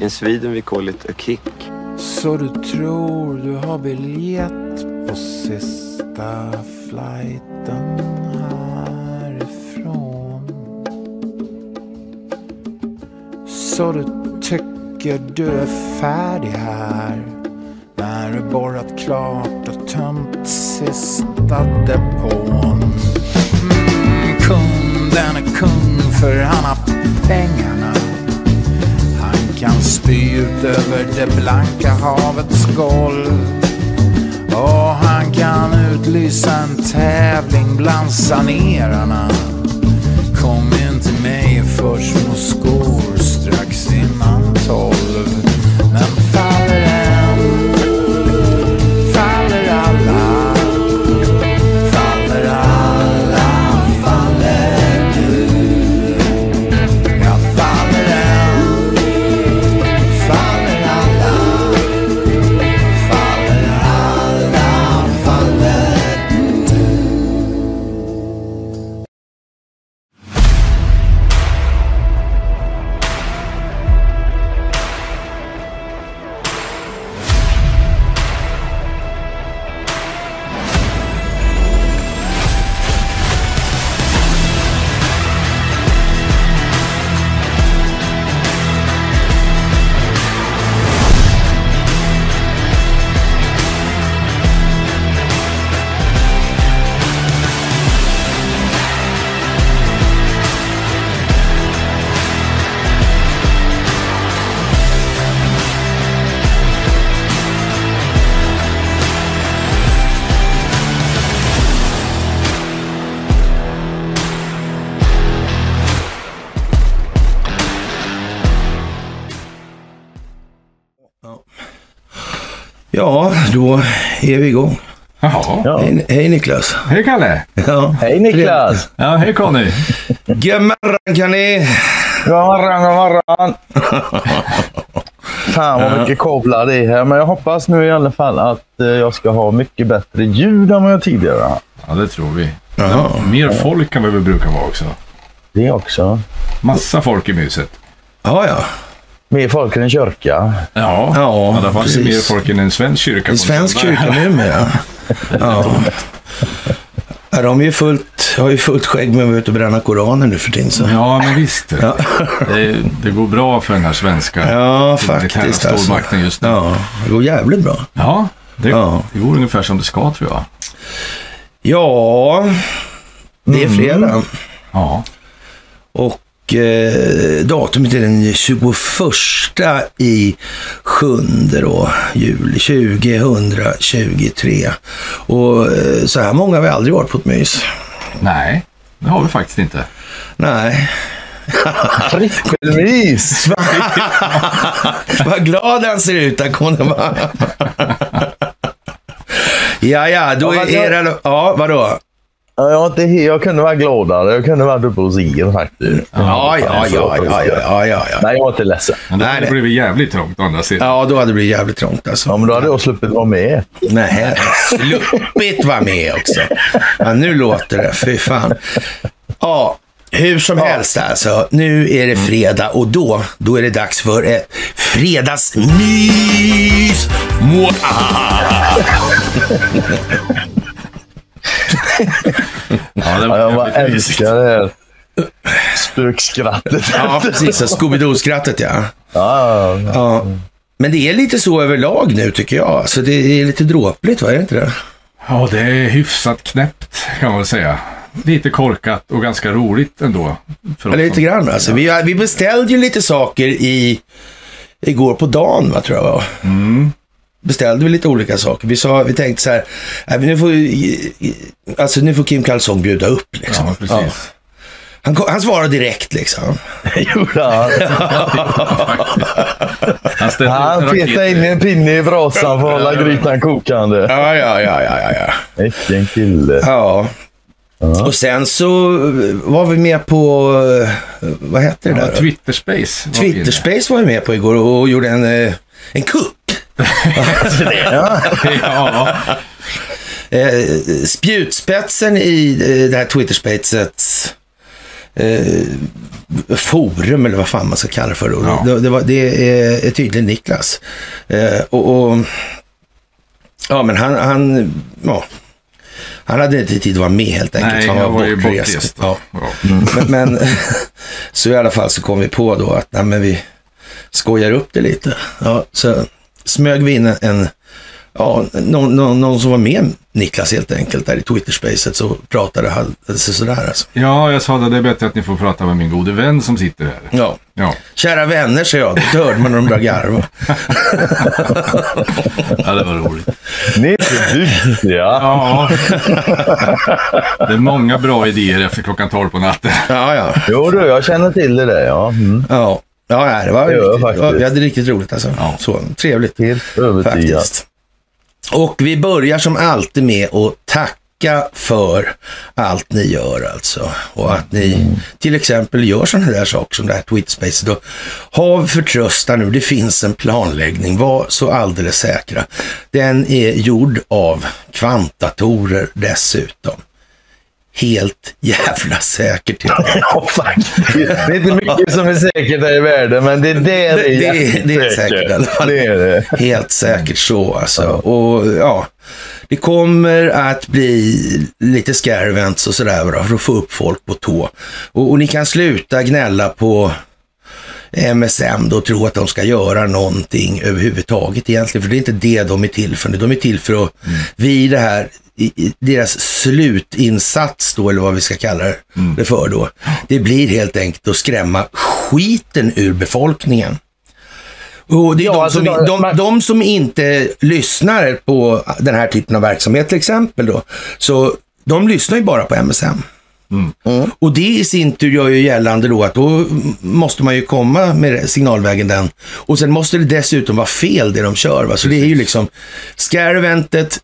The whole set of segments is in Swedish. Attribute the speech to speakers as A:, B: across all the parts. A: In Sweden we call it a kick.
B: Så du tror du har biljett på sista flighten härifrån? Så du tycker du är färdig här? När du borrat klart och tömt sista depån? Mm, kunden är kung för han har pengarna. Han kan spy ut över det blanka havets golv. Och han kan utlysa en tävling bland sanerarna. Kom in till mig för små skor strax innan tolv. Men faller en, faller alla. Faller alla, faller du. Ja, faller en. Faller alla, faller alla, faller
C: Ja, då är vi igång.
D: Jaha.
E: Ja.
C: Hej, hej Niklas.
D: Hej Kalle!
C: Ja.
E: Hej Niklas!
D: Ja, hej Conny!
C: Gemmerran kan ni?
E: God morgon, god morgon! Fan vad mycket kablar det är här, men jag hoppas nu i alla fall att eh, jag ska ha mycket bättre ljud än vad jag tidigare haft.
D: Ja, det tror vi.
C: Ja.
D: Mer folk än vad vi brukar vara också.
E: Det också.
D: Massa folk i myset.
C: Ja, ja.
E: Mer folk än en kyrka.
D: Ja,
C: Ja,
D: i alla fall så
C: precis.
D: mer folk än en svensk kyrka. på
C: En
D: en
C: svensk
D: söndag.
C: kyrka numera. Ja. Ja, De är ju fullt, har ju fullt skägg med att vara ute och bränna Koranen nu för tiden. Så.
D: Ja, men visst. du. Det, det går bra för den här svenska
C: Ja,
D: militära
C: faktiskt. Alltså.
D: stormakten just nu. Ja,
C: Ja, det går jävligt bra.
D: det,
C: Ja.
D: det går ungefär som det ska tror jag.
C: Ja, det är fredag.
D: Ja,
C: Och eh, datumet är den 21 i sjunde då, juli 2023. Och eh, så här många har vi aldrig varit på ett mys.
D: nej. Det har vi faktiskt inte.
C: Nej,
E: Prickmys!
C: vad glad han ser ut, Akonema. ja, ja, då
E: Ja,
C: är
E: fast jag-
C: era... Ja, vadå?
E: Ja, Jag, är inte he- jag kunde vara gladare. Jag kunde varit uppe hos er faktiskt.
C: Ja, ja, ja, ja, ja, ja, ja.
E: Nej, jag är inte ledsen.
D: Men då
C: Nej,
D: hade det
C: nej.
D: blivit jävligt trångt å andra sidan.
C: Ja, då hade det blivit jävligt trångt alltså.
E: Ja, men då hade jag sluppit vara med.
C: Nej, sluppit vara med också. Ja, nu låter det. Fy fan. Ja, hur som helst alltså. Nu är det fredag och då, då är det dags för ett fredagsmys. Mwah!
D: Ja, det
E: Ja, jag bara
D: jävligt mysigt.
E: älskar det här spökskrattet.
C: Ja, precis. så Scooby-Doo-skrattet ja.
E: Ja, ja.
C: ja. Men det är lite så överlag nu tycker jag. Så det är lite dråpligt, va? Är det inte det?
D: Ja, det är hyfsat knäppt kan man väl säga. Lite korkat och ganska roligt ändå. För oss
C: Eller lite
D: som-
C: grann alltså. Vi, vi beställde ju lite saker i, igår på dagen, va, tror jag va? Mm. Beställde vi lite olika saker. Vi, sa, vi tänkte så här, "Nej, men nu får, i- i- alltså, nu får Kim Karlsson bjuda upp. Liksom.
D: Ja, precis.
C: Han, ko- han svarade direkt liksom.
E: Gjorde han.
D: Han ställde ut en
E: Han
D: raket.
E: petade in en pinne i brasan för att hålla grytan kokande.
C: Ja, ja, ja, ja, ja. ja.
E: Vilken kille.
C: ja. Och sen så eh, var vi med på, eh, vad hette det
D: Ja,
C: där? då?
D: Twitter Space. var vi inne.
C: Twitterspace var vi med på igår och gjorde en, eh, en kupp.
D: ja,
C: Eh, spjutspetsen i eh, det här Twitterspacets eh, forum eller vad fan man ska kalla det för.
D: Ja.
C: Det, det, var, det är, är tydligen Niklas. Eh, och, och, ja, men han, han, ja, han hade inte tid att vara med helt enkelt.
D: Nej,
C: han
D: jag var ju
C: bortrest.
D: bortrest.
C: Ja.
D: Ja.
C: Men, men så i alla fall så kom vi på då att nej, men vi skojar upp det lite. Ja, så smög vi in en, en ja, någon, någon, någon som var med Niklas helt enkelt där i Twitter-spacet så pratade han alltså, sådär alltså.
D: ja, jag sa det. Det är bättre att ni får prata med min gode vän som sitter här.
C: Ja.
D: Ja,
C: Kära vänner, säger jag. Då hörde man när de började garva.
D: ja det var roligt.
E: Ni är så duktiga.
D: Ja. Det är många bra idéer efter klockan 12 på natten.
C: Ja, ja.
E: Jo du, jag känner till det där. Ja. Mm.
C: Ja, ja nej, det var
E: Det gör jag
C: riktigt,
E: faktiskt.
C: ja, vi hade riktigt roligt alltså.
D: Ja.
C: Så, trevligt.
E: Helt övertygad.
C: Faktiskt. Och vi börjar som alltid med att tacka för allt ni gör alltså. Och att ni till exempel gör sådana där saker som det här Twitterspacet. Och Hav förtröstan nu, det finns en planläggning. Var så alldeles säkra. Den är gjord av kvantdatorer dessutom. Helt jävla säker till och med.
E: Ja, faktiskt. Det är inte mycket som är säkert här i världen, men det, det är
C: Det- det är-
E: jäkligt
C: det är säkert i alla fall.
E: Det är det.
C: Helt säkert så alltså. Och ja, det kommer att bli lite scarevents och sådär va, för att få upp folk på tå. Och, och ni kan sluta gnälla på MSM då och tro att de ska göra någonting överhuvudtaget egentligen. För det är inte det de är till för. De är till för att
E: Mm.
C: vi det här i, i deras slutinsats då, eller vad vi ska kalla det
E: Mm.
C: det för då. Det blir helt enkelt att skrämma skiten ur befolkningen. Och det är
E: Ja,
C: de,
E: alltså
C: som,
E: då-
C: de,
E: man-
C: de som inte lyssnar på den här typen av verksamhet till exempel då, så de lyssnar ju bara på MSM. Och det i sin tur gör ju gällande då att då måste man ju komma med signalvägen den. Och sen måste det dessutom vara fel det de kör. Va? Så det är ju liksom, scare-eventet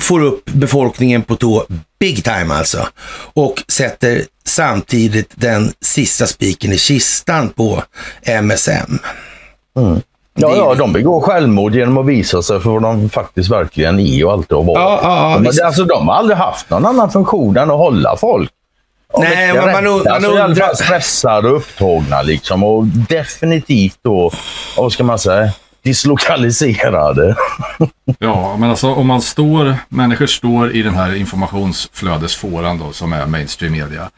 C: får upp befolkningen på tå big time alltså. Och sätter samtidigt den sista spiken i kistan på MSM.
E: Ja, ja, de begår självmord genom att visa sig för vad de faktiskt verkligen är och alltid har varit.
C: Ja, ja, ja,
E: de,
C: visst.
E: alltså, de har aldrig haft någon annan funktion än att hålla folk. Ja,
C: Nej,
E: riktiga
C: men man
E: rädda.
C: und- man
E: alltså, I alla
C: undrar-
E: fall stressade och upptagna liksom. Och definitivt då, vad ska man säga, dislokaliserade.
D: Ja, men alltså om man står, människor står i den här informationsflödesfåran då som är mainstream media.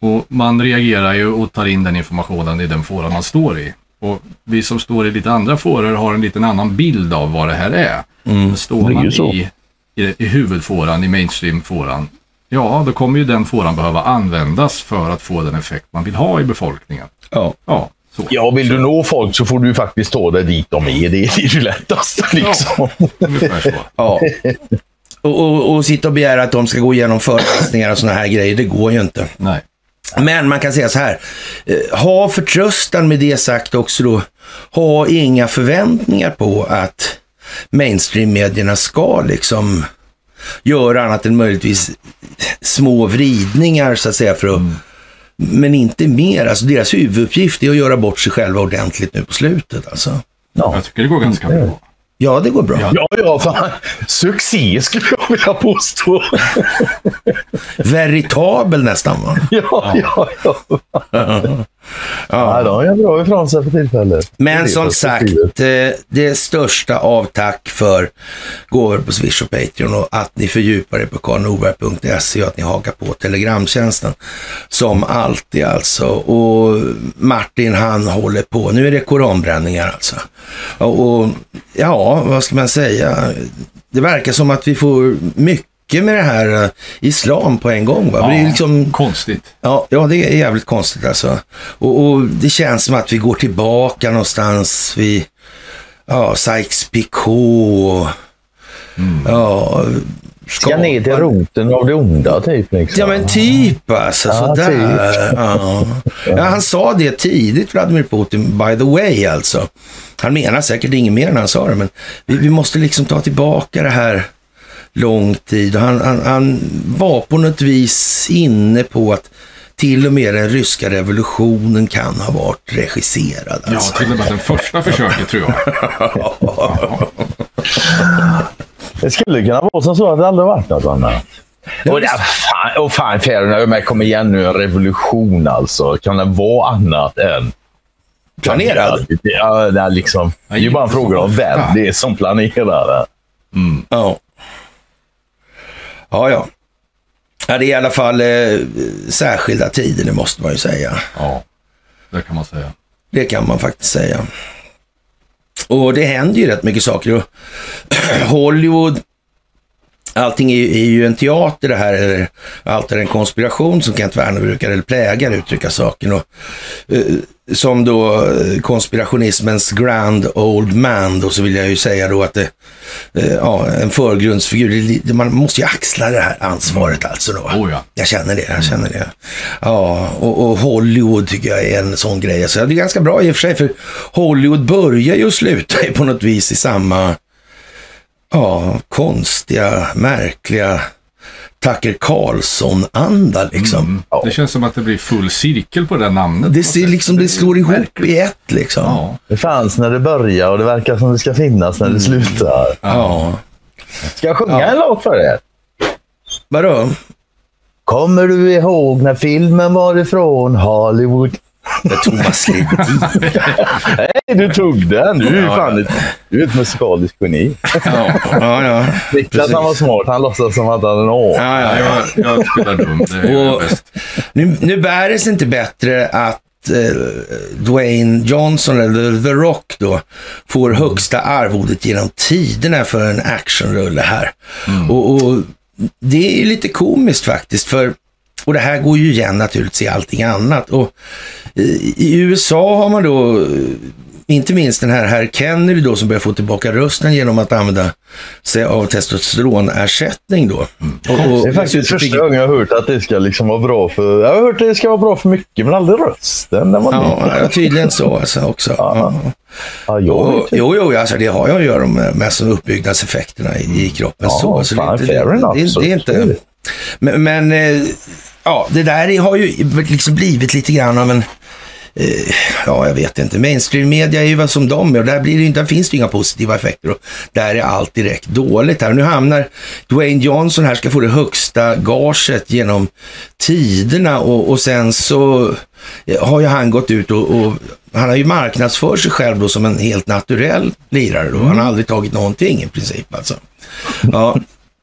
D: Och man reagerar ju och tar in den informationen i den fåran man står i. Och vi som står i lite andra fåror har en liten annan bild av vad det här är. Men Står
E: Mm. det är ju
D: man
E: så.
D: i, i, i huvudfåran, i mainstream-fåran, ja då kommer ju den fåran behöva användas för att få den effekt man vill ha i befolkningen.
C: Ja.
D: Ja, så.
E: Ja, vill du nå folk så får du ju faktiskt ta dig dit de är. Det är ju lättast liksom.
D: Ungefär så.
C: Ja. Och, och, och sitta och begära att de ska gå igenom föreläsningar och sådana här grejer, det går ju inte.
D: Nej.
C: Men man kan säga så här. eh, Ha förtröstan med det sagt också då. Ha inga förväntningar på att mainstream-medierna ska liksom göra annat än möjligtvis små vridningar så att säga. För att, Men inte mer. Alltså deras huvuduppgift är att göra bort sig själva ordentligt nu på slutet. Alltså.
E: Ja. Mm.
D: Jag tycker det går ganska bra.
C: Ja, det går bra.
E: Ja, ja, fan. Succé skulle jag vilja påstå.
C: Veritabel nästan va?
E: Ja, ja, ja. ja. de gör bra ifrån sig för tillfället. Det är
C: Men som sagt,
E: perspektivet.
C: eh, det största av tack för gåvor på Swish och Patreon och att ni fördjupar er på karlnorberg.se och att ni hakar på Telegramtjänsten. Som alltid alltså. Och Martin han håller på. Nu är det koranbränningar alltså. Och, och ja, vad ska man säga? Det verkar som att vi får mycket med det här eh, islam på en gång. Va? Det är ju liksom
D: Konstigt.
C: Ja, ja, det är jävligt konstigt alltså. Och, och det känns som att vi går tillbaka någonstans vid ja, Sykes-Picot. Ja,
E: Ska ner till roten av det onda, typ. Liksom.
C: Ja, men typ alltså.
E: Ja,
C: sådär. Ja. Ja, han sa det tidigt, Vladimir Putin, by the way alltså. Han menar säkert inget mer än han sa det, men vi, vi måste liksom ta tillbaka det här lång tid. Och Han, han, han var på något vis inne på att till och med den ryska revolutionen kan ha varit regisserad.
D: Ja,
C: Alltså.
D: till och med den första försöket tror jag.
E: Det skulle kunna vara som så att det aldrig varit något annat. Och, det, fan, och fan, Färöarna, men kom igen nu, en revolution alltså. Kan den vara annat än
C: Planerad?
E: Ja, det är liksom. Det är ju bara en fråga om vem det är som planerar.
C: Ja. Ja, ja. Ja, det är i alla fall eh, särskilda tider, det måste man ju säga.
D: Ja, det kan man säga.
C: Det kan man faktiskt säga. Och det händer ju rätt mycket saker. Och Hollywood, allting är, ju- är ju en teater det här. Eller allt är en konspiration som Kent Werner brukar, eller plägar uttrycka saken. Och, eh, som då eh, konspirationismens grand old man då, så vill jag ju säga då att det, eh, ja, en förgrundsfigur, det är li- man måste ju axla det här ansvaret alltså då.
D: Oh ja.
C: Jag känner det, jag känner det. Ja, och, och Hollywood tycker jag är en sån grej. Alltså, det är ganska bra i och för sig, för Hollywood börjar ju och slutar ju på något vis i samma ja, konstiga, märkliga Tucker Carlson-anda liksom.
D: Det känns som att det blir full cirkel på det där namnet.
C: Det, ser, liksom, det slår ihop i ett liksom.
D: Ja,
E: Det fanns när det börjar och det verkar som det ska finnas när det slutar.
C: Mm. ja.
E: Ska jag sjunga en låt för er?
C: Vadå?
E: Kommer du ihåg när filmen var ifrån Hollywood?
C: Med Thomas Ledin.
E: Nej, du tog den. Du är ju fan ett, du är ett musikaliskt geni.
C: ja, ja. ja.
E: Niklas han var smart. Han låtsas som att han hade en å.
C: ja, ja.
D: ja jag, jag spelar dum. Det är
C: Och-
D: och... bäst.
C: Nu, nu bär det sig inte bättre att eh, Dwayne Johnson, eller The Rock då, får högsta arvodet genom tiderna för en actionrulle här. Och, och det är ju lite komiskt faktiskt, för och det här går ju igen naturligtvis i allting annat. Och i, I USA har man då, eh, inte minst den här herr Kennedy då, som börjar få tillbaka rösten genom att använda sig av testosteronersättning då. Och- och-
E: Det är faktiskt första gången jag har hört att det ska liksom vara bra för... Jag har hört att det ska vara bra för mycket, men aldrig rösten. Den var ny.
C: Ja, ja, tydligen så alltså också. Ja.
E: Ja, jag vet
C: Och, jo, jo, alltså, det har jag att göra med, med alltså, uppbyggnadseffekterna i, i kroppen.
E: Ja,
C: så, alltså,
E: fan,
C: det,
E: fair
C: är inte-
E: enough,
C: det,
E: så-
C: det, det är
E: så är
C: inte...
E: det.
C: Men, men eh, ja, det där har ju liksom blivit lite grann av en... eh, Ja, jag vet inte. Mainstream media är ju vad som de är och där, blir det, ju inte- där finns det ju inga positiva effekter. Och där är allt direkt dåligt. Här. Nu hamnar Dwayne Johnson här, ska få det högsta gaget genom tiderna och, och sen så eh, har ju han gått ut och, och han har ju marknadsför sig själv då som en helt naturell lirare då. Han har aldrig tagit någonting i princip alltså. Ja,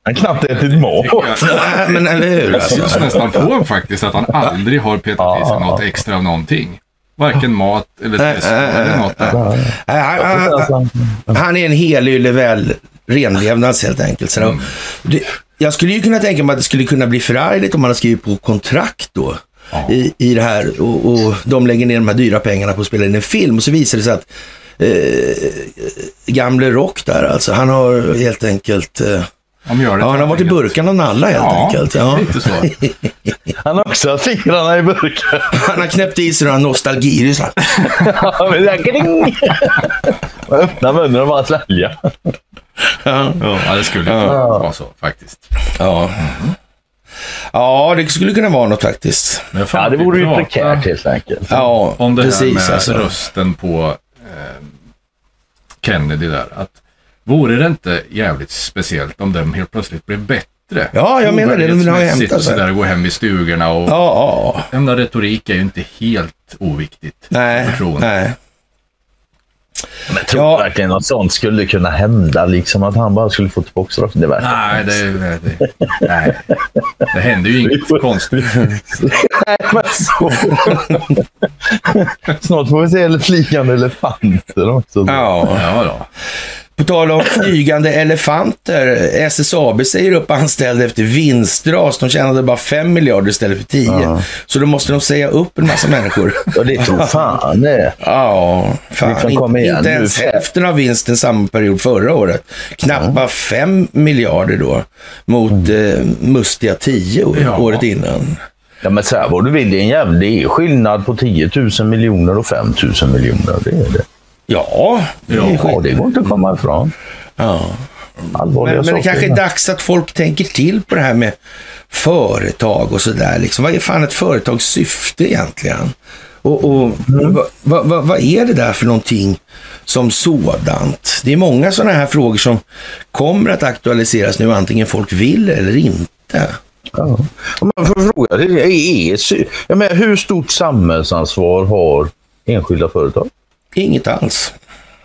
E: Han knappt ätit mat.
C: Nej, men eller hur?
D: Det
C: Alltså.
D: syns nästan på honom faktiskt att han aldrig har petat i sig något extra av någonting. Varken mat eller
C: Nej,
D: test
C: nej, nej,
D: eller något. där.
C: Nej, Han, han, han är en helylle väl renlevnads helt enkelt. Så då, det, jag skulle ju kunna tänka mig att det skulle kunna bli förargligt om man har skrivit på kontrakt då. I, i det här och, och de lägger ner de här dyra pengarna på att spela in en film och så visar det sig att eh, gamle Rock där alltså, han har helt enkelt, eh,
D: De gör det
C: ja, han har varit i burkan av Nalla helt
D: Ja,
C: enkelt. Ja.
D: lite så.
E: Han har också haft fingrarna i burken.
C: Han har knäppt i sig några nostalgirysslar.
E: Ja, men det är kring. Man öppnar munnen och bara svälja.
D: Ja, det skulle ju kunna vara så faktiskt.
C: Ja. ja, det skulle kunna vara något faktiskt.
D: Men fan,
E: Ja, det
D: vi
E: vore ju
D: pratar
E: prekärt helt enkelt.
C: Ja,
D: Om det
C: precis.
D: här med
C: alltså.
D: rösten på eh, Kennedy där. Att, vore det inte jävligt speciellt om den helt plötsligt blev bättre?
C: Ja, jag menar det. Den vill ha
D: Trovärdighetsmässigt
C: hämtat sig.
D: sådär, gå hem i stugorna och...
C: Ja, ja, ja.
D: Ämna retorik är ju inte helt oviktigt.
C: Nej,
D: Förtroende.
C: nej.
E: Men tror
C: Ja.
E: du verkligen att sånt skulle kunna hända? Liksom att han bara skulle få tillbaka straffen? Det verkar
D: Nej, det, det, det, nej. det händer ju inget konstigt.
E: Men så. Snart får vi se flygande elefanter också.
C: Ja.
D: Ja, då.
C: På tal om flygande elefanter. SSAB säger upp anställda efter vinstras. De tjänade bara 5 miljarder istället för 10. Så då måste de säga upp en massa människor.
E: Och det tror fan det.
C: Ja, fan.
E: Liksom,
C: Inte,
E: kom igen
C: inte
E: nu.
C: ens hälften av vinsten samma period förra året. Knappa 5 miljarder då mot eh, mustiga 10
D: Ja.
C: året innan.
E: Ja, men så här vad du vill, det är en jävla det är skillnad på 10 000 miljoner och 5 000 miljoner. Det är det.
C: Ja, det är
E: Ja,
C: skit.
E: det går inte att komma ifrån.
C: Ja.
E: Allvarliga
C: Men, men det
E: saker.
C: kanske är dags att folk tänker till på det här med företag och sådär. Liksom. Vad är fan ett företags syfte egentligen? Och, och vad, vad, vad, vad är det där för någonting som sådant? Det är många sådana här frågor som kommer att aktualiseras nu, antingen folk vill eller inte.
E: Ja. Om man får fråga, det är, är, jag menar, hur stort samhällsansvar har enskilda företag?
C: Inget alls.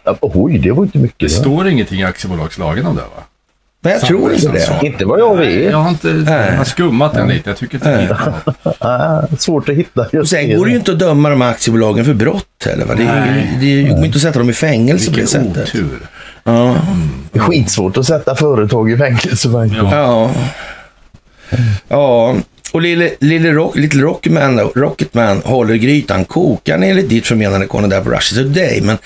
E: Ja, Oj, det var inte
D: Det
E: mycket. va?
D: står ingenting i aktiebolagslagen om det va?
C: Nej, jag tror inte det.
D: Samhällsansvar.
E: Inte vad jag vet.
D: Jag har inte jag har skummat den lite. Jag tycker inte det är något.
E: Ah, svårt att hitta.
C: Och
E: Just
C: sen går det ju inte att döma de här aktiebolagen för brott heller. Va? Det, är, det är- går inte att sätta dem i fängelse på det
D: Vilken
C: sättet.
D: otur.
C: Ja.
E: Det är skitsvårt att sätta företag i fängelse. faktiskt.
D: Ja.
C: Ja. Ja. Och Lille, Lille Rock, Little Rocketman, Rocketman håller grytan kokande enligt ditt förmenande Conny där på Russia Today. Men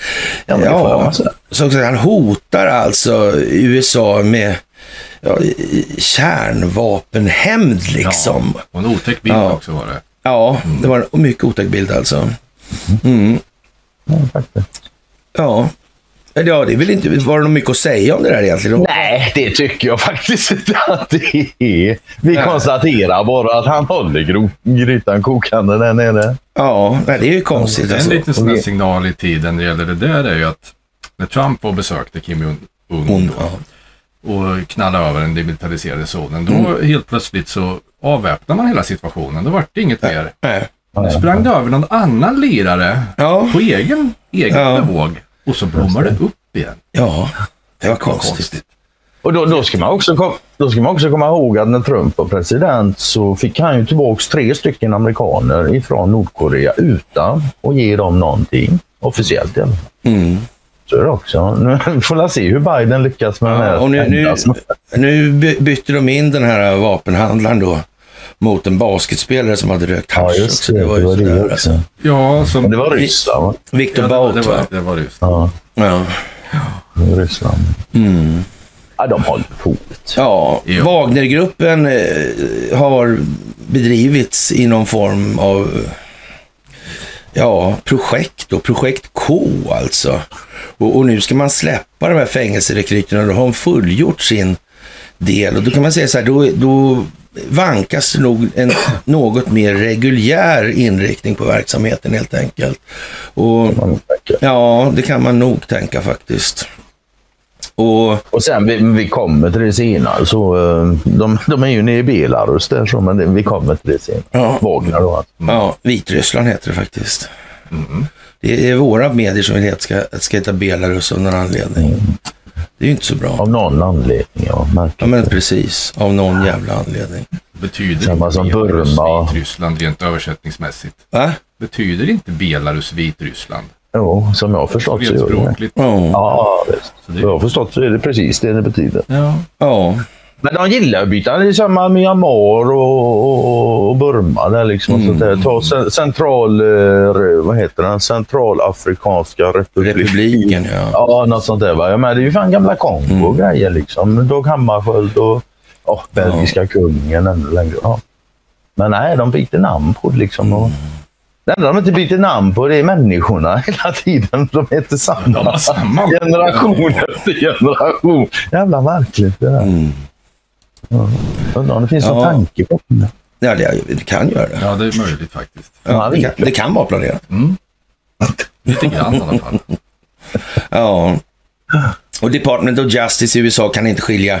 E: Ja,
C: ja,
E: men det får man säga.
C: så att säga, han hotar alltså USA med ja, i- kärnvapenhämnd liksom.
D: Och en otäck bild
C: Ja.
D: också var det.
C: Ja, det var en mycket otäck bild alltså. Mm.
E: Ja, faktiskt.
C: Ja. Eller Ja, det är väl inte, var det nog mycket att säga om det där egentligen?
E: Nej, det tycker jag faktiskt inte att det är. Vi konstaterar bara att han håller gro- grytan kokande där nere.
C: Ja, nej, det är ju konstigt
D: En
C: alltså.
D: liten sån här
E: Okej.
D: signal i tiden när det gäller det där är ju att när Trump var och besökte Kim Jong-Un
C: Hon,
D: då,
C: ja.
D: och knallade över den demilitariserade zonen, då
E: Mm.
D: helt plötsligt så avväpnade man hela situationen. Då vart det inget mer.
C: Nej.
D: Då sprang det över någon annan lirare
C: Ja.
D: på egen, egen
C: Ja.
D: bevåg och så blommar det upp igen.
C: Ja, det var konstigt.
E: Och då, då, ska man också kom, då ska man också komma ihåg att när Trump var president så fick han ju tillbaka tre stycken amerikaner ifrån Nordkorea utan att ge dem någonting. Officiellt i alla fall.
C: Mm.
E: Så är det också. Nu får vi se hur Biden lyckas med den här.
C: Ja, och nu, nu,
E: pendeln.
C: nu by- bytte de in den här vapenhandlaren då mot en basketspelare som hade rökt
E: ja,
C: hasch
E: just
C: också.
E: det. Det var
C: ju
E: det
C: sådär,
E: också.
C: alltså.
D: Ja, som...
E: Men Det var Ryssland, va?
C: Victor
D: ja, det, var-
C: Bout
D: det, var,
C: va?
D: det var just
E: Ja,
C: Ja.
E: det var Ryssland.
C: Mm.
E: Ja, de håller på.
C: ja.
D: Jo.
C: Wagnergruppen eh, har bedrivits i någon form av ja, projekt då. Projekt K alltså. Och, och nu ska man släppa de här fängelserekryterna. Då har de fullgjort sin del. Och då kan man säga så här, då, då vankas det nog en något mer reguljär inriktning på verksamheten helt enkelt. Och
E: Man tänker.
C: ja, det kan man nog tänka faktiskt. Och
E: Och sen, vi, vi kommer till det senare. Så, eh, de, de är ju nere i Belarus där, så, men det, vi kommer till det senare.
C: Ja.
E: Wagner då. Alltså.
C: Ja, Vitryssland heter det faktiskt. Mm. Det är våra medier som vill heta, ska, ska heta Belarus av någon anledning. Det är ju inte så bra.
E: Av någon anledning, ja.
C: Ja,
E: Märkligt.
C: men precis. Av någon jävla anledning.
D: betyder
E: Samma som
D: inte Belarus
E: Burma.
D: Vitryssland rent översättningsmässigt.
C: Va?
D: Betyder inte Belarus Vitryssland?
E: Jo, som jag har förstått så gör det det.
D: Språkligt.
C: Ja.
E: Ja, visst.
D: det-
E: Jag har förstått så är det precis det det betyder.
D: Ja.
C: Ja.
E: Men de gillar att byta. Det är samma med Myanmar och, och, och Burma. Där liksom, och sånt där. Ta cen- central... eh, Vad heter den? Centralafrikanska republiken.
C: Republiken, ja.
E: Ja, något sånt där. Va? Jag menar, det är ju fan gamla Kongo och grejer.
C: Mm.
E: Liksom. Dag Hammarskjöld och ja, belgiska kungen ännu längre. Ja. Men nej, de byter namn på det. Liksom, och...
C: Mm.
E: Det enda de inte byter namn på det är människorna hela tiden. De heter samma.
D: De har samma.
E: Generation efter generation. Jävla märkligt det där. Ja. Undrar om det finns någon
C: Mm. Ja.
E: tanke på det.
C: ja det, det kan göra det.
D: Ja, det är möjligt faktiskt.
C: Ja, det, kan, det kan vara planerat.
D: Lite grann i alla fall.
C: Ja. Och Department of Justice i USA kan inte skilja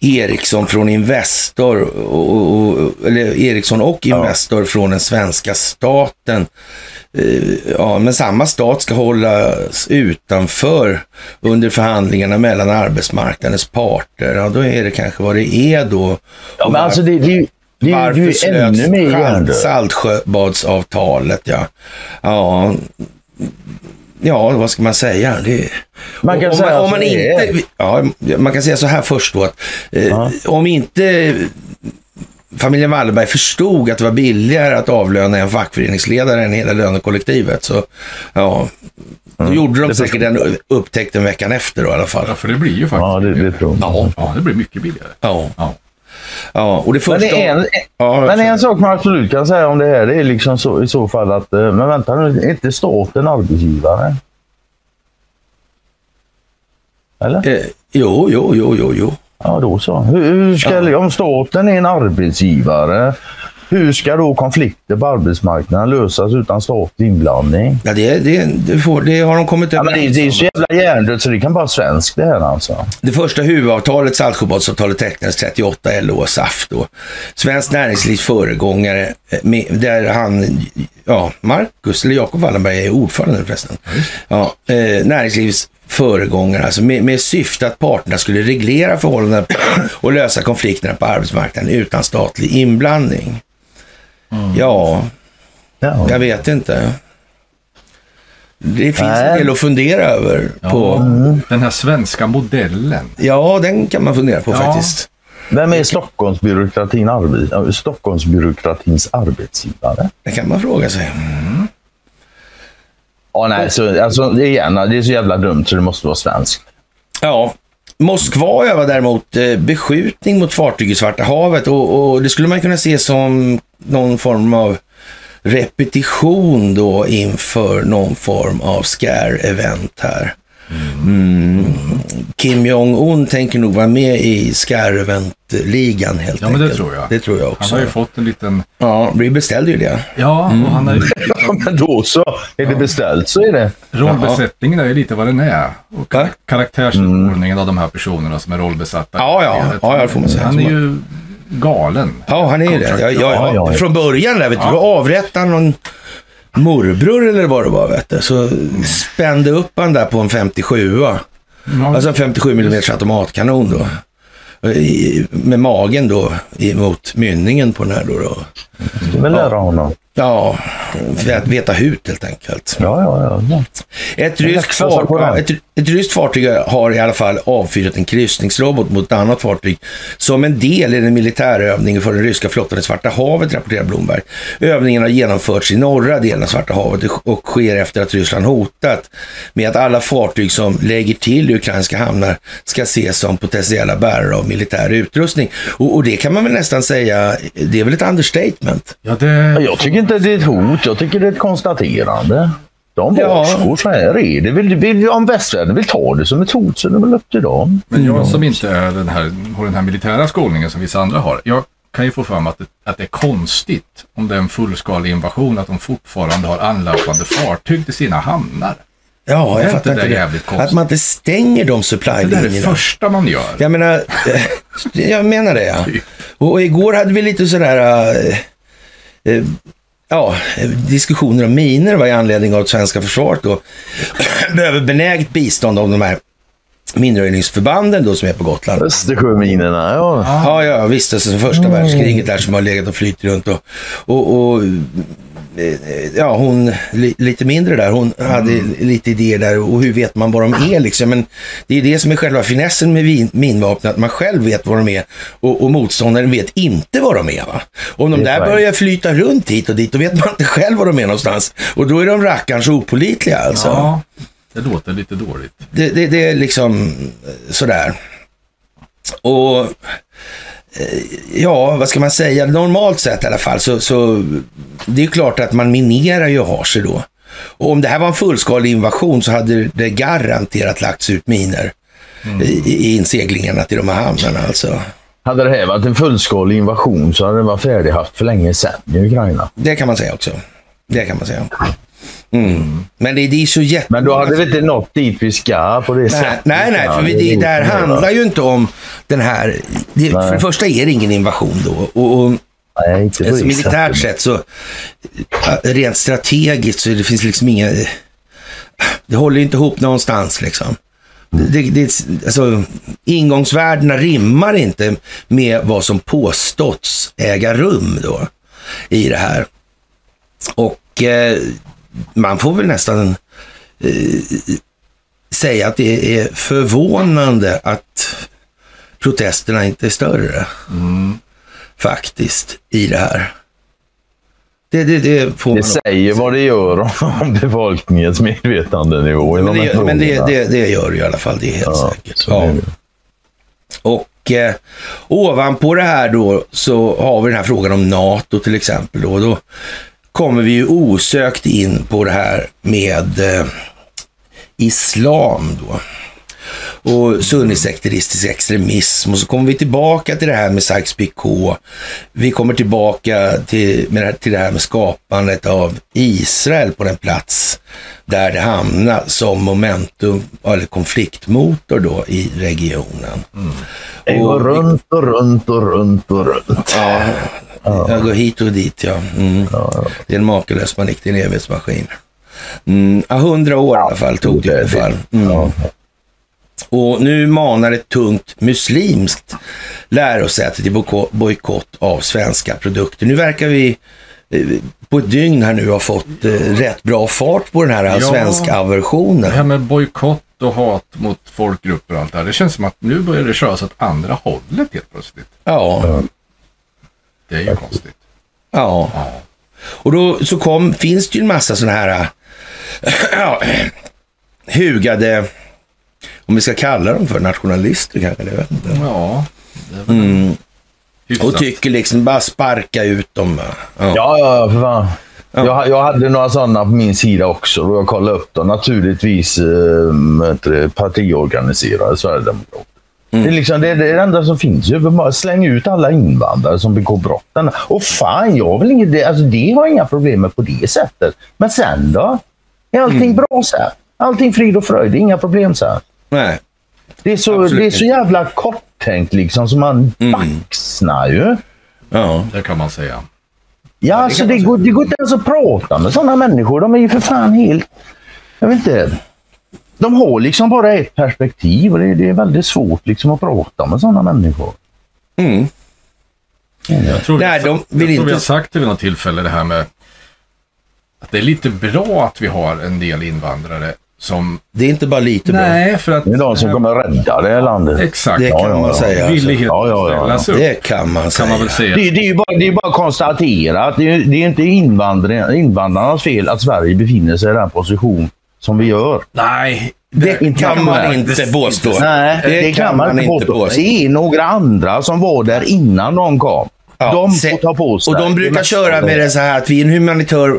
C: Ericsson från Investor. Och, och, och, eller Ericsson och Investor från den svenska staten. Eh, Ja, men samma stat ska hållas utanför under förhandlingarna mellan arbetsmarknadens parter. Ja, då är det kanske vad det är då.
E: Ja,
C: Och
E: men alltså, det, det, är ju- det, är ju- det
C: varför
E: är ju ännu mer
C: slöts
E: gällande.
C: Saltsjöbadsavtalet, ja. Ja. Ja, vad ska man säga? Det...
E: Man kan
C: om,
E: säga
C: man, om
E: så
C: man
E: det är.
C: inte... Ja, man kan säga så här först då. Att, eh, Om inte familjen Wallenberg förstod att det var billigare att avlöna en fackföreningsledare än hela lönekollektivet så ja, då
E: Mm.
C: gjorde de säkert den upptäckten veckan efter då i alla fall.
D: Ja, för det blir ju faktiskt
E: Ja, det, det tror jag.
C: Ja,
D: Ja, det blir mycket billigare.
C: ja,
D: Ja.
C: ja. Och det första...
E: Men det är en,
C: Ja, jag
E: men
C: förstår.
E: en sak man absolut kan säga om det här det är liksom så, i så fall att, eh, men vänta nu, är inte staten arbetsgivare? Eller?
C: Eh, jo, jo, jo, jo, jo.
E: Ja, då så. Hur, hur ska, Om staten är en arbetsgivare Hur ska då konflikter på arbetsmarknaden lösas utan statlig inblandning?
C: Ja, det, det, det, får, det har de kommit
E: Ja, men det,
C: överens
E: det är
C: om.
E: så jävla hjärndött så det kan vara svenskt det här alltså.
C: Det första huvudavtalet, Saltsjöbadsavtalet, tecknades 38 LO och SAF då. Svenskt näringslivs föregångare, eh, med, där han, ja, Marcus, eller Jakob Wallenberg är ordförande förresten. Ja, eh, näringslivs föregångare, alltså med, med syfte att parterna skulle reglera förhållandena och lösa konflikterna på arbetsmarknaden utan statlig inblandning. Ja,
E: Ja.
C: jag vet inte. Det finns en
E: Nej.
C: del att fundera över.
D: Ja,
C: På,
D: Den här svenska modellen.
C: ja, den kan man fundera på
D: Ja.
C: faktiskt.
E: Vem är Stockholmsbyråkratin arbet, äh, Stockholmsbyråkratins arbetsgivare?
C: Det kan man fråga sig.
E: Ja, nej, så, alltså, igen, det är så jävla dumt så det måste vara svenskt.
C: Ja. Moskva övar däremot eh, beskjutning mot fartyg i Svarta havet och, och det skulle man kunna se som någon form av repetition då inför någon form av scare-event här. Mm. Kim Jong-Un tänker nog vara med i scare-event-ligan helt
D: Ja, men
C: enkelt.
D: det tror jag.
C: Det tror jag
D: Han
C: också.
D: har ju fått en liten...
C: Ja, vi beställde ju det.
D: Ja,
E: Mm.
D: och han har ju...
E: Ja, men då så. Är det beställt så är det.
D: Rollbesättningen är ju lite vad den är. Och
C: Va?
D: karaktärsutformningen av de här personerna som är rollbesatta.
C: Ja, ja. Ja, ja, det får man säga.
D: Han är ju galen.
C: Ja, han är ju det. Jag, jag,
E: Ja, ja, ja.
C: Från början där, vet du, då avrättade han någon morbror eller vad det var, vet du. Så spände upp han där på en 57
D: Ja,
C: Alltså en 57 mm automatkanon då. I, med magen då emot mynningen på den här då. då.
E: Ska vi lära honom?
C: Ja, för att veta hut helt enkelt.
E: Ja, ja, ja.
C: Ett
E: Jag
C: ryskt,
E: ska passa
C: far,
E: på den.
C: ja, ett, ett ryskt fartyg har i alla fall avfyrat en kryssningsrobot mot ett annat fartyg som en del i den militärövningen för den ryska flottan i Svarta havet, rapporterar Blomberg. Övningen har genomförts i norra delen av Svarta havet och sker efter att Ryssland hotat med att alla fartyg som lägger till i ukrainska hamnar ska ses som potentiella bärare av militär utrustning. Och, och det kan man väl nästan säga, det är väl ett understatement?
D: Ja, det...
E: Ja, Jag tycker inte det är ett hot. Jag tycker det är ett konstaterande. De
C: Ja.
E: varskor, så här är det. Vill, vill, om västvärlden vill ta det som ett hot så är det väl upp till dem.
D: Men jag som inte är den här, har den här militära skolningen som vissa andra har. Jag kan ju få fram att det, att det är konstigt om det är en fullskalig invasion att de fortfarande har anlöpande fartyg till sina hamnar.
C: Ja,
D: Är
C: jag
D: inte
C: fattar
D: det
C: inte det.
D: jävligt konstigt?
C: Att man inte stänger de
D: Det där är det
C: supply-linjerna.
D: första man gör.
C: Jag menar, eh, jag menar det ja. Och, och igår hade vi lite sådär, eh, eh, ja, eh, diskussioner om miner var i anledning av att svenska försvaret då behöver benäget bistånd av de här minröjningsförbanden då som är på Gotland.
E: Östersjöminerna, ja.
C: Ja, ja, visst. Alltså sen första världskriget där som har legat och flytt runt och, och, och eh, ja, hon li, lite mindre där, hon hade lite idéer där och hur vet man vad de är liksom. Men det är det som är själva finessen med vin, minvapnet, att man själv vet vad de är och, och motståndaren vet inte vad de är. Va? Om de
E: Det är
C: där
E: poäng.
C: börjar flyta runt hit och dit, då vet man inte själv var de är någonstans. Och då är de rackarns opolitliga alltså.
D: Ja, det låter lite dåligt.
C: Det, det, det är liksom eh, sådär. Och eh, ja, vad ska man säga? Normalt sett i alla fall så, så det är klart att man minerar ju och har sig då. Och om det här var en fullskalig invasion så hade det garanterat lagts ut miner
E: Mm.
C: i, i inseglingarna till de här hamnarna alltså.
E: Hade det här varit en fullskalig invasion så hade den varit färdighaft för länge sedan i Ukraina.
C: Det kan man säga också. Det kan man säga. Mm. Men det, det är så jätte...
E: Men då hade vi inte nått dit vi ska på det
C: Nej,
E: sättet.
C: nej, nej, för
E: är
C: det, det här
E: lite mer, va?
C: handlar ju inte om den här... Det, för det första är det ingen invasion då. Och, och
E: Nej,
C: alltså,
E: inte på det sättet.
C: militärt sett så... äh, Rent strategiskt så det finns liksom inga... Det håller ju inte ihop någonstans liksom. Det, det, alltså, ingångsvärdena rimmar inte med vad som påståtts äga rum då i det här. Och eh, man får väl nästan eh, säga att det är förvånande att protesterna inte är större.
E: Mm.
C: Faktiskt, i det här. Det, det, det får man
E: Det
C: nog-
E: säger vad det gör om- om befolkningens medvetandenivå i de
C: Men,
E: här
C: det, men det,
E: frågorna.
C: det, det gör det i alla fall, det är helt
E: Ja,
C: säkert.
E: så är det.
C: Och eh, ovanpå det här då så har vi den här frågan om NATO till exempel. Då, då kommer vi ju osökt in på det här med eh, islam. Då. och sunnisekteristisk extremism. Och så kommer vi tillbaka till det här med Sykes-Picot. Vi kommer tillbaka till, med det, här- till det här med skapandet av Israel på den plats där det hamnar som momentum eller konfliktmotor då i regionen.
E: Jag går runt och runt och runt och runt.
C: Ja, jag går hit och dit ja. Mm. Det är en makalös manik, det är en evighetsmaskin. Mm. Ja, 100 år i alla fall tog det i alla fall. Mm.
E: Ja.
C: Och nu manar ett tungt muslimskt lärosäte till bojko- bojkott av svenska produkter. Nu verkar vi eh, på ett dygn här nu ha fått eh, rätt bra fart på den här
D: Ja.
C: svenska aversionen.
D: Det här med bojkott och hat mot folkgrupper och allt det här. Det känns som att nu börjar det köras åt andra hållet helt plötsligt.
C: Ja,
D: Det är ju konstigt.
C: ja.
D: Ja.
C: Och då så kom, finns det ju en massa sådana här äh, ja, hugade, om vi ska kalla dem för nationalister kanske, jag vet inte.
D: Ja. Det är väl hyfsat.
C: Och tycker liksom bara sparka ut dem. va. Ja.
E: Ja, ja, för fan. Jag, jag hade några sådana på min sida också och jag kollade upp dem. Naturligtvis eh, vad heter det, partiorganiserade sverigedemokrater. Det, är liksom, det, det är det enda som finns. ju. Bara Släng ut alla invandrare som begår brotten. Och fan, jag vill inget, det, alltså, det har jag inga problem med på det sättet. Men sen då? Är allting bra sen? Allting frid och fröjd? Det är inga problem sen.
C: Nej.
E: Det är så,
C: Absolut
E: det är så jävla korttänkt liksom, så man baxnar ju.
C: Ja.
D: Det kan man säga.
E: Ja, det, alltså, det, går, det går inte ens att prata med sådana människor. De är ju för fan helt... Jag vet inte. De har liksom bara ett perspektiv och det, det är väldigt svårt liksom att prata med sådana människor.
C: Mm.
D: Jag tror,
C: Nej,
D: vi, har
C: de
D: sagt-
C: vill
D: jag tror
C: inte-
D: vi har sagt vid något tillfälle det här med att det är lite bra att vi har en del invandrare som...
C: Det är inte bara lite bra.
D: Nej, för att...
E: Det är de som kommer rädda det här landet.
D: Exakt.
C: Det kan man säga. alltså.
D: Villighet
E: Ja, ja, ja.
D: att ställa sig upp,
C: Det kan man säga.
D: kan man väl säga.
E: Det, det, är ju bara, det är bara att konstatera att det, är- det är inte invandrar, invandrarnas fel att Sverige befinner sig i den position som vi gör.
D: Nej,
C: Det
E: inte
C: kan
E: kan
C: man
E: man
C: inte påstå.
E: Nej, det, kan man, inte påstå. Det är några andra som var där innan de kom.
C: Ja,
E: de
C: se-
E: får ta på sig
C: Och de
E: det
C: brukar
E: mesta
C: köra
E: av det.
C: med det så här att vi är en humanitär,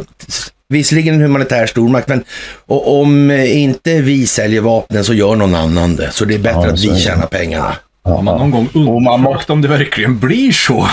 C: visserligen en humanitär stormakt, men och om eh, inte vi säljer vapnen så gör någon annan det. Så det är bättre
E: Ja,
C: att
E: så är
C: vi
E: det.
C: tjänar pengarna.
D: har man någon gång
E: Och man må-
D: undersökt om det verkligen blir så?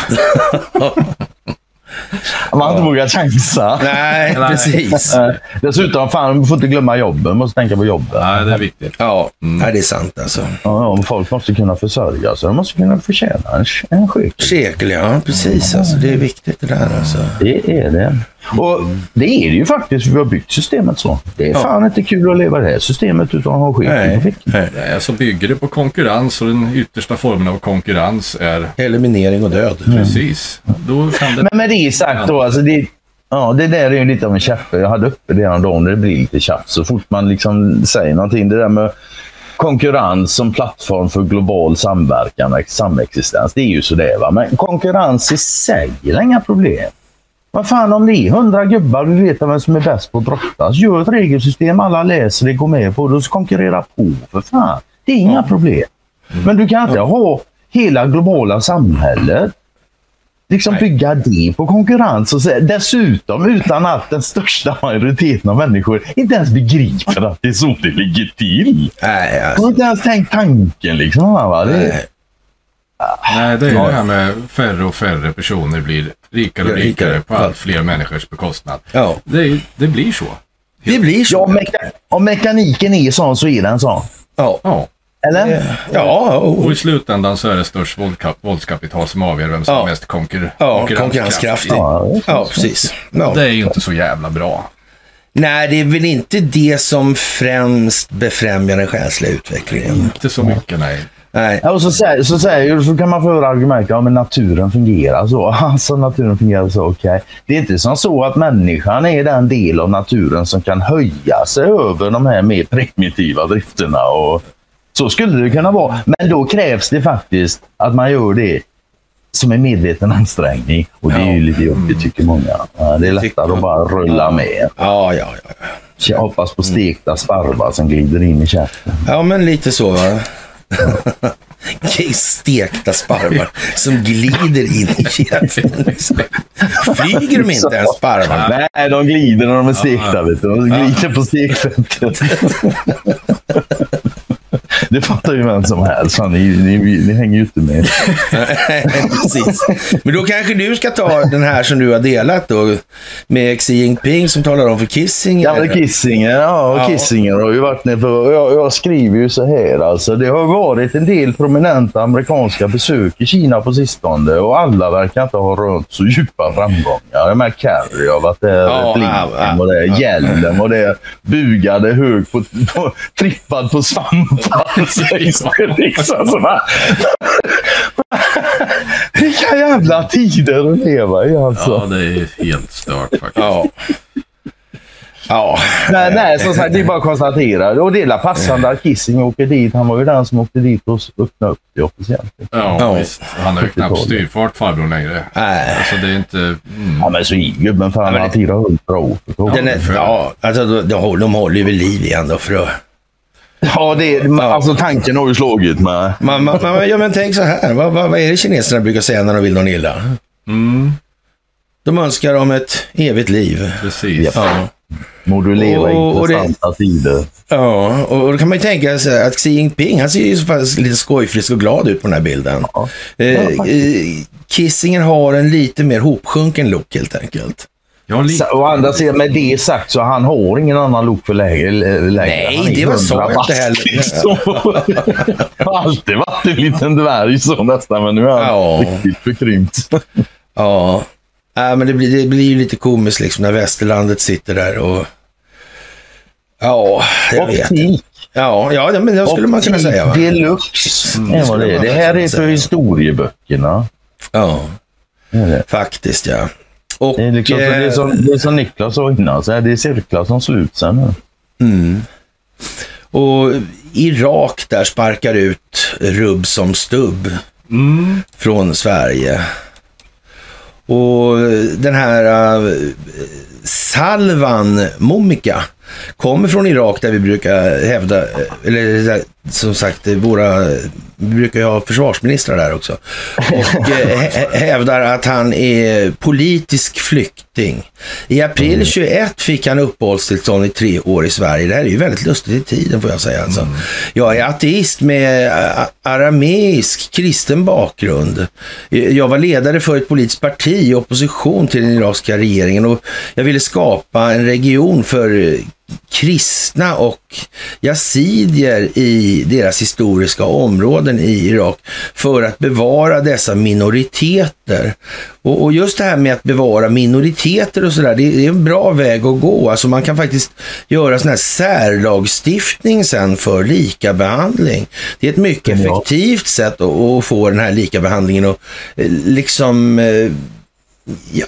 E: Man har inte vågat chansa.
C: Nej,
D: Nej.
C: precis.
E: Eh, Dessutom, fan, vi får inte glömma jobben. Måste tänka på jobben. Ja,
D: Nej, det är viktigt.
C: Ja, nej, det är sant alltså.
E: ja, om folk måste kunna försörja sig. De måste kunna förtjäna en, en skytt.
C: Sekel, ja precis. Alltså, det är viktigt det där alltså.
E: Det är det. Och det är det ju faktiskt. för Vi har byggt systemet så. Det är fan inte kul att leva i det här systemet utan att ha skit på
C: Nej,
E: fickan.
C: nej.
D: Nej, alltså bygger det på konkurrens och den yttersta formen av konkurrens
E: Mm.
D: är
C: Eliminering och död.
D: precis. Då kan det...
E: Men med det sagt då, alltså det, ja, det där är ju lite av en käppe. Jag hade uppe det häromdagen när det blir lite tjafs. Så fort man liksom säger någonting. Det där med konkurrens som plattform för global samverkan och samexistens. Det är ju så det är. Va? Men konkurrens i sig är inga problem. Vad fan om det är hundra gubbar vi vet vem som är bäst på att brottas. Gör ett regelsystem, alla läser det, går med på det och så konkurrera på för fan. Det är inga problem. Men du kan inte ha hela globala samhället liksom bygga det på konkurrens och så, dessutom utan att den största majoriteten av människor inte ens begriper att det är så det ligger till.
C: Nej,
E: De har
C: alltså.
E: inte ens tänkt tanken liksom. Va? Det,
C: Nej.
D: Nej, det är det här med färre och färre personer blir rikare och
C: Ja, rikare.
D: rikare på allt fler människors bekostnad.
C: Ja,
D: Det, är- det blir så.
C: det blir
E: ja,
C: så.
E: meka- om mekaniken är sån så är den sån.
C: Ja,
D: Ja.
E: Eller?
C: ja,
D: Och
C: oh.
D: i slutändan så är det störst våldkap- våldskapital som avgör vem som
C: Ja.
D: är mest konkur-
C: ja
D: konkurrenskraftig.
C: konkurrenskraftig.
E: Ja, det är så.
C: Ja, precis. Ja.
D: Det är ju inte så jävla bra.
C: Nej, det är väl inte det som främst befrämjar den själsliga utvecklingen.
D: Inte så mycket, nej.
C: Nej,
E: Ja, och så, säger, så, säger, så kan man få höra argumentet ja, men naturen fungerar så. Alltså naturen fungerar så, okej. Det är inte som så att människan är den del av naturen som kan höja sig över de här mer primitiva drifterna. Och så skulle det kunna vara. Men då krävs det faktiskt att man gör det som en medveten ansträngning. Och det är ju lite jobbigt tycker många. Ja, det är lättare att bara rulla med.
C: Mm. ja, ja, ja.
E: Jag hoppas på stekta sparvar som glider in i käften.
C: Ja, men lite så va. Stekta sparvar som glider in i käften. liksom. Flyger de inte ens sparvarna?
E: Nej, de glider när de är stekta. Vet du. De glider på stekfettet. Det fattar ju vem som helst. Fan, Ni, ni, ni hänger ju inte med.
C: Precis. Men då kanske du ska ta den här som du har delat då. Med Xi Jinping som talar om för Kissinger.
E: Gamla Kissinger, ja,
C: Ja.
E: Kissinger har ju varit nere för, jag, jag skriver ju så här alltså. Det har varit en del prominenta amerikanska besök i Kina på sistone och alla verkar inte ha rönt så djupa framgångar. Jag menar Kerry har varit där,
C: Ja, ja, ja.
E: Blinken var där, Hjelm var där, bugade hög på, på trippad på svampar. sägs det liksom så här. Vilka jävla tider att leva i alltså.
D: Ja, det är helt stört faktiskt.
C: Ja. Ja.
E: Nej, nej, som sagt, det är bara att konstatera. Och det är la passande att Kissing åker dit. Han var ju den som åkte dit och öppnade upp det officiellt.
C: Mm.
D: Ja,
C: Ja.
D: visst. Han har ju knappt styrfart farbror längre.
C: Nej.
D: Alltså det är inte... Mm.
E: Ja, men så är gubben fan.
C: men
E: Han
C: det-
E: firar hundra år.
C: Den är, ja, alltså de, de, håller- de håller ju vid liv igen då för att...
E: Ja, det är, alltså tanken har ju slagit med.
C: Man, man, man, ja, men tänk så här. Vad, vad, vad är det kineserna brukar säga när de vill någon illa?
D: Mm,
C: De önskar om ett evigt liv.
D: precis.
C: Ja.
E: Må du leva i
C: Och- och det-
E: intressanta tider.
C: Ja, och då kan man ju tänka sig att Xi Jinping, han ser ju så pass lite skojfrisk och glad ut på den här bilden.
E: Ja.
C: Eh, eh, Kissinger har en lite mer hopsjunken look helt enkelt.
D: Jag har lite...
E: Sa- Å andra sidan, med det sagt så han har ingen annan look för läge. läge.
C: Nej,
E: Han är
C: det var så
E: 100
C: inte
E: bast,
C: heller.
E: liksom. Har alltid varit en liten dvärg så nästan, men nu är han
C: Ja.
E: riktigt förkrympt.
C: Ja, ja men det blir, det blir ju lite komiskt liksom när västerlandet sitter där och... Ja, jag vet.
E: Optik.
C: Ja, ja det- men det skulle man kunna
E: Optik
C: säga. Va? det
E: Deluxe. Mm. det, var
C: skulle
E: det.
C: man
E: det
C: kunna
E: här är
C: säga.
E: för historieböckerna.
C: Ja,
E: Det är det.
C: faktiskt ja. Och,
E: Det är, liksom,
C: eh,
E: det, är som, det är som Niklas sa innan, så här, det är cirklar som sluts sen. nu.
C: och Irak där sparkar ut rubb som stubb
D: Mm,
C: från Sverige. Och den här eh, salvan Momika kommer från Irak där vi brukar hävda, eh, eller eh, som sagt eh, våra, vi brukar ju ha försvarsministrar där också. Och eh, hä- hävdar att han är politisk flykting. I april 21 fick han uppehållstillstånd i tre år i Sverige. Det här är ju väldigt lustigt i tiden får jag säga. Alltså. Jag är ateist med eh, a- arameisk kristen bakgrund. Eh, Jag var ledare för ett politiskt parti i opposition till den irakiska regeringen och jag ville skapa en region för kristna och yazidier i deras historiska områden i Irak för att bevara dessa minoriteter. Och, och just det här med att bevara minoriteter och sådär, det, det är en bra väg att gå. Alltså man kan faktiskt göra sån här särlagstiftning sen för lika behandling. Det är ett mycket
E: Ja.
C: effektivt sätt att, att få den här lika behandlingen och eh, liksom eh,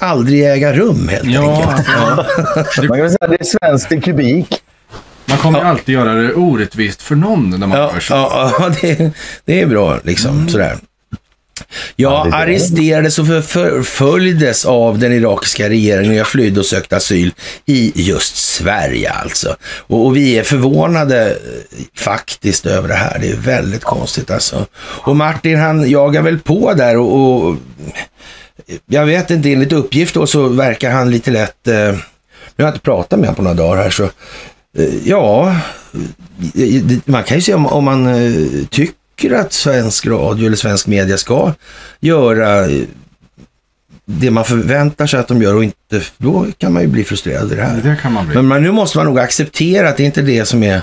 C: aldrig äga rum helt
D: ja,
C: enkelt.
D: alltså,
E: Man kan väl säga att det är svenskt i kubik.
D: man kommer ju alltid göra det orättvist för någon när man
C: Ja,
D: gör så.
C: ja, ja det, det är bra liksom. Sådär. Jag
E: Ja, det är
C: arresterades och förföljdes av den irakiska regeringen och jag flydde och sökte asyl i just Sverige alltså. Och, och vi är förvånade eh, faktiskt över det här. Det är väldigt konstigt alltså. Och Martin han jagar väl på där och, och jag vet inte, enligt uppgift då så verkar han lite lätt, eh, men jag har inte pratat med honom på några dagar här så, eh, ja, eh, det- man kan ju se om, om man eh, tycker att svensk radio eller svensk media ska göra eh, det man förväntar sig att de gör och inte, då kan man ju bli frustrerad i det här.
D: Det kan man bli.
C: Men, men nu måste man nog acceptera att det är inte det som är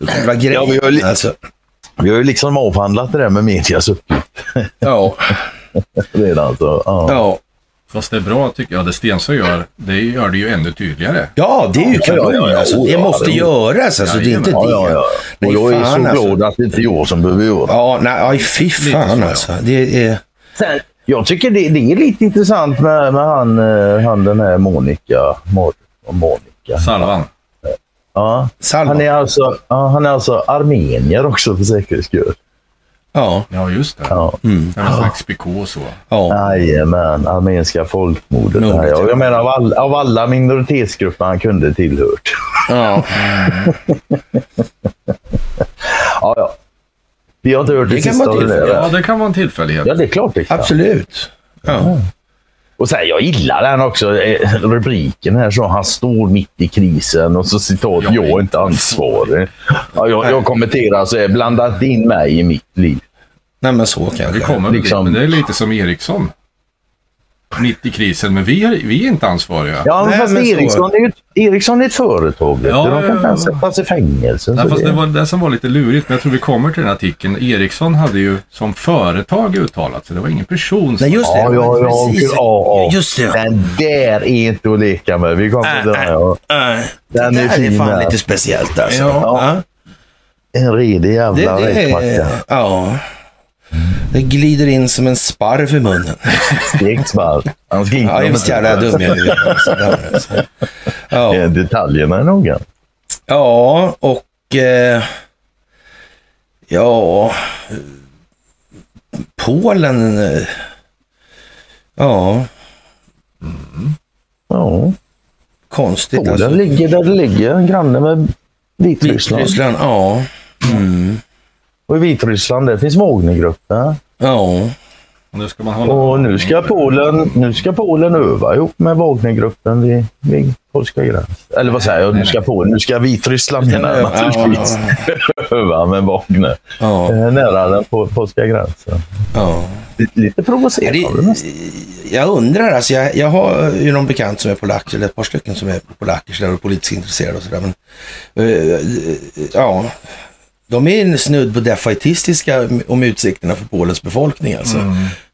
C: själva
E: Ja, vi har
C: grejen.
E: li-
C: Alltså,
E: Vi har ju liksom avhandlat det där med medias uppgift
C: ja,
E: redan. Så, ja.
C: ja.
D: Fast det är bra tycker jag, det Stensö gör, det gör det ju ännu tydligare.
C: ja, det är ju
E: Ja, ja, ja,
C: kanon
E: ja,
C: alltså.
E: ja,
C: Det
E: ja,
C: måste
E: det-
C: göras alltså. Det är inte det.
E: Ja, ja, ja.
C: Nej,
E: Och jag är så
C: fan, alltså.
E: glad att det inte är jag som behöver göra
C: Ja, nej, aj, fy fan
D: så, ja.
C: alltså. Det är...
E: Sen, jag tycker det, det är lite intressant med, med han, eh, han den här Monica. Mon, Monica.
D: Salvan.
E: Ja.
C: Salman.
E: Han, är alltså, ja, han är alltså armenier också för säkerhets skull.
C: Ja,
D: Ja, just det.
E: Ja. mm.
D: Det var slags PK och så.
C: ja.
E: Jajamän, armeniska folkmordet.
C: Mordet,
E: här, ja.
C: ja.
E: Jag menar av, all, av alla minoritetsgrupper han kunde tillhört.
C: ja.
E: Ja, ja. Vi har inte hört det,
C: Det kan
E: sista
C: vara
E: av det
C: tillfälligt.
E: där.
D: Ja, det kan vara en tillfällighet.
E: Ja, det är klart det kan.
C: Absolut. Ja.
E: Och så här, jag gillar den också, eh, rubriken här. Så han står mitt i krisen och så citat,
D: Jag är
E: jag är inte ansvarig. Ja, jag, jag kommenterar så här, blanda inte in mig i mitt liv.
C: Nej, men så
D: Vi
C: kanske.
D: kommer
E: Liksom-
D: dit, men det är lite som Eriksson. Mitt i krisen, men vi är, vi är inte ansvariga.
E: Ja,
C: Nej,
E: fast
C: men så-
E: Eriksson är, ju, Eriksson är ett företag. vet
D: Ja,
E: du. de
D: ja,
E: kan
D: ja,
E: inte ens
D: ja.
E: sättas i fängelse.
D: Nej,
E: så
D: fast
E: det-
D: det var det som var lite lurigt, men jag tror vi kommer till den artikeln. Ericsson hade ju som företag uttalat sig. Det var ingen person som...
C: Nej, just det.
E: Ja, ja, ja,
C: precis.
E: ja, ja.
C: Just det.
E: Den där är inte att leka med. Vi kommer till den. här, ja.
C: Äh,
E: Den
C: det
E: är
C: där är,
E: fin,
C: fan
E: här.
C: lite speciellt alltså.
E: Ja. En redig
C: Det,
E: jävla
C: det,
E: räkmacka.
C: är- ja. det glider in som en sparv i munnen.
E: Stekt sparv. Han
C: Ja,
E: glider
C: hemskt jävla dum jag är. Alltså, där, alltså. Ja.
E: med eh, detaljerna noga.
C: ja, och... Eh, ja... Polen... eh, Ja,
E: Ja.
C: konstigt
E: Polen
C: alltså.
E: ligger där det ligger, granne med Vitryssland.
C: Vitryssland, ja.
E: Och i Vitryssland där finns Wagnergrupper.
C: Ja.
D: Och nu ska man hålla...
E: Och nu ska Polen, nu ska Polen öva ihop med Wagnergruppen vid, vid polska gräns. Eller vad säger jag? Nu ska, Polen, nu ska Vitryssland menar jag
C: Ja, ja,
E: naturligtvis öva med Wagner.
C: Ja.
E: Eh, Nära den po- polska gränsen.
C: ja.
E: Lite, lite provocerande.
C: det, jag undrar, alltså jag, jag har ju någon bekant som är polack, eller ett par stycken som är polacker, så där och politiskt intresserade och sådär. Men, eh, ja, de är snudd på defaitistiska om utsikterna för Polens befolkning alltså.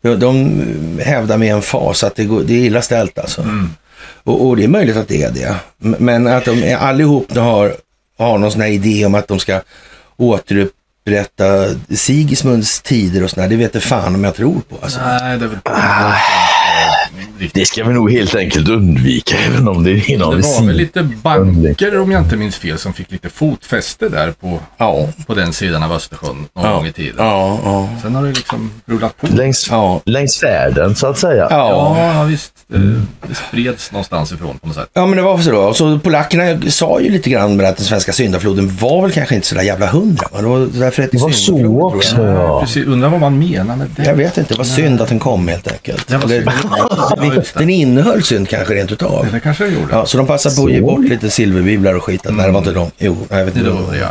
C: De, de hävdar med emfas att det, går, det är illa ställt alltså. Och, och det är möjligt att det är det. M- Men att de är- allihop har, har någon sån här idé om att de ska återupprätta Sigismunds tider och sådär, det vet jag fan om jag tror på alltså.
D: Nej, det var...
E: Det ska vi nog helt enkelt undvika, även om det är
D: Det
E: inom
D: var väl
E: sin.
D: lite banker, om jag inte minns fel, som fick lite fotfäste där på,
C: Mm. Ja.
D: på den sidan av Östersjön någon gång i tiden.
C: Ja, ja.
D: Sen har det liksom rullat på.
E: Längs,
C: Ja.
E: längs färden, så att säga.
C: Ja.
D: Ja, ja, visst. Eh, Det spreds någonstans ifrån på något sätt.
C: ja, men det var så då. Så polackerna sa ju lite grann med att den svenska syndafloden var väl kanske inte så där jävla hundra. Men det var därför att
E: Det var så också. Ja.
D: Precis, undrar vad man menar med det.
C: Jag vet inte, det var synd att den kom helt enkelt.
D: Det var synd. Ja, just
C: Den
D: det.
C: innehöll synd kanske rent utav.
D: Det kanske det gjorde.
C: Ja, så de passade på att ge
E: Så.
C: bort lite silverbiblar och skit. Nej, det var inte de. Jo, nej, jag vet
D: Det
C: inte.
D: då, ja.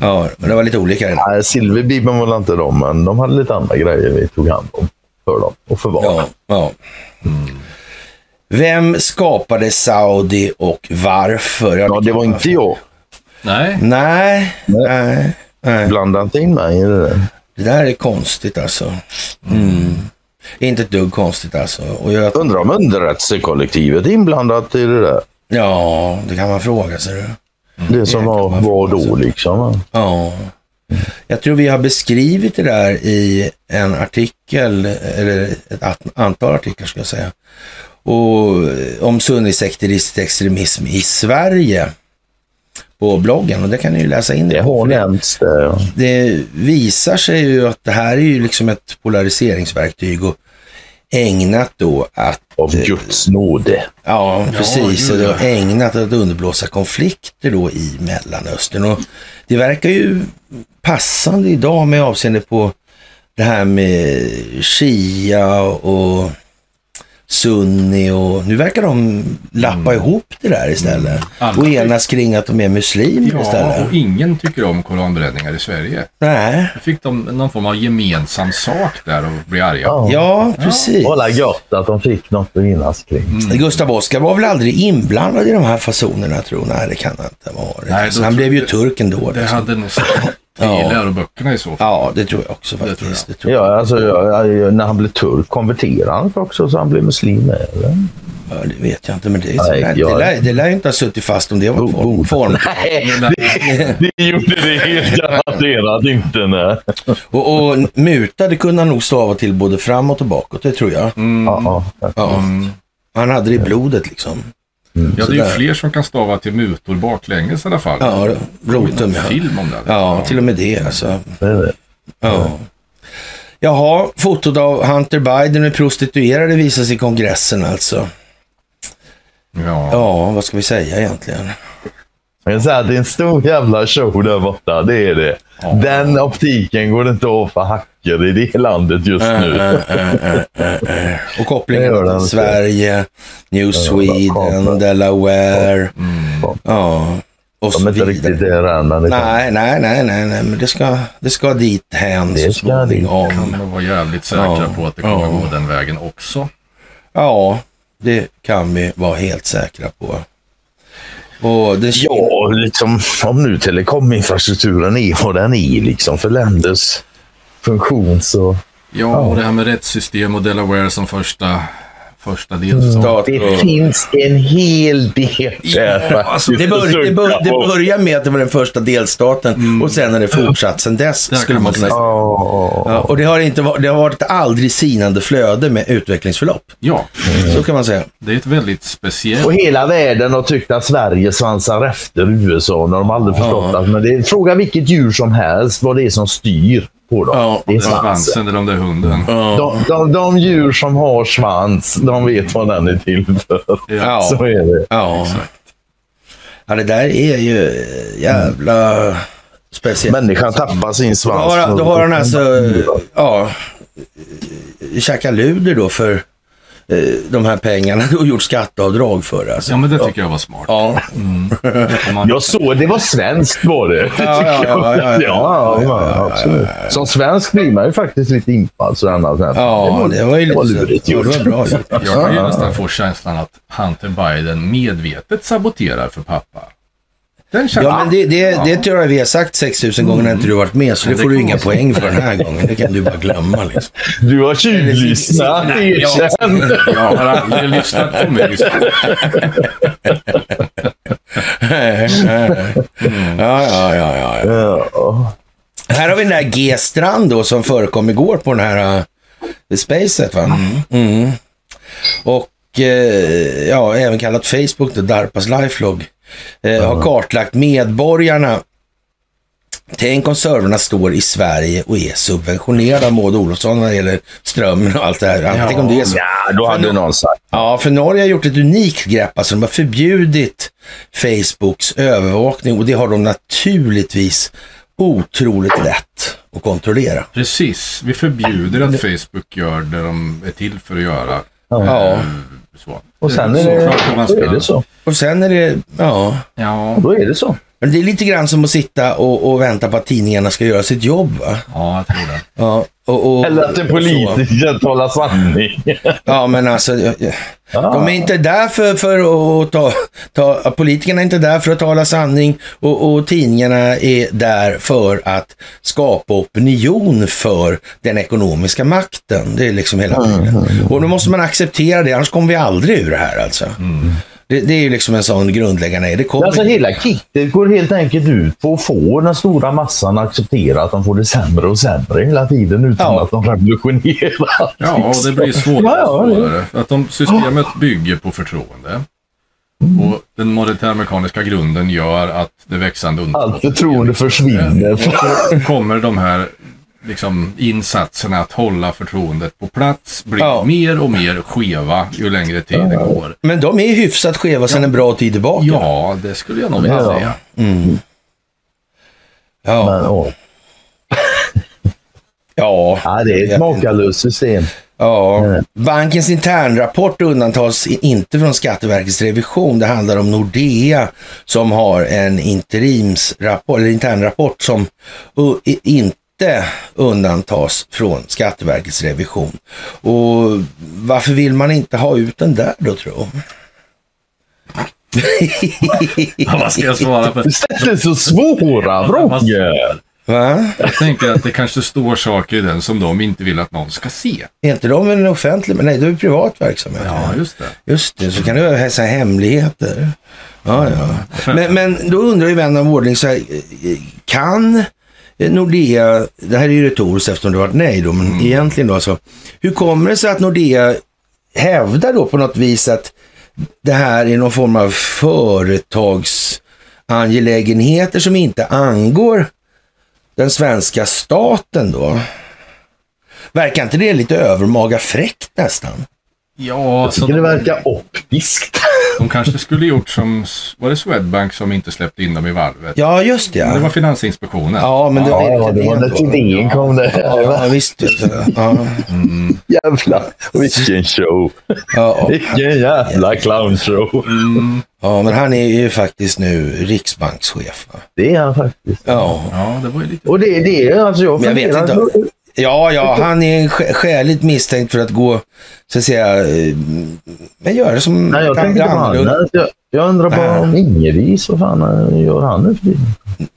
C: Ja, men det var lite olika. Ja,
E: Nej, Silverbibeln var inte de, men de hade lite andra grejer vi tog hand om för dem och förvarade.
C: ja.
D: Mm.
C: Vem skapade Saudi och varför?
E: Ja, det var inte jag.
D: Nej,
C: Nej, nej, nej.
E: Blanda inte in mig i det där.
C: Det där är konstigt alltså. Mm. Inte ett dugg konstigt alltså. Och jag,
E: Undrar om underrättelsekollektivet är inblandat i det där.
C: ja, det kan man fråga sig. du.
E: Det som var, var då liksom.
C: Ja. Jag tror vi har beskrivit det där i en artikel, eller ett at- antal artiklar ska jag säga. Och eh, om sunnisekteristisk extremism i Sverige på bloggen och det kan ni ju läsa in.
E: Det
C: på,
E: har
C: för det-
E: nämnts där. ja.
C: det visar sig ju att det här är ju liksom ett polariseringsverktyg och ägnat då att
E: Av Guds nåde.
C: Ja, precis.
D: gud,
C: och det
D: ja.
C: var ägnat att underblåsa konflikter då i Mellanöstern. Och det verkar ju passande idag med avseende på det här med Shia och Sunni och nu verkar de
D: Mm.
C: lappa ihop det där istället.
D: Annars-
C: Och enas kring att de är muslimer
D: Mm. ja,
C: istället.
D: och ingen tycker om koranbränningar i Sverige.
C: Nej.
D: Då fick de någon form av gemensam sak där och blev arga.
E: Ja.
C: Ja, precis.
E: Alla gött att de fick något att minnas kring.
D: Mm.
C: Gustav Oskar var väl aldrig inblandad i de här fasonerna tror jag. Nej, det kan han inte ha varit.
D: Nej,
C: Alltså,
D: då
C: han
D: tror-
C: blev ju turk ändå.
D: Det
C: liksom.
D: hade nog stått i
C: Ja.
D: läroböckerna i så fall.
C: Ja, det tror jag också faktiskt.
D: tror jag.
C: Det tror jag.
E: Ja, alltså, ja, ja, när han blev turk, konverterade han också så han blev muslim? Eller?
C: Ja, det vet jag inte, men det, är
E: Nej,
C: det, lär,
E: jag-
C: det, lär, det lär ju inte ha suttit fast om det var form.
E: Bo-
C: form.
E: Det gjorde det helt garanterat inte. Nej.
C: Och, och mutade kunde han nog stava till både framåt och bakåt, det tror jag.
D: Mm.
E: Mm. Ja, ja.
C: Ja. Han hade det i blodet liksom.
D: Ja, det är ju
C: Sådär.
D: fler som kan stava till mutor baklänges i alla fall.
C: Ja,
D: Det är
C: rotum
D: en
C: ja.
D: film om det.
C: Ja, till och med det alltså.
E: det är det.
C: Ja. Jaha, fotot av Hunter Biden med prostituerade visas i kongressen alltså.
D: Ja.
C: Ja, vad ska vi säga egentligen?
E: Jag kan säga att det är en stor jävla show där borta. Det är det. Den optiken går det inte att få hacka. tycker i det landet just
D: Eh,
E: nu.
C: Och
E: Det gör
C: kopplingen
E: den.
C: till Sverige, New Sweden,
E: kablar.
C: Delaware. Ja, och
E: De
C: så
E: är inte riktigt
C: vidare.
E: där än, men det kan-
C: Nej, nej, nej, nej, nej, men det ska, det ska dit hän
E: Det
C: så
E: ska dit.
C: småningom.
D: kan vara jävligt säkra
C: Ja,
D: på att det kommer
C: ja.
D: gå den vägen också.
C: Ja, det kan vi vara helt säkra på. Och den Kina,
E: Ja, liksom, om nu telekominfrastrukturen är vad den är liksom, för länders funktion så...
D: Ja, och det här med rättssystem och Delaware som första, första delstat.
C: stat och...
E: finns en hel del där
D: Ja,
E: faktiskt
D: alltså,
C: Det,
E: att
C: bör, det, bör,
E: söka
C: det
E: på.
C: börjar med att det var den första delstaten och sen har det fortsatt sen dess.
D: Mm. kan
C: skulle man
D: man
C: kunna säga.
E: Ja,
C: Ja, och det har, inte varit, det har varit ett aldrig sinande flöde med utvecklingsförlopp.
D: Ja,
C: Så kan man säga.
D: det är ett väldigt
E: Och
D: speciellt...
E: hela världen har tyckt att Sverige svansar efter USA när de aldrig förstått att men det är, fråga vilket djur som helst vad det är som styr på dem.
C: Ja,
E: det är
D: Den
E: svansen.
D: svansen eller om det är hunden.
E: De, de, de djur som har svans, de vet vad den är till för.
C: Ja.
E: Så är det.
C: Ja. ja, det där är ju eh, jävla speciellt.
E: Människan tappar sin
C: då,
E: svans.
C: har, då har han alltså, eh, ja, eh, käkat luder då för eh, de här pengarna och gjort skatteavdrag för det. Alltså.
D: Ja, men det tycker jag var smart.
C: Ja.
D: Om man-
E: Jag såg, det var svenskt var det.
C: Ja, ja, ja, ja, ja.
E: ja, ja, absolut. Som svensk blir man ju faktiskt lite impad. sådär, när-
C: ja, det var ju
E: det var
C: lite-
E: lurigt
C: ja,
E: gjort.
C: det var bra gjort.
D: Jag kan ju nästan få känslan att Hunter Biden medvetet saboterar för pappa. Den känslan.
C: Ja, men det, det, det tror jag vi har sagt 6000 gånger när inte du varit med, så det
D: det
C: får du
D: kan
C: inga
D: vara så.
C: poäng för den här gången. Det kan du bara glömma. Liksom.
E: Du har tjuvlyssnat, erkänn.
D: Jag har aldrig lyssnat på mig.
C: Ja, ja, ja, ja, ja.
E: Ja.
C: Här har vi den här G-strand då som förekom igår på den här uh, Spacet. Va? Mm. Och eh, ja, även kallat Facebook, då, DARPAs lifelog, eh, har kartlagt medborgarna. Tänk om servrarna står i Sverige och är subventionerda av Maud Olofsson vad gäller strömmen och allt det här. Tänk om det är så.
E: Ja, då hade någon sagt.
C: Ja, för Norge har gjort ett unikt grepp. Alltså de har förbjudit Facebooks övervakning och det har de naturligtvis otroligt lätt att kontrollera.
D: Precis. Vi förbjuder att Facebook gör det de är till för att göra.
C: Ja,
D: Så.
E: Och sen är
D: Så
E: det,
D: klart att man
E: då
D: ska-
E: är det så.
C: och sen är det, ja.
D: Ja,
E: Då är det så.
C: Men det är lite grann som att sitta och, och vänta på att tidningarna ska göra sitt jobb. Va?
D: ja, jag tror det.
C: Ja, och, och,
E: Eller att en
C: så.
E: politiker talar sanning.
C: Ja, men alltså. ja, ja.
E: Ah.
C: De är inte där för, för att ta, ta... Politikerna är inte där för att tala sanning och, och tidningarna är där för att skapa opinion för den ekonomiska makten. Det är liksom hela
E: Mm,
C: tiden. Och då måste man acceptera det, annars kommer vi aldrig ur det här alltså. Det, det är ju liksom en sån grundläggande... Det kommer...
E: Mm. Alltså hela kittet går helt enkelt ut på att få den stora massan att acceptera att de får det sämre och sämre hela tiden utan
C: Ja.
E: att de revolutionerar.
D: Ja, och det blir svårare
E: Ja,
D: och
E: ja, det-
D: svårare. För att de, systemet bygger på förtroende.
E: Mm.
D: Och den monetärmekaniska grunden gör att det växande
E: Allt
D: underskottet
E: förtroende försvinner.
D: kommer de här liksom, insatserna att hålla förtroendet på plats blir
C: Ja.
D: mer och mer skeva ju längre tiden går.
C: Men de är ju hyfsat skeva sedan en bra tid tillbaka.
D: Ja, det skulle jag nog vilja
E: Ja.
D: säga.
C: Ja.
E: Men, åh,
C: ja.
E: ja, det är ett makalöst system.
C: Ja.
D: Mm.
C: Bankens internrapport undantas i- inte från Skatteverkets revision. Det handlar om Nordea som har en interimsrapport, eller internrapport som u- i- inte undantas från Skatteverkets revision. Och varför vill man inte ha ut den där då tror jag?
D: Vad ska jag svara på?
E: Du ställer så svåra frågor.
C: Va?
D: Jag tänker att det kanske står saker i den som de inte vill att någon ska se.
C: Är inte de en offentlig, men nej, det är privat verksamhet.
D: Ja, just det.
C: Just det, så kan du hälsa hemligheter. Ja, ja. Men, men då undrar ju vän av ordning så här, eh, kan Nordea, det här är ju retoriskt eftersom det varit nej då, men egentligen då alltså, hur kommer det sig att Nordea hävdar då på något vis att det här är någon form av företagsangelägenheter som inte angår den svenska staten då? Verkar inte det lite övermaga fräckt nästan?
D: Ja,
E: Jag tycker det verkar upp Viskt.
D: De kanske skulle gjort som, var det Swedbank som inte släppte in dem i valvet?
C: Ja, just det.
D: Det var
C: Ja,
D: Finansinspektionen.
C: ja men det var
E: Ja,
C: Erik
E: det var
C: Thedéen
E: när
C: då.
E: tidningen kom det.
C: Ja, visst. Ja,
E: Jävlar, vilken show.
C: ja,
E: Vilken jävla clownshow.
D: Mm,
C: ja, men han är ju faktiskt nu riksbankschef. va?
E: Det är han faktiskt.
C: Ja.
D: ja, det var ju lite...
E: Och det, det är alltså, jag
C: Men jag vet
E: funderar
C: inte.
E: så-
C: Ja, ja, han är skä- skäligt misstänkt för att gå, så att säga, eh, men göra som
E: Nej, jag tänkte på han.
C: annorlunda.
E: Jag, jag undrar bara
C: Nej.
E: om Ingevis, vad fan eh, gör han nu för tiden?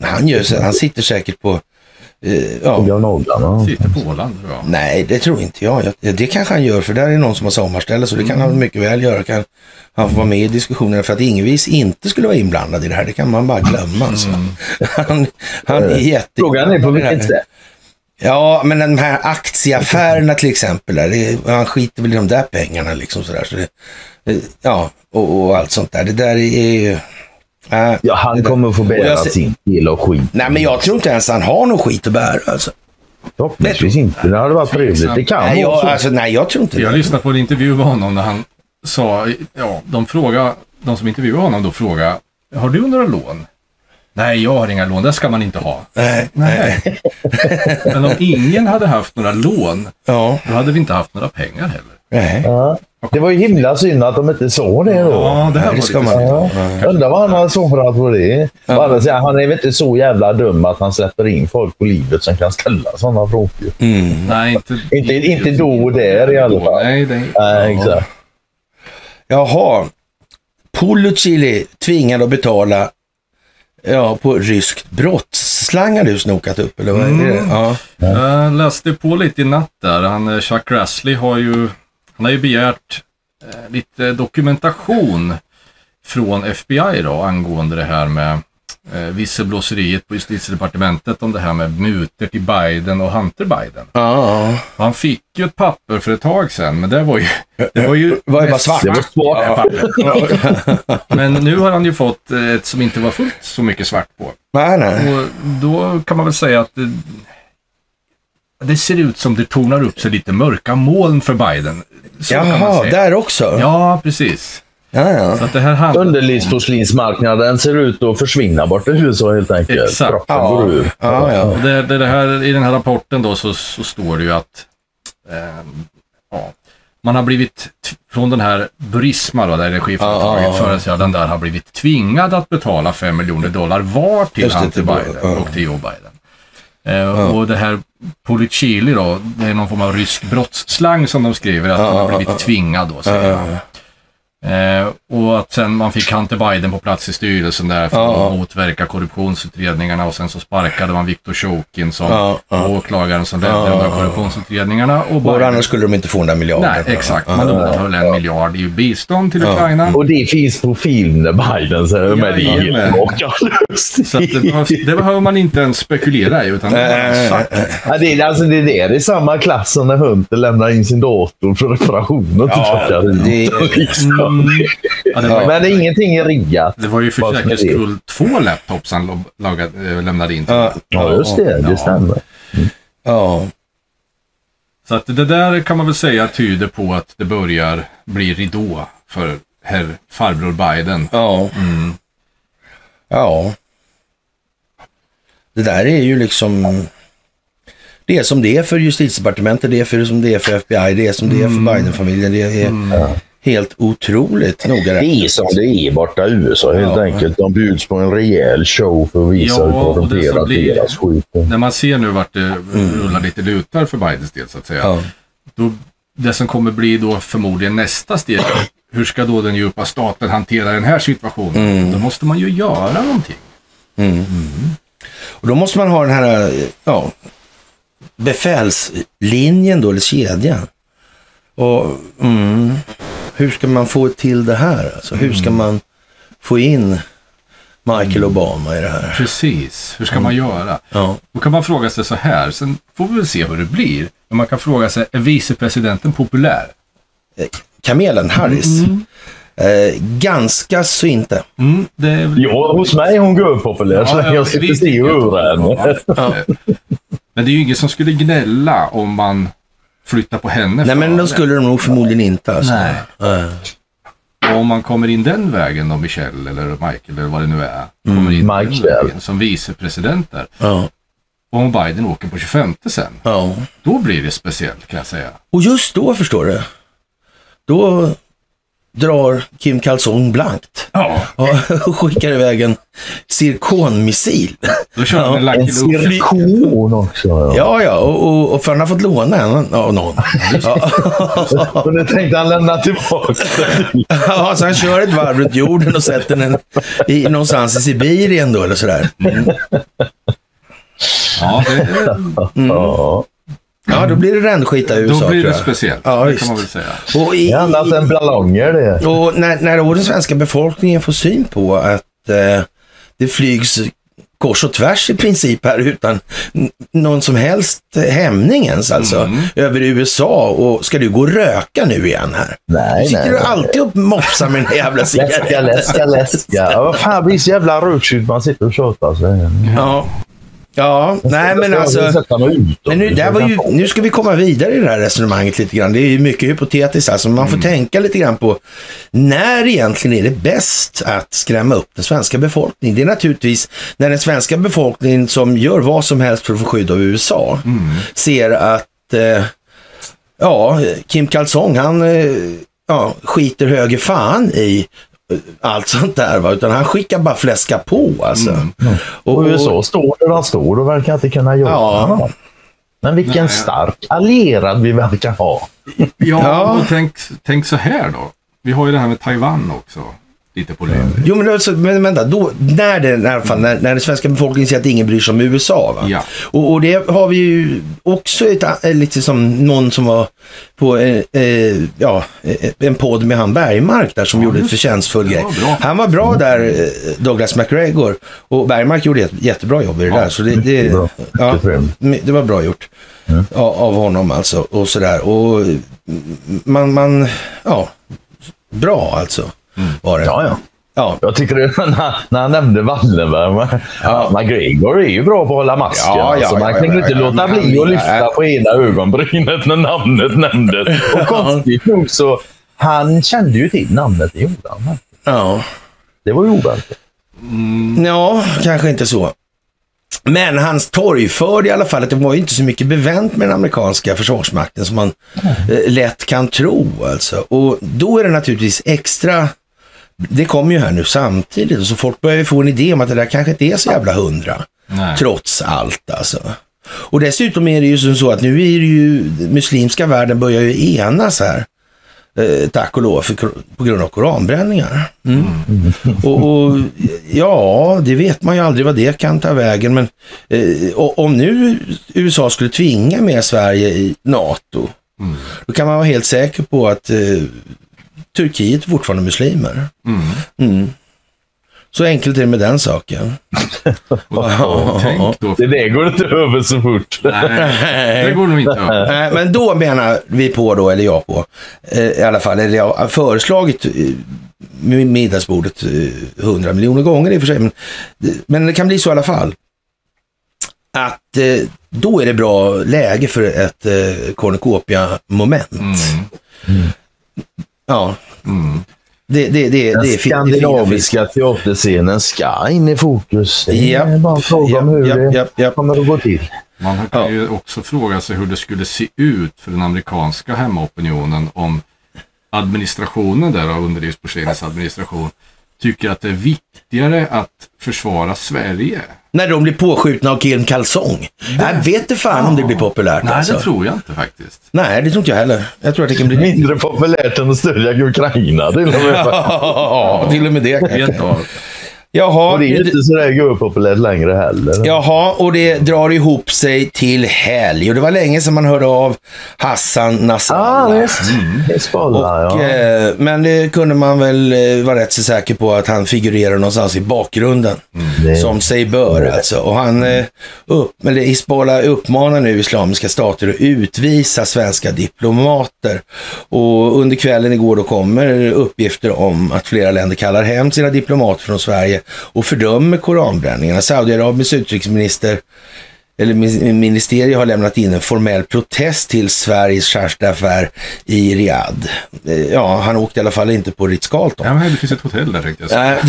C: Han, gör, så- han sitter säkert på, eh, ja,
E: Tog av naglarna.
D: Sitter på Åland tror jag.
C: Nej, det tror inte jag. jag. Det kanske han gör, för där är någon som har sommarställe, så det kan
E: Mm.
C: han mycket väl göra. Kan han får vara med i diskussionerna, för att Ingevis inte skulle vara inblandad i det här, det kan man bara glömma. Alltså. Han, han är jätte...
E: Mm. Eh, Frågan är på vilket sätt.
C: Ja, men de här aktieaffärerna till exempel, där, det, han skiter väl i de där pengarna liksom sådär. Så det, eh, ja, och, och allt sånt där. Det där är ju... Äh,
E: Ja, han kommer få
C: Och
E: bära
C: jag ser-
E: sin del av skit.
C: Nej, men jag tror inte ens han har någon skit att bära. Alltså.
E: Förhoppningsvis inte. Det hade varit trevligt. Det kan
C: Nej, jag,
E: vara så.
C: alltså, nej, jag tror inte
D: Jag
C: det.
D: lyssnade på en intervju med honom när han sa, ja, de fråga, de som intervjuade honom då frågade, har du några lån? Nej, jag har inga lån, det ska man inte ha.
C: Nej,
D: Nej. Men om ingen hade haft några lån,
C: ja,
D: då hade vi inte haft några pengar heller.
C: nej.
E: Ja. Det var ju himla synd att de inte såg det då.
D: Ja, det
C: Nej,
D: här var
C: det ska
D: lite
C: man
D: synd.
E: Ja. Undrar vad han har somnat på det. Å andra sidan, han är väl inte så jävla dum att han släpper in folk på livet som kan ställa sådana frågor.
C: Mm.
D: Nej, inte,
E: Inte- inte då och där i alla fall.
D: Nej, det,
E: Nej,
D: ja.
E: exakt.
C: Jaha. Pullucili tvingad att betala ja, på ryskt brott. Slang har du snokat upp eller vad är det?
D: Mm.
C: Ja.
D: Jag läste på lite i natt där. Han, eh, Chuck Grassley har ju, han har ju begärt eh, lite dokumentation från FBI då angående det här med eh, visselblåseriet på justitiedepartementet om det här med mutor till Biden och Hunter Biden.
C: Ja, ja.
D: Och han fick ju ett papper för ett tag sedan, men det var ju... Det var ju
C: var ju bara svart.
E: Det var svart.
D: Ja, papper. men nu har han ju fått eh, ett som inte var fullt så mycket svart på.
C: Nej, nej.
D: Och då kan man väl säga att det, det ser ut som det tornar upp sig lite mörka moln för Biden. Så kan man
C: Jaha,
D: säga.
C: där också?
D: Ja, precis.
C: Ja, ja.
D: Så att det här handlar...
E: Underlivsporslinsmarknaden ser ut att försvinna bort i USA helt enkelt.
D: Exakt.
E: Kroppen
C: Ja.
E: går ur.
C: Ja, ja.
D: Och Det, det, det här, I den här rapporten då så, så står det ju att ehm, ja, man har blivit, t- från den här Burisma då, det här energiföretaget,
C: Ja, ja, ja.
D: företrädaren där har blivit tvingad att betala 5 miljoner dollar var till
C: Just det,
D: Hunter
C: till-
D: Biden
C: ja.
D: och till Joe Biden. Eh, Och det här Policili då, det är någon form av rysk brottsslang som de skriver att
C: Ja,
D: han
C: ja,
D: har
C: ja,
D: blivit tvingad då,
C: Ja,
D: säger
C: ja,
D: han. Eh, och att sen man fick Hunter Biden på plats i styrelsen där för
C: Ja, ja.
D: att motverka korruptionsutredningarna och sen så sparkade man Viktor Shokin som
C: Ja, ja.
D: åklagaren som ledde
C: Ja, ja,
D: de här
C: ja.
D: korruptionsutredningarna. Och
C: Och
D: Biden,
C: annars skulle de inte få den där miljarden.
D: nej, exakt.
C: Ja,
D: Man undanhöll en miljard i bistånd till
C: Ja.
D: Ukraina.
E: Och det finns på film när Biden säger med det är
D: Jajamän.
E: helt makalöst.
D: Så att det, behövs, det behöver man inte ens spekulera i utan det är bara
C: Nej, nej,
D: sagt.
E: Ja, det, är- alltså, det, är det. det är samma klass som när Hunter lämnar in sin dator för reparation och
C: Ja,
E: tillbaka dit.
C: det-
E: Liksom.
D: Ja, det, var,
E: Men det är ingenting är riggat.
D: det var ju för
E: Vad som är
D: säkerhets
E: det.
D: skull två laptops han lo- lagade, eh, lämnade in.
C: Ja,
E: Ja, just det. Det stämmer.
C: ja.
D: Så att det där kan man väl säga tyder på att det börjar bli ridå för herr farbror Biden.
C: Ja. mm. Ja. Det där är ju liksom... Det är som det är för justitiedepartementet, det är för, som det är för FBI, det är som det är för Biden-familjen. Det är helt otroligt noga.
E: Det
C: räknat.
E: är som det är borta i USA helt
C: Ja.
E: enkelt. De bjuds på en rejäl show för att visa
D: Ja,
E: hur
D: och det som
E: korrumperad
D: blir-
E: deras skit är.
D: När man ser nu vart det rullar lite lutar för Bidens del så att säga.
C: Mm. Ja.
D: Då, det som kommer bli då förmodligen nästa steg. Hur ska då den djupa staten hantera den här situationen?
C: Mm.
D: Då måste man ju göra någonting.
C: Och då måste man ha den här ja, befälslinjen då, eller kedjan. Och mm, hur ska man få till det här? Alltså, hur ska man få in Michael Obama i det här?
D: Precis, hur ska man göra?
C: Ja.
D: Då kan man fråga sig så här, sen får vi väl se hur det blir. Men man kan fråga sig, är vicepresidenten populär?
C: Kamelen Harris. Eh, ganska så inte.
D: Mm, det är väl
E: Ja, hos mig hon går populär så
C: alltså,
D: Ja,
E: länge
D: ja,
E: jag sitter
D: visst,
E: still och
D: jag tror
E: hör
D: det.
E: henne.
D: Ja. Men det är ju ingen som skulle gnälla om man flyttar på henne.
C: Nej, men
D: före.
C: de skulle de nog förmodligen inte. Alltså.
D: Nej.
C: Eh,
D: Och om man kommer in den vägen då, Michel eller Michael eller vad det nu är. Kommer in
E: Mm,
D: den
E: Michael.
D: vägen som vicepresident där.
C: Ja.
D: Och om Biden åker på 25 sen,
C: ja.
D: då blir det speciellt kan jag säga.
C: Och just då förstår du. Då drar Kim Kalsong blankt.
D: Ja,
C: Ja, och skickar iväg en cirkonmissil.
D: då kör man en
E: En
D: Lucky Luke.
E: cirkon också. Ja.
C: Ja, ja, och, och, och för han har fått låna en av någon. Ja,
E: Och nu tänkte han lämna tillbaka den.
C: ja, så han kör ett varv runt jorden och sätter den i, någonstans i Sibirien då eller sådär.
D: Mm. Ja, det,
E: Mm. Ja.
C: Ja, då blir det rännskita i USA
D: då blir
C: tror
D: det
C: jag.
D: speciellt.
C: Ja,
D: det
C: visst.
D: kan man väl säga.
C: Och, i,
E: Det är annat än ballonger det.
C: och när, när då den svenska befolkningen får syn på att eh, det flygs kors och tvärs i princip här utan n- någon som helst hämning ens alltså.
E: Mm.
C: Över USA och ska du gå och röka nu igen här?
E: Nej,
C: Du sitter
E: nej,
C: du
E: nej.
C: alltid och mopsar med den här jävla
E: Läska,
C: cigaretten.
E: läska, läska. Ja, vad fan, jag blir så jävla röksynt man sitter och tjatar. så här.
C: Ja. ja, nej men
E: Jag
C: alltså.
E: sätta mig ut
C: Men nu, det här var ju, nu ska vi komma vidare i det här resonemanget lite grann. Det är ju mycket hypotetiskt alltså. Man får tänka lite grann på när egentligen är det bäst att skrämma upp den svenska befolkningen? Det är naturligtvis när den svenska befolkningen som gör vad som helst för att få skydd av USA ser att eh, ja, Kim Kalsong han eh, ja, skiter höger fan i eh, allt sånt där. Va? Utan han skickar bara fläska på alltså. Och,
E: Och
C: och-
E: USA står där han står och verkar inte kunna göra
C: Ja.
E: något. Men vilken stark allierad vi verkar ha.
D: Ja,
C: Ja.
D: och tänk, tänk så här då. Vi har ju det här med Taiwan också. Lite på luren.
C: Jo, men, alltså, men vänta. Då, när, det, i alla fall, när, när den svenska befolkningen ser att ingen bryr sig om USA. Va?
D: Ja.
C: Och, och det har vi ju också ett, a- eh, lite som någon som var på eh, eh, ja, eh, en podd med han Bergmark där som gjorde ett förtjänstfull grej.
D: var bra.
C: Han var bra där, eh, Douglas McGregor. Och Bergmark gjorde ett jättebra jobb i det där. Så det, det,
E: mycket bra.
C: ja,
E: Mycket trevligt.
C: my- det var bra gjort. Ja, av honom alltså. Och sådär. Och mm, man, man, ja. Bra alltså. Var det.
E: Mm. Ja, ja.
C: ja.
E: Jag tycker det, när, när han nämnde Wallenberg. men- Ja. McGregor är ju bra på att hålla masken.
C: Ja, ja,
E: alltså, man
C: ja,
E: kunde
C: ja,
E: inte
C: ja,
E: låta
C: men han-
E: bli att lyfta
C: ja.
E: på ena ögonbrynet när namnet nämndes. Och konstigt nog så, han kände ju till namnet. Det gjorde han.
C: Ja.
E: Det var ju oväntat.
C: ja, kanske inte så. Men hans torgförd i alla fall, att det var ju inte så mycket bevänt med den amerikanska försvarsmakten som man eh, lätt kan tro. Alltså. Och då är det naturligtvis extra, det kommer ju här nu samtidigt, och så folk börjar ju få en idé om att det där kanske inte är så jävla hundra.
D: Nej.
C: Trots allt alltså. Och dessutom är det ju som så att nu är det ju, muslimska världen börjar ju enas här. Eh, tack och lov för, på grund av koranbränningar. Mm. Och, och ja, det vet man ju aldrig vad det kan ta vägen. Men eh, och, om nu USA skulle tvinga med Sverige i NATO, då kan man vara helt säker på att eh, Turkiet är fortfarande muslimer. Mm. Så enkelt är det med den saken.
D: Och, och tänk då.
E: Det där går inte över så fort.
D: Nej, det går nog inte över.
C: Nej, Eh, men då menar vi på då, eller jag på, eh, i alla fall, eller jag har föreslagit eh, med middagsbordet eh, 100 miljoner gånger i och för sig, men, men det kan bli så i alla fall. Att eh, då är det bra läge för ett eh, cornucopia-moment.
D: Mm.
E: Mm.
C: Ja. Det, det, det, det, är fi- det är
E: Den
C: fina fisk.
E: skandinaviska teaterscenen ska in i fokus. Det är
C: Japp,
E: bara en fråga om hur
C: japp,
E: det
C: japp, japp.
E: kommer att gå till.
D: Man kan ju också fråga sig hur det skulle se ut för den amerikanska hemmaopinionen om administrationen där av underlivsporslinets administration tycker att det är viktigare att försvara Sverige.
C: När de blir påskjutna av Kim Kalsong. Jag vet inte fan om det blir populärt
D: Nej,
C: alltså.
D: det tror jag inte faktiskt.
C: Nej, det tror inte jag heller. Jag tror att det kan bli...
E: Mindre populärt än att stödja Ukraina. Det är, ja.
C: Ja, till och med det
D: Rent
C: kanske.
D: av.
C: Jaha,
E: och det är inte så där görpopulärt längre heller.
C: jaha, och det drar ihop sig till helg. Och det var länge sedan man hörde av Hassan
E: Ah,
C: Nasrallah.
E: visst. Det är
C: och,
E: Spolla, ja.
C: eh, men det kunde man väl eh, vara rätt så säker på att han figurerar någonstans i bakgrunden.
E: Mm, Det-
C: Som sig bör alltså. Och han, eh, upp, eller Hizbollah uppmanar nu islamiska stater att utvisa svenska diplomater. Och under kvällen igår då kommer uppgifter om att flera länder kallar hem sina diplomater från Sverige och fördömer koranbränningarna. Saudiarabiens utrikesminister eller min- ministeriet har lämnat in en formell protest till Sveriges charteraffär i Riyadh. Eh, Ja, han åkte i alla fall inte på Ritz-Carlton.
D: Ja, men det finns ett hotell där tänkte jag säga.
C: Eh,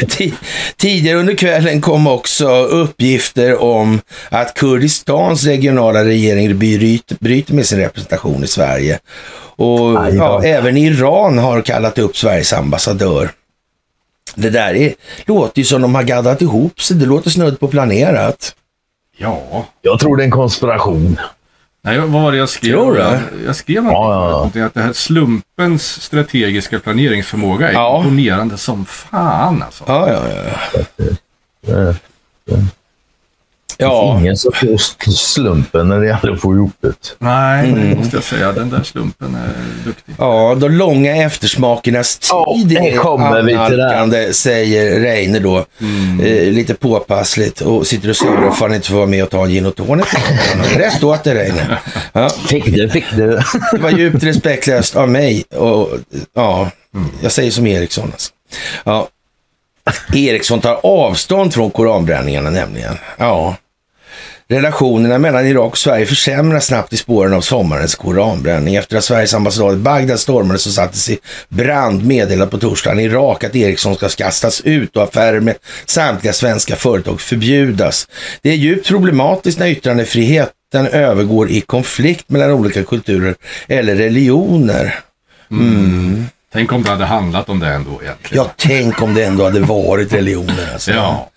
C: Ti- Tidigare under kvällen kom också uppgifter om att Kurdistans regionala regering bryter, bryter med sin representation i Sverige. Och
E: Aj då.
C: ja, även Iran har kallat upp Sveriges ambassadör. Det där är, låter ju som de har gaddat ihop sig. Det låter snudd på planerat.
D: Ja.
E: Jag tror det är en konspiration.
D: Nej, vad var det jag skrev?
C: Tror du?
D: Jag, jag skrev någonting,
E: Ja, ja, ja.
D: någonting att det här slumpens strategiska planeringsförmåga är
C: Ja.
D: imponerande som fan alltså.
C: Ja, ja, ja.
E: Eh,
C: ja.
E: Ingen som får s- slumpen när det gäller att få ihop det.
D: Nej,
C: Mm.
D: det måste jag säga. Den där slumpen är duktig.
C: Ja, de långa eftersmakernas
E: Ja,
C: tid
E: det kommer vi till där. Mm.
C: annalkande, säger Reine då. Eh, lite påpassligt och sitter och surar för han inte får vara med och ta en gin och tonic. Rätt åt dig Reine. Ja,
E: Fick det, fick det.
C: det var djupt respektlöst av mig. Och, ja, jag säger som Eriksson. Alltså. Ja. Eriksson tar avstånd från koranbränningarna nämligen. Ja. Relationerna mellan Irak och Sverige försämras snabbt i spåren av sommarens koranbränning. Efter att Sveriges ambassad i Bagdad stormades och sattes i brand meddelade på torsdagen Irak att Ericsson ska kastas ut och affärer med samtliga svenska företag förbjudas. Det är djupt problematiskt när yttrandefriheten övergår i konflikt mellan olika kulturer eller religioner.
D: Tänk om det hade handlat om det ändå egentligen.
C: Ja, tänk om det ändå hade varit religioner. Alltså.
D: Ja.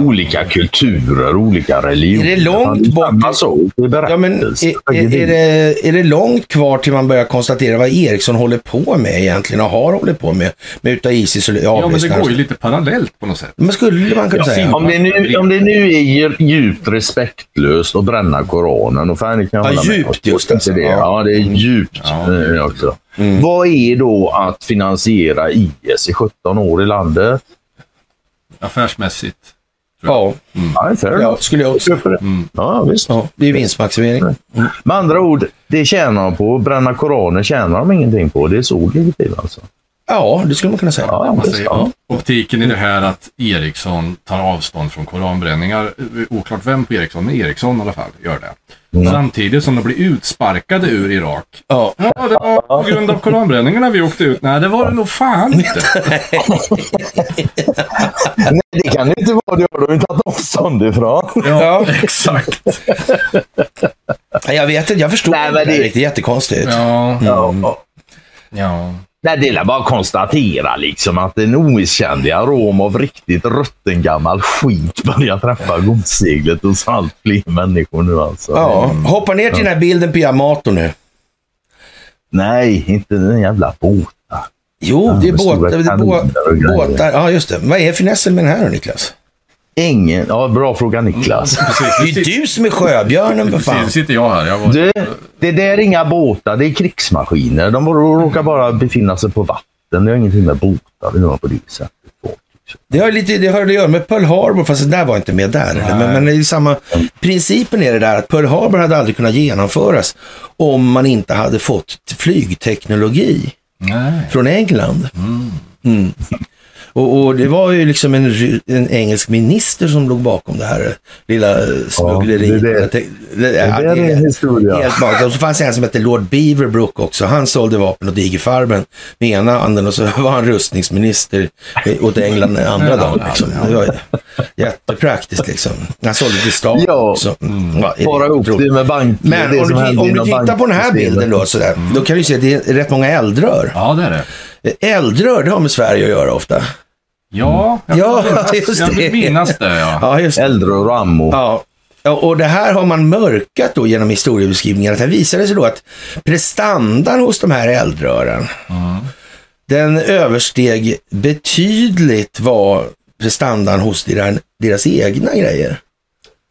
E: Olika kulturer, olika religioner.
C: Är det långt
E: är
C: bort?
E: Samma sak i
C: Ja, men
E: berättelsen.
C: är, är, är, det, är det långt kvar till man börjar konstatera vad Eriksson håller på med egentligen och har hållit på med? Med utav Isis och
D: ja, men det går ju
C: avlyssnare?
D: lite parallellt på något sätt.
C: Men skulle man kunna
D: Ja,
C: säga.
D: fin-
E: Om det, nu, om det nu är ju- djupt respektlöst att bränna Koranen, och fan, det kan jag
C: Ja,
E: hålla med om.
C: djupt just alltså.
E: det. Ja, Mm. det är djupt eh, också. Vad är då att finansiera IS i 17 år i landet?
D: Affärsmässigt.
C: Ja,
E: Ja, det är
C: ja,
E: ja. Mm.
C: skulle jag också.
E: ja, visst.
C: Ja, det är vinstmaximering.
E: Med andra ord, det tjänar de på. Bränna Koranen tjänar de ingenting på. Det är så det ligger till alltså.
C: Ja, det skulle man kunna säga.
E: Ja,
D: Alltså,
E: visst, ja.
D: Optiken i det här att Eriksson tar avstånd från koranbränningar, eh, oklart vem på Eriksson, men Eriksson i alla fall gör det. Samtidigt som de blir utsparkade ur Irak.
C: Ja.
D: Ja, det var på grund av koranbränningarna vi åkte ut. Nej, det var det nog fan inte.
E: Nej, det kan det inte vara. Det har de inte tagit avstånd ifrån.
C: Ja.
D: exakt.
C: Nej, Jag vet inte, jag förstår
E: Nej,
C: inte
E: men
C: det är
E: det-
C: riktigt. Jättekonstigt.
D: Ja,
E: Ja.
D: ja.
E: Nej, det är bara att konstatera liksom att en omisskännlig arom av riktigt rutten gammal skit börjar träffa godseglet hos allt fler människor nu alltså.
C: Ja, hoppa ner till den här bilden på Yamato nu.
E: Nej, inte den jävla båten.
C: Jo, det är
E: med stora
C: båtar. Det är bå-
E: kanoner och grejer.
C: båtar. Ja, just det. Vad är finessen med den här då, Niklas?
E: Ingen... Ja, bra fråga Niklas.
D: Alltså, Precis,
C: Det
D: nu
C: är ju
D: sit-
C: du som är sjöbjörnen, för fan.
D: precis, sitter jag här. Jag var...
E: Du, det där är inga båtar. Det är krigsmaskiner. De råkar bara befinna sig på vatten. Det har ingenting med båtar att göra på det sättet.
C: Det har, lite, det har att göra med Pearl Harbor, fast det där var inte med där. eller? Men, men det är ju samma,
E: Mm.
C: principen är det där att Pearl Harbor hade aldrig kunnat genomföras om man inte hade fått flygteknologi
D: Nej.
C: från England. Mm. Och, och det var ju liksom en, ry- en engelsk minister som låg bakom det här lilla eh, smuggleriet.
E: det är det.
C: Jag tänk- det- ja,
E: där är
C: det är
E: en historia.
C: Helt magiskt. Och så fanns det en som hette Lord Beaverbrook också. Han sålde vapen åt digerfarmen med ena handen och så var han rustningsminister eh, åt England den andra dagen. Liksom. Det var ju jättepraktiskt liksom. Han sålde till staten
E: Ja.
C: också. Mm. Ja, är det
E: Bara ihop
C: otroligt?
E: det med bank.
C: Men
E: det
C: om du,
E: som
C: ti-
E: händer
C: om du
E: inom
C: tittar på den här
E: banksystemet.
C: bilden då, sådär, då kan du se att det är rätt många eldrör.
D: Ja, det är det.
C: Eldrör, det har med Sverige att göra ofta.
D: Ja, jag,
C: Ja,
D: vill,
C: just
D: jag
C: det.
D: vill minnas det. Ja.
C: Ja, just det.
E: Eldrör och ammo.
C: Ja. Ja, Och det här har man mörkat då genom historiebeskrivningen. Att här visar det sig då att prestandan hos de här eldrören, den översteg betydligt vad prestandan hos deras, deras egna grejer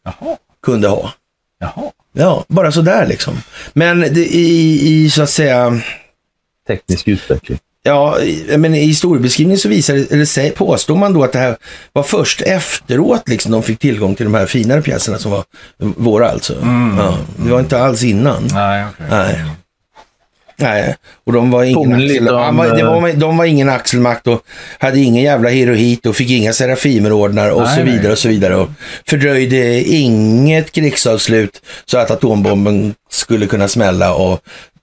D: Jaha,
C: kunde ha.
D: jaha.
C: Ja, bara sådär liksom. Men det, i, i så att säga
E: Teknisk utveckling.
C: Ja, i- men i historiebeskrivningen så visar det, eller sä- påstår man då att det här var först efteråt liksom de fick tillgång till de här finare pjäserna som var
D: Mm.
C: våra alltså. Ja, det var inte alls innan.
D: Nej, okej.
C: Nej. Nej, och de var ingen
E: Påminner lite
C: axel,
E: om,
C: han var, det
D: eh,
C: var, de var ingen axelmakt och hade ingen jävla herohit och fick inga serafimerordnar och
D: Nej,
C: så
D: nej.
C: vidare och så vidare. Och fördröjde inget krigsavslut så att atombomben skulle kunna smälla. Och,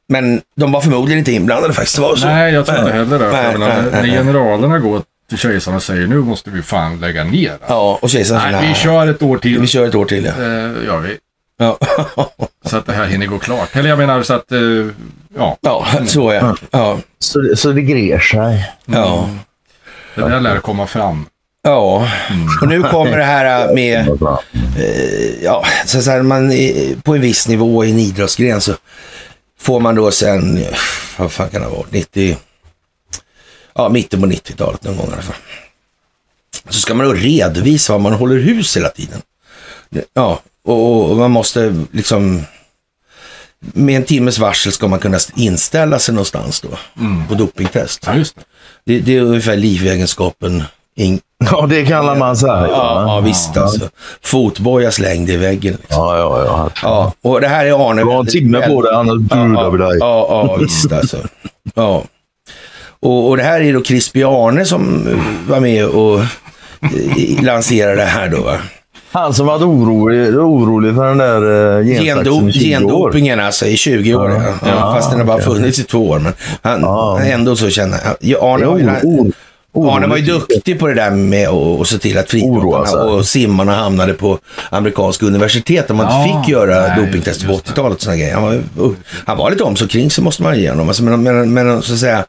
C: men de var förmodligen inte inblandade faktiskt. Det var så.
D: Nej, jag tror inte heller det.
C: Nej,
D: Jag menar,
C: nej, nej,
D: när
C: nej.
D: generalerna går till kejsaren och säger nu måste vi fan lägga ner.
C: Ja, och kejsaren sa,
D: Nej, vi
C: "Nej,
D: kör ett år till.
C: vi kör ett år till. Ja.
D: Eh, gör vi.
C: Ja.
D: Så att det här hinner gå klart. Eller jag menar så att, eh, ja,
C: ja, så ja.
D: Mm.
C: Ja,
E: Så, det- så det grer sig.
C: ja.
D: det där lär komma fram.
C: ja. Och nu kommer det här äh, med
E: Vad bra.
C: ja, så så här, man, är- på en viss nivå i en idrottsgren så får man då sen, eh, vad fan kan det vara, 90, ja mitten på 90-talet någon gång i alla fall. Så ska man då redovisa vad man håller hus hela tiden. Ja, och, och man måste liksom, med en timmes varsel ska man kunna inställa sig någonstans då på dopingtest.
D: Ja, just det.
C: Det, det är ungefär livegenskapen in,
E: Ja, det kallar man så här. liksom,
C: ja,
E: Ja,
C: ja, visst alltså. Fotboja slängd i väggen. Liksom.
E: ja, ja. ja.
C: Ja, och det här är Arne.
E: Du har en timme på dig, annars
C: Ja,
E: budar vi dig.
C: ja, ja, visst alltså. Ja. Och, och det här är då Crispy Arne som eh, var med och eh, lanserade det här då. Va?
E: Han som varit orolig, orolig för den där eh,
C: Gendo,
E: gensaxen i 20 år.
C: gendopingen alltså i 20 år. Ja. Ja,
E: Ja,
C: fast den har bara funnits i två år. Men han,
E: Ja.
C: ändå så känner jag. ja, Arne,
E: Ja,
C: var ju,
E: oro- oro-
C: Arne var ju
E: oroligt.
C: duktig på det där med att att se till att
E: Oroa sig.
C: friidrottarna och simmarna hamnade på amerikanska universitet där man inte
D: Ja,
C: fick göra
D: nej,
C: dopingtest på
D: just det.
C: 80-talet. och såna grejer. Han, var, ju- han var lite om så kring så måste man ge honom. Alltså, men men, men så att säga,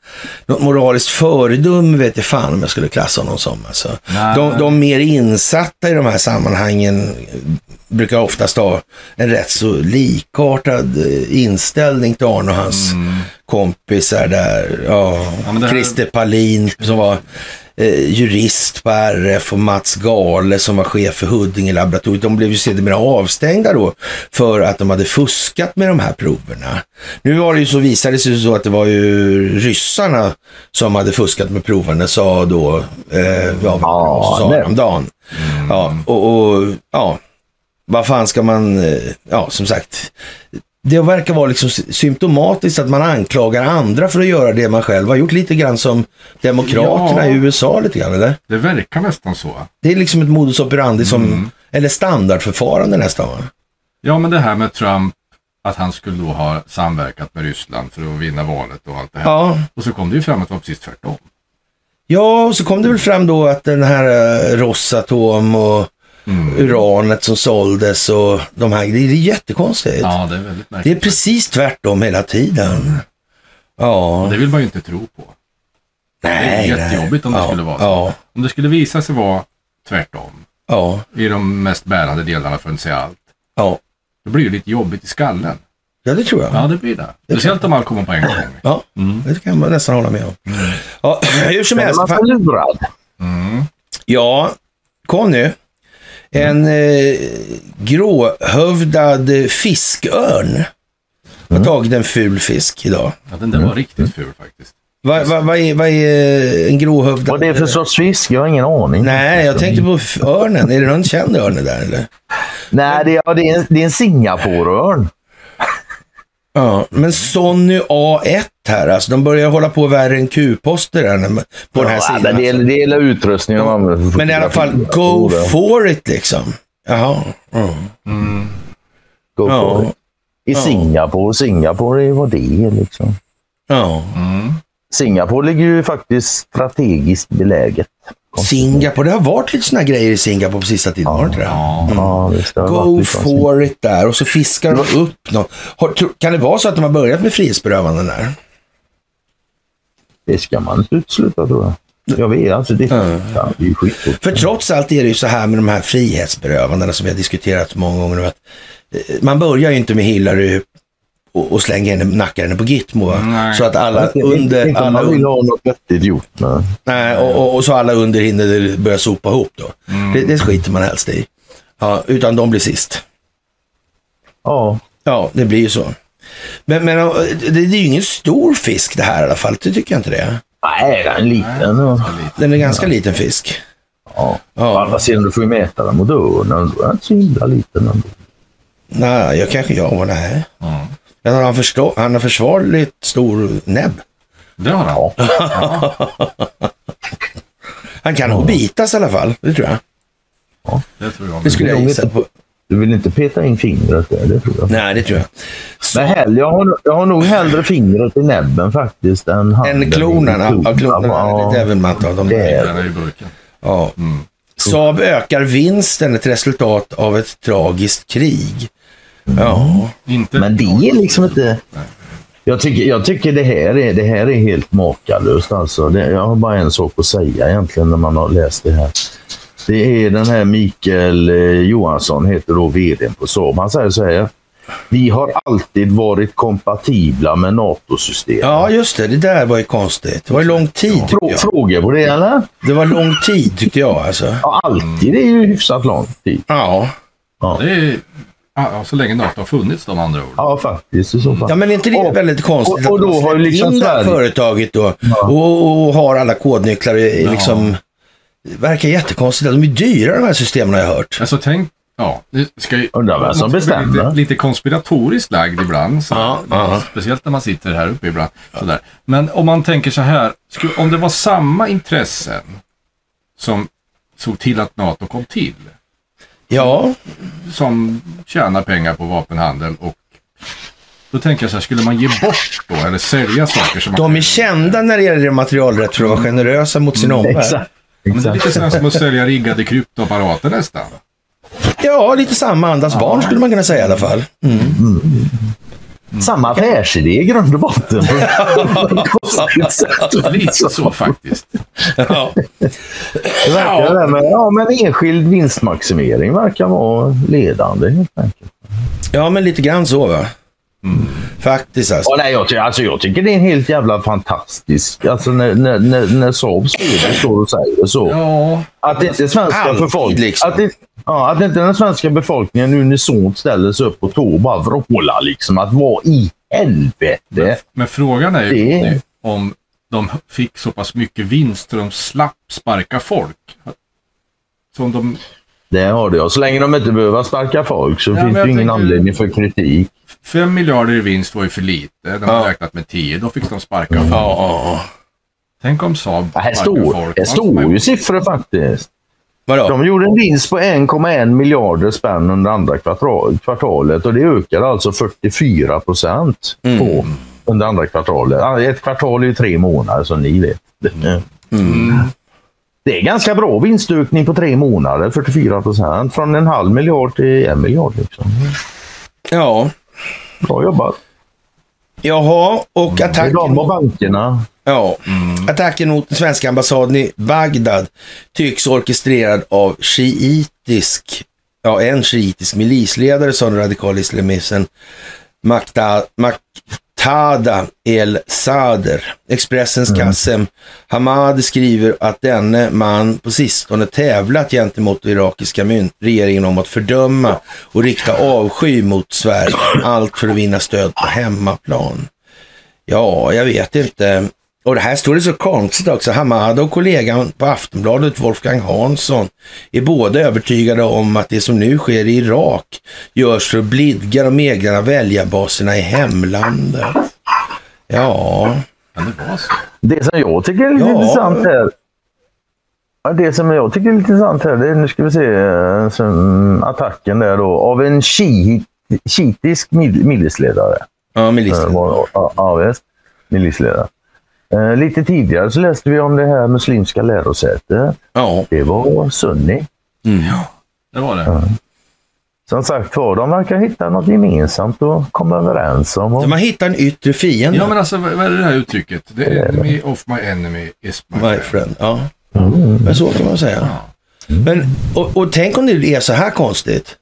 C: något moraliskt föredöme vet jag fan om jag skulle klassa honom som. Alltså.
D: Nej.
C: De, de mer insatta i de här sammanhangen brukar oftast ha en rätt så likartad eh, inställning till Arne och hans kompisar där. Ja,
D: Mm. Ja, men det här-
C: Christer Palin som var eh, jurist på RF och Mats Gale som var chef för Huddinge-laboratoriet. De blev ju sedermera avstängda då för att de hade fuskat med de här proverna. Nu var det ju så, visade det sig ju så att det var ju ryssarna som hade fuskat med proverna, sa då eh, ja,
E: Ja,
C: så sa
E: det-
C: häromdagen.
D: Mm.
C: Ja, och, och ja, vad fan ska man, eh, ja som sagt, det verkar vara liksom sy- symptomatiskt att man anklagar andra för att göra det man själv har gjort. Lite grann som demokraterna i
D: Ja.
C: USA lite grann, eller?
D: Det verkar nästan så.
C: Det är liksom ett modus operandi
D: Mm.
C: som, eller standardförfarande nästan va?
D: Ja, men det här med Trump, att han skulle då ha samverkat med Ryssland för att vinna valet och allt det här.
C: Ja.
D: Och så kom det ju fram att det var precis tvärtom.
C: Ja, och så kom det väl fram då att den här eh, Rosatom och
D: Mm.
C: uranet som såldes och de här, det är jättekonstigt.
D: Ja, det är väldigt
C: Det är
D: märkligt.
C: precis tvärtom hela tiden. Ja,
D: Och det vill man ju inte tro på.
C: nej. nej.
D: jättejobbigt om det
C: ja,
D: skulle vara så.
C: Ja,
D: Om det skulle visa sig vara tvärtom
C: ja,
D: i de mest bärande delarna, för att inte säga allt,
C: ja.
D: då blir det lite jobbigt i skallen.
C: Ja, det tror jag.
D: Ja, det blir det. Speciellt om allt kommer på en gång.
C: Ja, det kan man nästan hålla med om. Mm. Ja, hur som
E: Men
C: helst.
E: man
C: fan-
E: blir lurad.
C: Ja, kom nu. En eh, gråhövdad fiskörn har tagit en ful fisk idag.
D: Ja, den där var riktigt ful faktiskt.
C: Vad va, va är, vad är eh, en gråhövdad?
E: Vad det är för sorts fisk? Jag har ingen aning.
C: Nej, jag tänkte på f- örnen. Är det någon känd örn där eller?
E: Nej, det, är, ja, det, är, en, det är en Singaporeörn.
C: Ja, men Sonny A1 här, alltså de börjar hålla på värre än Q-poster här när man- på den här
E: Ja,
C: sidan. alltså.
E: Det är, det är utrustning de använder för
C: Men i alla fall,
E: fotografi.
C: go for it liksom. Jaha. Mm.
E: Go
C: Ja.
E: for it. I Singapore. Singapore är vad det är. Liksom.
C: Ja.
E: Mm. Singapore ligger ju faktiskt strategiskt beläget.
C: Singapore, det har varit lite såna grejer i Singapore på sista tiden. Har det inte det?
E: Ja, visst, det har varit
C: Mm.
E: Mm.
C: Go
E: liksom-
C: for it där och så fiskar de upp något. Har, tro- kan det vara så att de har börjat med frihetsberövanden där?
E: Det ska man inte utesluta tror jag. Jag vet, alltså det, ja, det är ju skit.
C: För trots allt är det ju så här med de här frihetsberövandena som vi har diskuterat så många gånger. nu, Att eh, man börjar ju inte med Hillary och, och slänger henne, nackar henne på Gitmo. va?
D: Nej.
C: Så att alla
E: Alltså,
C: under...
E: Inte om
C: Alla
E: man vill
C: under
E: ha något vettigt gjort. Men...
C: nej, Mm. och, och, och så alla under hinner börja sopa ihop då. Det, det skiter man helst i. Ja, utan de blir sist.
E: Ja,
C: Ja, det blir ju så. Men, men eh, det, det är ju ingen stor fisk det här i alla fall. Det tycker jag inte det är.
E: nej, den är liten. och-
C: Den är ganska liten fisk.
E: Ja. Å
C: Ja,
E: andra sidan, du får ju mäta den mot öronen. Den är inte så himla liten ändå.
C: nej, jag kanske jag var nej. Jag tror han, förstå, han har försvarligt stor näbb.
D: Det har han.
C: Han kan nog bitas i alla fall, det tror jag.
D: Det tror jag.
C: Det skulle jag
E: Jag vet
C: gissa på.
E: Du vill inte peta in fingret där, det tror jag.
C: Nej, det tror jag.
E: Men hellre, jag, har, jag har nog hellre fingret i näbben faktiskt än handen.
C: En klonen,
E: i
C: ja, klonen är lite ävenmatt av dem.
E: Det är-
D: Den är i burken.
C: Ja.
E: Mm.
C: Saab ökar vinsten, ett resultat av ett tragiskt krig. Ja,
D: Inte...
E: Men det är liksom inte... Jag tycker, jag tycker det, här är, det här är helt makalöst. Alltså. Det, jag har bara en sak att säga egentligen när man har läst det här. Det är den här Mikael eh, Johansson, heter då vdn på Saab. Han säger så här. Vi har alltid varit kompatibla med NATO-system.
C: ja just det. Det där var ju konstigt. Det var ju lång tid tyckte
E: Frå,
C: jag.
E: Frågor på det eller?
C: Det var lång tid tyckte jag alltså.
E: Ja, alltid är ju hyfsat lång tid.
C: Ja.
D: Det är... Ja, så länge NATO har funnits de andra ord.
E: Ja, faktiskt i så fall.
C: Ja men är inte det
E: Och-
C: väldigt konstigt
E: och- och
C: att de
E: då har
C: släppt
E: ju liksom
C: in det här
E: Sverige-
C: företaget då och, och har alla kodnycklar i- liksom. Det verkar jättekonstigt. De är dyra de här systemen har jag hört.
D: Alltså tänk... Ja, det ska ju...
E: Undrar vem som
D: man ska bli
E: bestämmer.
D: Lite, lite konspiratoriskt lagd ibland. Så,
C: Ja, ja.
D: Speciellt när man sitter här uppe ibland. Sådär. Men om man tänker så här. Skulle, om det var samma intressen som såg till att NATO kom till.
C: Ja,
D: Som tjänar pengar på vapenhandel och då tänker jag så här, skulle man ge bort då eller sälja saker som man...
C: de är kända när det gäller materialrätt för att vara generösa mot sin omvärld.
E: Mm, Exakt.
D: Men det är lite
E: Exakt.
D: sådär som att sälja riggade kryptoapparater nästan.
C: Ja, lite samma andas barn skulle man kunna säga i alla fall.
E: Samma affärsidé i grund och botten. På ett konstigt sätt.
D: Lite så faktiskt.
C: Ja.
E: Det verkar det, men, ja, men enskild vinstmaximering verkar vara ledande helt enkelt.
C: Ja, men lite grann så va.
E: Mm.
C: Faktiskt alltså.
E: Ja, nej, jag, ty- alltså, jag tycker det är en helt jävla fantastisk... Alltså när, när, när, när Saab spelar står och säger så.
D: Ja,
E: Att inte svenska
C: Alltid,
E: befolkningen...
C: liksom.
E: Att, inte- ja, att inte den svenska befolkningen unisont ställer sig upp på tå och bara vrålar liksom. Att vad i helvete?
D: Men frågan är ju
E: Det-
D: om de fick så pass mycket vinst så de slapp sparka folk. Som de,
E: Det har du. ja. Så länge de inte behöver sparka folk så
D: Ja, men
E: finns det
D: jag
E: ju ingen
D: tänker-
E: anledning för kritik.
D: 5 miljarder i vinst var ju för lite. De hade
C: Ja.
D: räknat med 10. Då fick de sparka folk.
C: ja.
D: Tänk om Saab
E: Ja, Här
D: sparkar
E: står,
D: folk.
E: här
D: Man får
E: står
D: ju-
E: ju siffror faktiskt.
C: Vadå?
E: De gjorde en vinst på 1,1 miljarder spänn under andra kvartal- kvartalet och det ökade alltså 44 procent på under andra kvartalet. Ah, Ett kvartal är ju tre månader som ni vet. Det är ganska bra vinstökning på tre månader, 44 procent. Från en halv miljard till en miljard. Liksom.
C: Ja.
E: Bra jobbat.
C: Jaha, och
E: Mm. Det är
C: attacken,
E: de och
C: mot,
E: bankerna.
C: ja, attacken mot den svenska ambassaden i Bagdad tycks orkestrerad av shiitisk, ja, en shiitisk milisledare sa den radikala islamisten Makta- Maktada El Sader. Expressens Kassem Hamad skriver att denne man på sistone tävlat gentemot irakiska myn- regeringen om att fördöma och rikta avsky mot Sverige. Allt för att vinna stöd på hemmaplan. Ja, jag vet inte. Och det här står det så konstigt också. Hamad och kollegan på Aftonbladet, Wolfgang Hansson, är båda övertygade om att det som nu sker i Irak görs för att blidga de egna väljarbaserna i hemlandet. Ja,
D: Kan det vara så?
E: Det som jag tycker är lite
C: Ja.
E: intressant här. Ja, Det som jag tycker är lite intressant här, det är, nu ska vi se, eh, som attacken där då, av en shiit, shiitisk mil- milisledare.
C: ja
E: Eh,
C: miliser.
E: var- Ja, ja, visst. milisledare. Eh, Lite tidigare så läste vi om det här muslimska lärosätet.
C: Ja,
E: Det var sunni.
D: Det var det.
E: Som sagt var, de verkar hitta något gemensamt att komma överens om. Och,
C: de har hittat en yttre fiende.
D: Ja men alltså vad vad är det här uttrycket? The enemy of my enemy is my
C: My
D: friend.
C: friend. Ja. Men så kan man säga. Men, och, och tänk om det är så här konstigt.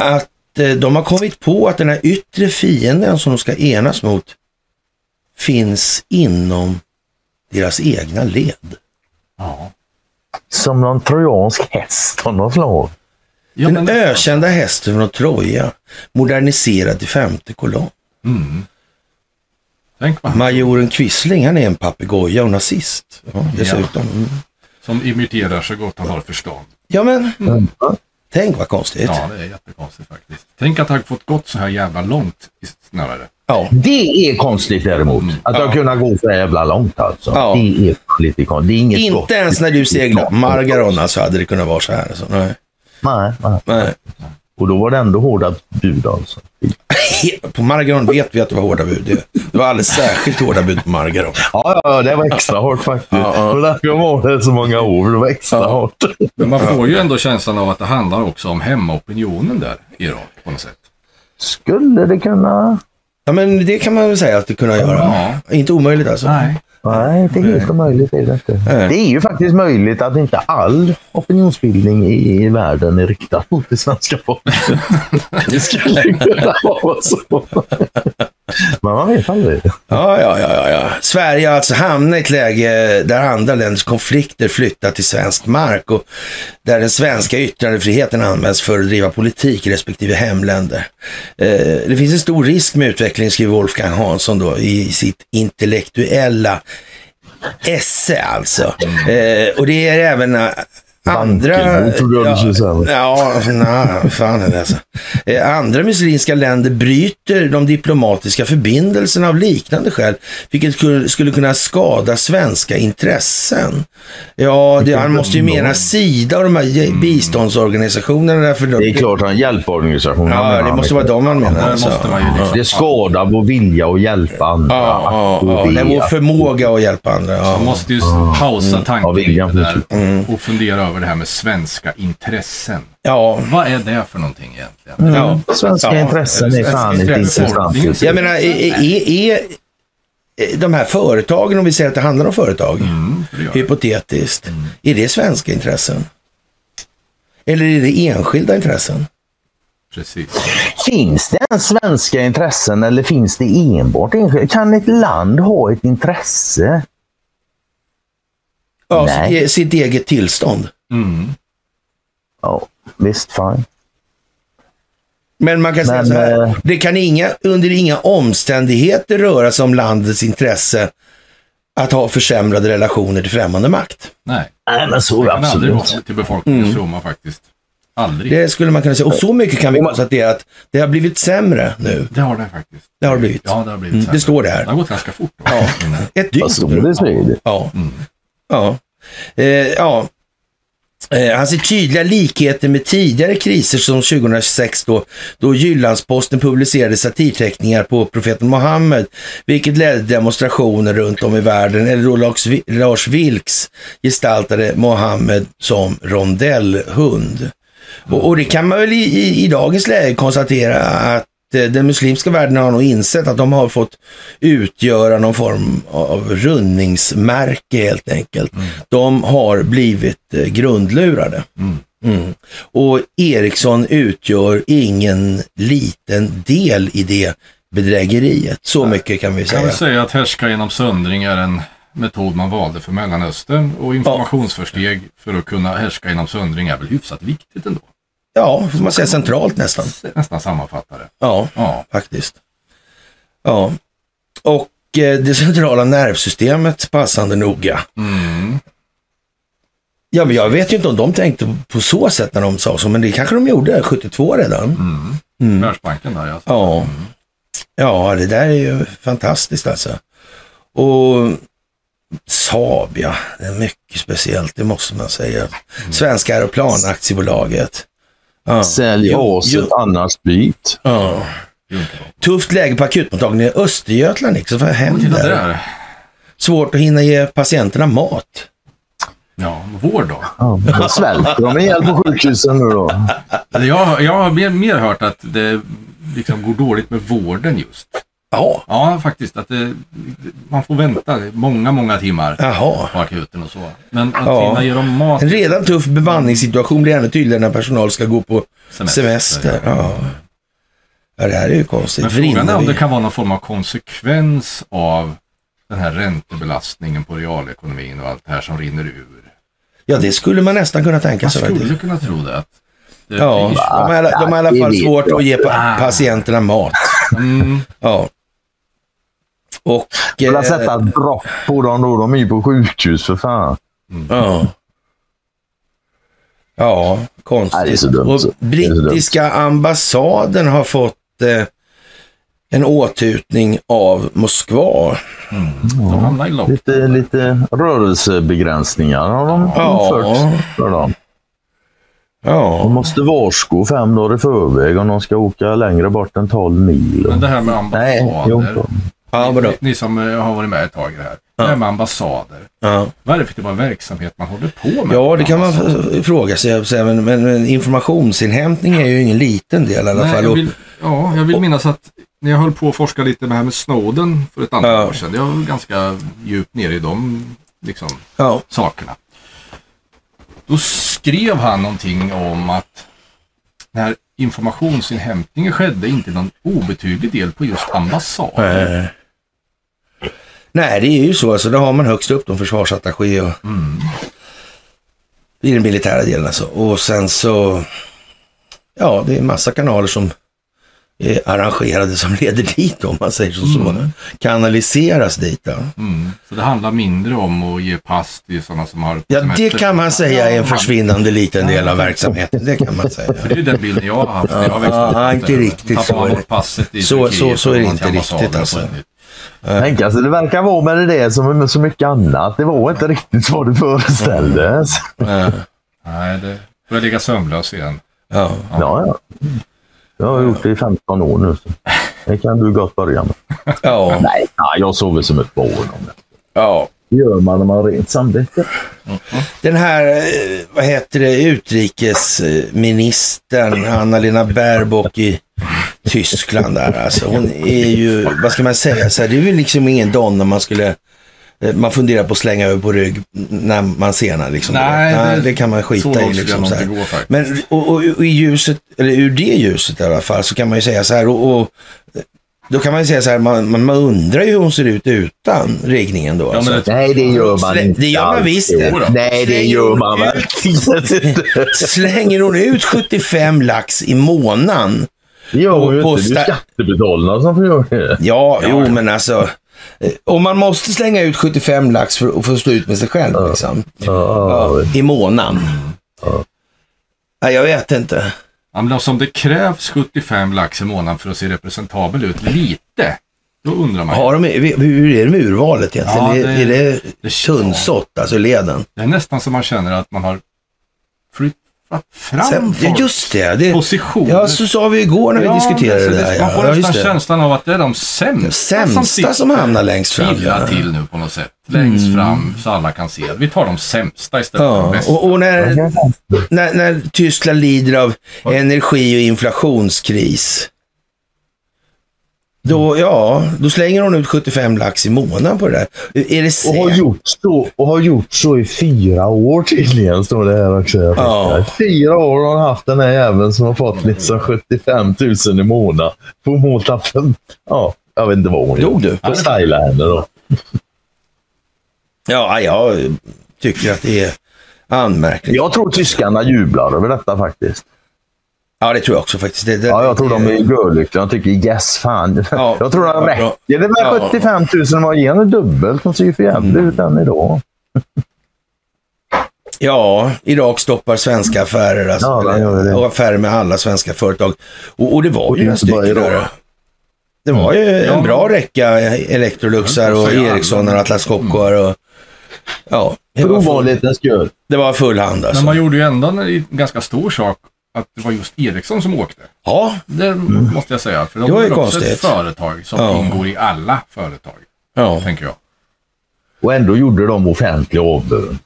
C: Att eh, de har kommit på att den här yttre fienden som de ska enas mot finns inom deras egna led.
D: Ja.
E: Som någon trojansk häst av något slag.
D: Ja,
C: den
D: men,
C: ökända hästen från Troja, moderniserad till femte kolonn.
D: tänk vad
C: Majoren Quisling, han är en papegoja och nazist. Ja, dessutom. Mm.
D: som imiterar så gott han har förstånd.
C: Ja men, Tänk vad konstigt.
D: Ja, det är jättekonstigt faktiskt. Tänk att det har fått gått så här jävla långt i- snarare.
C: Ja.
E: Det är konstigt däremot. Att det
C: Mm. Ja.
E: har kunnat gå så jävla långt alltså.
C: Ja.
E: Det är lite konstigt. Det är inget gott.
C: Inte ens när du seglar Margaron alltså hade det kunnat vara så här. Alltså. Nej.
E: Nej, nej.
C: Nej.
E: Och då var det ändå hårda bud alltså.
C: På Margaron vet vi att det var hårda bud. Det- Det var alldeles särskilt hårda bud på Margaron.
E: Ja, ja, det var extra hårt faktiskt.
C: Ja, ja.
E: Det var därför jag var där så många år. för Det var extra
C: Ja.
E: hårt.
D: Men man får ju ändå känslan av att det handlar också om hemmaopinionen där i Irak på något sätt.
E: Skulle det kunna...
C: Ja, men det kan man väl säga att det kunde göra.
D: Ja.
C: Inte omöjligt alltså.
E: Nej, inte helt omöjligt är det inte.
C: Nej.
E: Det är ju faktiskt möjligt att inte all opinionsbildning i, i världen är riktad mot det svenska folket. det skulle ju kunna vara så. Men man vet aldrig.
C: Ja, ja, ja, ja, ja. Sverige har alltså hamnat i ett läge där andra länders konflikter flyttat till svensk mark och där den svenska yttrandefriheten används för att driva politik i respektive hemländer. Eh, det finns en stor risk med utvecklingen, skriver Wolfgang Hansson då, i sitt intellektuella esse alltså. Eh, och det är även eh, andra...
E: Banken, trodde jag du skulle säga.
C: Ja, nej, fan är det alltså. Eh, Andra muslimska länder bryter de diplomatiska förbindelserna av liknande skäl, vilket skulle- skulle kunna skada svenska intressen. Ja, det, han måste ju mena Sida och de här ge- biståndsorganisationerna. Därför
E: Det är klart han hjälporganisation. han
C: Ja,
E: menar
C: det
E: han.
C: måste vara dem han menar.
D: Där
C: Alltså.
D: måste man ju liksom...
E: Det skadar vår vilja att hjälpa andra.
C: Ja, ja, ja. Det är vår förmåga att hjälpa andra.
D: Man
C: Ja.
D: måste ju pausa
E: Ja,
D: tanken
E: William,
D: lite där och fundera över det här med svenska intressen.
C: ja.
D: Vad är det för någonting egentligen?
C: Ja.
E: Mm. Svenska
C: Ja.
E: intressen är
C: Svenska
E: fan inte
C: intressen.
E: intressant. just nu.
C: Jag menar, är, är, är är de här företagen, om vi säger att det handlar om företag,
E: Mm,
D: För det gör det.
C: hypotetiskt, är det svenska intressen? Eller är det enskilda intressen?
D: Precis.
E: Finns det ens svenska intressen eller finns det enbart enskilda? Kan ett land ha ett intresse?
C: Ja,
E: Nej.
C: sitt, e- sitt eget tillstånd.
D: Mm.
E: Ja, visst fan.
C: Men man kan säga
E: Men,
C: så
E: eh,
C: här, det kan inga, under inga omständigheter röra sig om landets intresse att ha försämrade relationer till främmande makt.
D: Nej,
E: Nej, men så är
D: det
E: det
D: kan aldrig vara
E: absolut.
D: till befolkningens fromma faktiskt. Aldrig. Det...
C: Mm. Det skulle man kunna säga. Och så mycket kan vi konstatera att det har blivit sämre nu.
D: har det faktiskt.
C: Det har det blivit.
D: Ja, det har blivit
C: Mm,
D: sämre.
C: det står det här.
D: Det har gått ganska fort. Då.
C: Ja.
D: Innan-
C: Ett
E: Vad
C: dygn.
E: står det så är det.
C: Ja. Ja. Eh, ja. Eh, han ser tydliga likheter med tidigare kriser som 2006 då, då Jyllandsposten publicerade satirteckningar på profeten Mohammed, vilket ledde till demonstrationer runt om i världen, eller då Lars, Vi- Lars Vilks gestaltade Mohammed som rondellhund. Och, och det kan man väl i, i, i dagens läge konstatera att eh, den muslimska världen har nog insett att de har fått utgöra någon form av rundningsmärke helt enkelt. De har blivit eh, grundlurade. Mm. Och Ericsson utgör ingen liten del i det bedrägeriet. Så mycket kan vi
D: Jag
C: säga.
D: kan säga att härska genom söndring är en metod man valde för Mellanöstern och informationsförsteg för att kunna härska genom söndring är väl hyfsat viktigt ändå.
C: Ja, får man säga centralt nästan.
D: Nästan sammanfattar det.
C: Ja.
D: Ja.
C: faktiskt. Ja, och eh, det centrala nervsystemet passande noga.
D: Mm.
C: Ja, men jag vet ju inte om de tänkte på så sätt när de sa så, men det kanske de gjorde 72 redan.
D: Världsbanken där alltså.
C: Mm. Ja. ja, det där är ju fantastiskt alltså. Och Saab, ja, det är mycket speciellt, det måste man säga. Svenska Aeroplanaktiebolaget. Ja.
E: Sälj
C: Jo,
E: aset, annars byt.
C: Ja. Tufft läge på akutmottagningen i Östergötland, liksom. Vad
D: Men Titta
C: händer?
D: där.
C: Svårt att hinna ge patienterna mat.
D: Ja, vård då.
E: Ja, då svälter de ihjäl på sjukhusen nu då.
C: Eh.
D: Eller jag, jag har mer, mer hört att det liksom går dåligt med vården just.
C: Ja.
D: Ja, faktiskt. Att det, man får vänta många, många timmar
C: Jaha.
D: på akuten och så. Men att
C: Ja.
D: hinna ge dem mat.
C: En redan tuff bemanningssituation blir ännu tydligare när personal ska gå på semester.
D: Semester,
C: Ja. ja, det här är ju konstigt.
D: Men frågan
C: Vrinner
D: är om
C: vi?
D: det kan vara någon form av konsekvens av den här räntebelastningen på realekonomin och allt det här som rinner ur.
C: Ja, det skulle man nästan kunna tänka
D: Man
C: sig. faktiskt.
D: skulle kunna tro det. Att det Ah.
C: Ja, de har i alla- de har i alla
E: Det
C: fall
E: vet
C: svårt
E: jag.
C: att ge pa- patienterna mat.
D: Mm,
C: Ja. Och...
E: Jag vill
C: eh,
E: sätta ett dropp på dem då. De är ju på sjukhus för fan.
C: Ja. Ja, konstigt.
E: Nej, det är så
C: Och
E: dumt. Det är så dumt.
C: brittiska ambassaden har fått eh, en åtutning av Moskva.
D: De hamnar i lock.
E: Lite, lite rörelsebegränsningar har de
C: Ja.
E: infört. för dem. De
C: Ja,
E: måste varsko fem dagar i förväg om de ska åka längre bort än 12 mil.
D: Men det här med
E: Nej, jo,
D: ambassader.
C: ja vadå?
D: ni, ni som eh, har varit med ett tag i det här. Det här med ambassader.
C: Ja.
D: Vad är det för typ av verksamhet man håller på med?
C: ja, det kan man
D: Ambassader.
C: f- fråga sig. jag säger, Men, men, men informationsinhämtning är ju ingen liten del i alla
D: Nej,
C: fall.
D: jag
C: Och-
D: vill, ja, jag vill minnas att när jag höll på att forska lite med det här med Snowden för ett antal
C: Ja.
D: år sedan. Jag var ganska djupt nere i de liksom,
C: Ja,
D: sakerna. Då skrev han någonting om att när informationsinhämtningen skedde inte någon obetydlig del på just ambassader.
C: eh. Nej, det är ju så. Alltså, då har man högst upp de försvarsattaché och i den militära delen alltså. Och sen så, ja, det är massa kanaler som är arrangerade som leder dit om man säger så. så. Kanaliseras dit. Ja.
D: Mm. Så det handlar mindre om att ge pass till sådana som har
C: Ja, det
D: semester.
C: kan man säga är en
D: Ja,
C: försvinnande liten del av verksamheten. Det kan man säga.
D: För det är den bilden jag har haft. när Jag har växt
C: Ja,
D: upp.
C: ja, inte
D: Där
C: riktigt
D: tappar
C: så
D: man
C: är
D: bort
C: det.
D: passet i
C: Så-
D: Turkiet
C: så- så är det
D: och går
C: inte
D: till ambassaden
C: riktigt,
D: och
C: alltså.
D: får ett nytt.
E: Tänk, alltså, det verkar vara med det där som med så mycket annat. Det var inte riktigt vad det föreställdes.
C: Ja,
D: Nej, det börjar ligga sömnlös igen.
C: ja.
E: Ja, ja. Jag har gjort det i 15 år nu. Så. Det kan du gott börja med.
C: ja.
E: Nej, nej jag sover som ett barn. om det.
C: ja.
E: Det gör man när man har rent samvete.
C: Den här, eh, vad heter det, utrikesministern Anna-Lena Baerbock i Tyskland där. Alltså, hon är ju, vad ska man säga, så här, det är väl liksom ingen don när man skulle eh, man funderar på att slänga över på rygg när man ser henne. Liksom.
D: Nej,
C: det,
D: det-
C: kan man
D: så
C: skita i.
D: långt skulle
C: Liksom,
D: jag
C: så
D: nog
C: här.
D: inte gå faktiskt.
C: Men och, och, och i ljuset, eller ur det ljuset i alla fall, så kan man ju säga så här. Och, och, då kan man ju säga så här, man, man, man undrar ju hur hon ser ut utan riggningen då.
D: Ja, men
C: alltså.
D: det-
E: Nej, det gör man
C: Slä-
E: inte.
C: det gör man
E: alls.
C: visst det.
D: Jodå.
E: Nej, det
C: Släng
E: gör
C: ut.
E: man verkligen inte.
C: Slänger hon ut 75 lax i månaden?
E: Det gör hon ju
C: På
E: inte. Det är ju
C: sta-
E: skattebetalarna som får göra det.
C: Ja, jo men alltså. eh, Om man måste slänga ut 75 lax för att få stå ut med sig själv liksom.
E: Ja,
C: Ja, I månaden. Nej, jag vet inte.
D: Ja, men alltså, om det krävs 75 lax i månaden för att se representabel ut lite, då undrar man. ju.
C: Har de, hur är det med urvalet egentligen?
D: Ja,
C: Är-
D: det-
C: är det,
D: det-
C: tunnsått, alltså leden?
D: Det är nästan som man känner att man har flyttat fram
C: Sen,
D: folk.
C: just det. det
D: Positioner.
C: Ja, så sa vi igår när vi
D: Ja,
C: diskuterade
D: alltså,
C: det där.
D: Man får
C: ja,
D: nästan
C: just det.
D: känslan av att det är de sämsta,
C: Sämsta
D: sitter
C: som hamnar längst fram.
D: illa
C: ja. Mm.
D: till nu på något sätt. Längst fram så alla kan se. Vi tar de sämsta istället för de
C: Ja,
D: bästa.
C: och, och när, när, när Tyskland lider av energi och inflationskris. Då, ja, då slänger hon ut 75 lax i månaden på det där. Är det
E: Och har,
C: säkert?
E: gjort så, och har gjort så i fyra år tydligen, står det här också.
C: Ja. Mm.
E: Fyra år har han haft den här jäveln som har fått liksom 75 000 i månaden. På månaden. Ja, jag vet inte vad hon
C: Dog du?
E: Jag stylar henne då.
C: Ja, jag tycker att det är anmärkligt.
E: Jag tror tyskarna jublar över detta faktiskt.
C: Ja, det tror jag också faktiskt. Det, det,
E: Ja, jag tror de är görlyckliga. De tycker yes, fan.
C: Ja.
E: Jag tror
C: Ja,
E: de
C: bra.
E: räcker. Det är
C: Ja. Mm.
E: väl 75 000 om man ger henne dubbelt. Hon ser ju för jävligt ut än idag.
C: Ja, Irak stoppar svenska affärer. Alltså,
E: Ja, det gör det.
C: Och affärer med alla svenska företag. Och, och det var
E: Och
C: ju en
E: inte bara
C: stycke
E: Irak.
C: där. Det var
E: Mm.
C: ju en bra räcka eh, Electroluxar och
D: Ja,
C: Ericsson och Atlas Copcoar och ja, det
E: För
C: var, full,
E: ovanlighetens skull.
C: det var full hand
D: Men
C: alltså.
D: man gjorde ju ändå en ganska stor sak att det var just Ericsson som åkte.
C: Ja,
D: Det måste jag säga. För de
C: Det var ju
D: är också ett
C: Mm. konstigt.
D: företag som
C: Ja.
D: ingår i alla företag,
C: ja.
D: tänker jag.
E: Och ändå gjorde de offentlig avbön.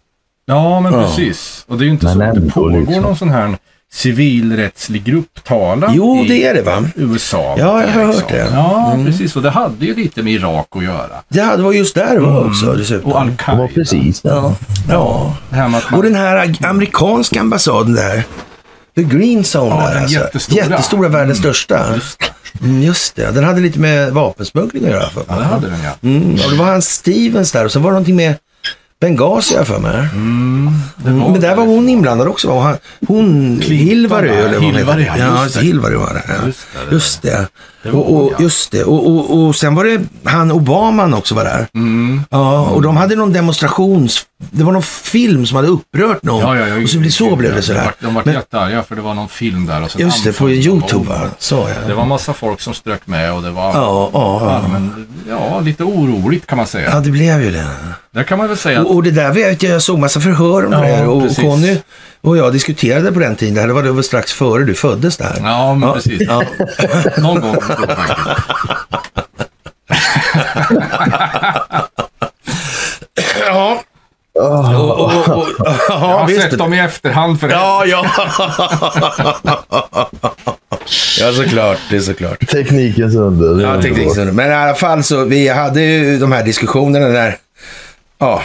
D: Ja, men
C: Ja.
D: precis. Och det är ju inte
E: Men
D: så att det
E: ändå,
D: pågår
E: liksom.
D: någon sån här civilrättslig grupptalan
C: Jo,
D: i
C: det är det va?
D: USA.
C: Ja, jag har
D: Ericsson.
C: hört det. Mm.
D: Ja, precis. Och det hade ju lite med Irak att göra.
C: Det hade- det var just där det var också dessutom.
D: Mm. Och
E: Det var
D: Al-Qaida.
E: precis det.
C: Ja. ja.
D: Det här med att
C: Och
D: man...
C: den här ag- amerikanska ambassaden där. The Green Zone
D: Ja,
C: där
D: den
C: alltså.
D: jättestora.
C: Jättestora, världens största.
D: Just det.
C: Mm, just det, den hade lite med vapensmuggling att göra för mig.
D: Ja, det hade den ja.
C: Mm, och det var han Stevens där och sen var det någonting med Benghazi har jag för mig.
D: Det var
C: Mm. Men där var hon inblandad också va? Och han, hon, Hilvary
D: va?
C: eller vad hon
D: Hilvary,
C: heter.
D: ja,
C: Ja,
D: just det.
C: Hilvary var det. Ja.
D: Just det, det
C: Just det.
D: Det var
C: Och,
D: hon,
C: och,
D: ja.
C: just det. Och, och, och sen var det han Obaman också var där.
D: Mm.
C: Ja, och de hade någon demonstrations... Det var någon film som hade upprört någon.
D: Ja, ja, ja,
C: och så, blev- så blev det
D: De
C: sådär.
D: var, de var
C: Men,
D: jättearga för det var någon film där. Och sen
C: just det, på
D: anföll de
C: YouTube
D: bomber.
C: va? Sa jag.
D: Det var massa folk som strök med och det var
C: Ja, ja, ja.
D: allmän, ja, lite oroligt kan man säga.
C: Ja, det blev ju det.
D: Där kan man väl säga att
C: Och, och det där vet jag, jag såg massa förhör om
D: Ja,
C: det här. Och
D: precis.
C: Conny och jag diskuterade på den tiden. Det här var det väl strax före du föddes där.
D: Ja, men precis.
C: Ja.
D: Någon gång tror jag faktiskt.
C: ja. Och, och, och, och, ja,
D: Jag har
C: visst.
D: sett dem i efterhand för det.
C: Ja, ja. ja, såklart. Det är såklart.
E: Teknikens under.
C: Ja, teknik. Men i alla fall så, vi hade ju de här diskussionerna där, ja,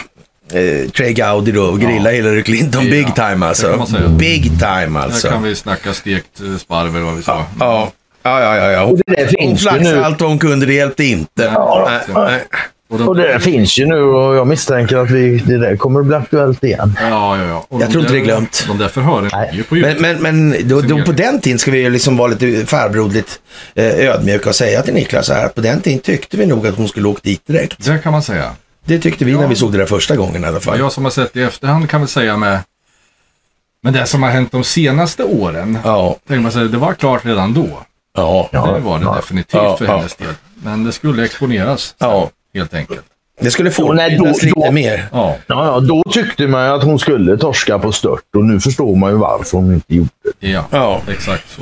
C: eh, Trey Gowdy då grilla Hillary Clinton
D: Ja,
C: big time
D: det kan man
C: alltså.
D: säga.
C: Big time
D: Där kan
C: alltså.
D: vi snacka stekt eh, sparv eller vad vi sa.
C: Ja. Ja, ja, ja. ja. Hon,
E: det där
C: hon
E: finns ju
C: flaxade
E: nu.
C: allt vad hon kunde, det hjälpte inte.
D: Ja.
C: Nej, nej.
D: Och de-
E: Och det där finns ju nu och jag misstänker att vi, det där kommer att bli aktuellt igen.
D: Ja, ja, ja. Och
C: Jag
D: de
C: tror inte
D: där-
C: det är glömt.
D: De där förhören
E: Nej.
D: är ju på
C: Men,
D: YouTube.
C: men, men då, då, på den tiden ska vi ju liksom vara lite farbrodligt eh, ödmjuka och säga till Niklas så här att på den tiden tyckte vi nog att hon skulle åkt dit direkt.
D: Det kan man säga.
C: Det tyckte vi när vi såg det där första gången i alla
D: Ja,
C: fall.
D: Jag som har sett det i efterhand kan väl säga med... Men det som har hänt de senaste åren.
C: Ja,
D: Tänker man sig, det var klart redan då.
C: ja.
D: det var det
E: ja.
D: definitivt
C: Ja,
D: för
C: ja.
D: hennes del. Men det skulle exponeras.
C: Ja.
D: Helt enkelt.
C: Det skulle
E: Jo, nej, då-
C: fortbildas lite
E: då-
C: mer.
D: Ja,
E: Ja, ja, då tyckte man ju att hon skulle torska på stört och nu förstår man ju varför hon inte gjorde det.
D: ja,
C: Ja.
D: exakt så.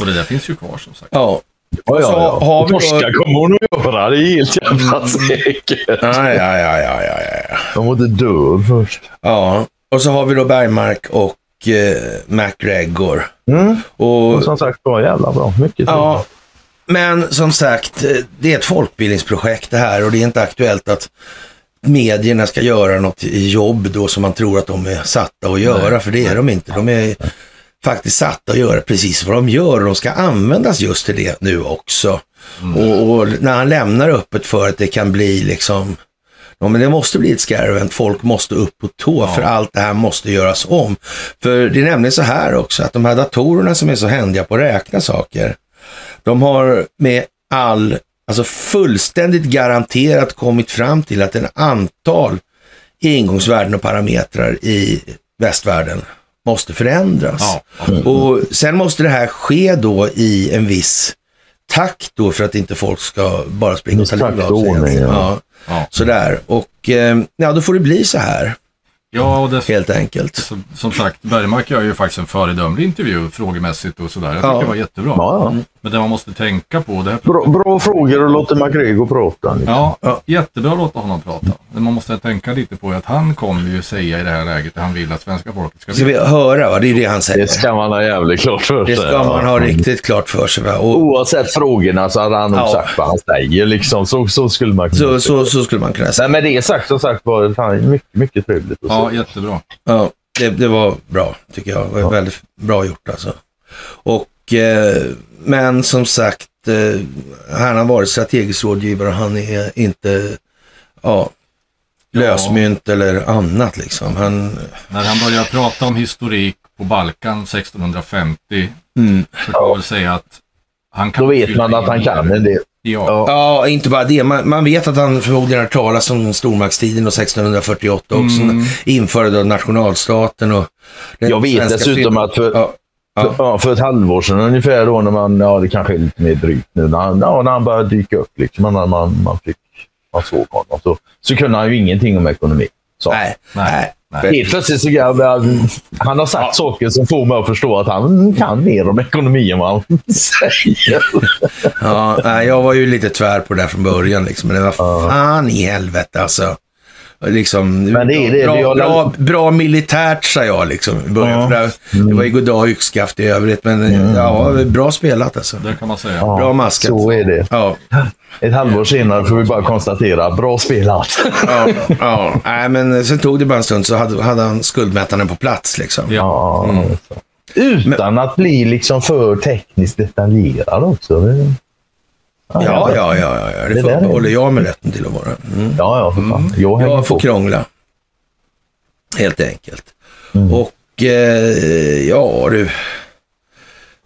D: Och det där finns ju kvar som sagt.
C: Ja.
E: Ja,
C: Så har vi då- Mm.
E: Torska kommer hon att göra, det är helt jävla säkert.
C: Ja, ja, ja, ja, ja, ja.
E: De var inte död först.
C: ja. Och så har vi då Bergmark och eh, MacGregor.
E: Mm.
C: Och,
E: Och som sagt, det var jävla bra. Mycket
C: ja, men som sagt, eh, det är ett folkbildningsprojekt det här och det är inte aktuellt att medierna ska göra något jobb då som man tror att de är satta att göra, för det är de inte. De är faktiskt satta att göra precis vad de gör och de ska användas just till det nu också. Och, och när han lämnar öppet för att det kan bli liksom Ja, men det måste bli ett scare event. Folk måste upp på tå för allt det här måste göras om. För det är nämligen så här också att de här datorerna som är så händiga på att räkna saker, de har med all, alltså fullständigt garanterat kommit fram till att en antal ingångsvärden och parametrar i västvärlden måste förändras.
D: Ja,
C: Och sen måste det här ske då i en viss takt då för att inte folk ska bara springa och ta
E: Takt
C: livet
E: och
C: av sig.
E: ordning, ja.
C: Ja.
D: Ja.
C: Sådär. Och eh, ja, då får det bli så här
D: Ja, och det,
C: helt enkelt.
D: som, som sagt, Bergmark gör ju faktiskt en föredömlig intervju frågemässigt och sådär. Jag tycker
C: Ja.
D: det var jättebra.
E: Ja, ja.
D: Men det man måste tänka på, det här
E: Bra, bra frågor och låter MacGregor prata. Liksom.
D: Ja,
C: Ja.
D: jättebra att låta honom prata. Men man måste tänka lite på att han kommer ju säga i det här läget det han vill att svenska folket ska
C: Ska
D: veta.
C: vi höra? Va? Det är det han säger.
E: Det ska man ha jävligt klart för sig.
C: Det ska man ha riktigt klart för sig. Va? Och
E: Oavsett frågorna så hade han nog
C: Ja.
E: sagt vad han säger. Liksom. Så, så skulle man kunna
C: så,
E: säga.
C: så, så skulle man kunna säga.
E: Nej, men det sagt som sagt var det fan mycket, mycket trevligt. Och så.
D: Ja, jättebra.
C: Ja, det, det var bra tycker jag. Det var väldigt bra gjort alltså. Och, eh, men som sagt, eh, han har varit strategisk rådgivare och han är inte ja, lösmynt eller annat liksom. Han,
D: När han börjar prata om historik på Balkan 1650 så kan man väl säga att han kan...
E: Mm. Då vet man att han kan en del.
D: Ja,
E: Ja.
C: Ja, inte bara det. Man, man vet att han förmodligen har hört talas om stormaktstiden och 1648 också. Införde av nationalstaten och... den
E: Mm. Jag vet
C: svenska
E: dessutom
C: syn-
E: att för,
C: Ja,
E: För, ja, för ett halvår sedan ungefär då när man, ja det kanske är lite mer drygt nu, när han, ja, när han började dyka upp liksom, man, man, man, fick, man såg honom. Så, så kunde han ju ingenting om ekonomi. Så.
C: nej, nej.
D: nej, nej.
E: Helt plötsligt så jag, jag, han har sagt saker som får mig att förstå att han kan mer om ekonomi än vad han säger.
C: Ja, nej, jag var ju lite tvär på det där från början. Liksom. Men det var fan i helvete alltså. Liksom,
E: Men det är det,
C: bra,
E: vi har-
C: bra, bra militärt sa jag liksom, i början.
E: Ja. Mm.
C: För det, det var ju goddag yxskaft i övrigt. Men ja, bra spelat alltså.
D: det kan man säga.
C: Bra maskat.
E: Så är det.
C: Ja.
E: Ett halvår senare får vi bara konstatera, bra spelat.
C: ja, ja. Nej, men sen tog det bara en stund så hade, hade han skuldmätaren på plats. Liksom.
D: Ja.
E: Ja, så. Utan att bli liksom för tekniskt detaljerad också. Det-
C: Ja, ja, ja, ja, ja. det
E: Det där är-
C: förbehåller jag mig rätten till att vara. Mm.
E: Ja, ja, för fan. Jag hänger
C: Jag får
E: på.
C: krångla. Helt enkelt. Och eh, ja du.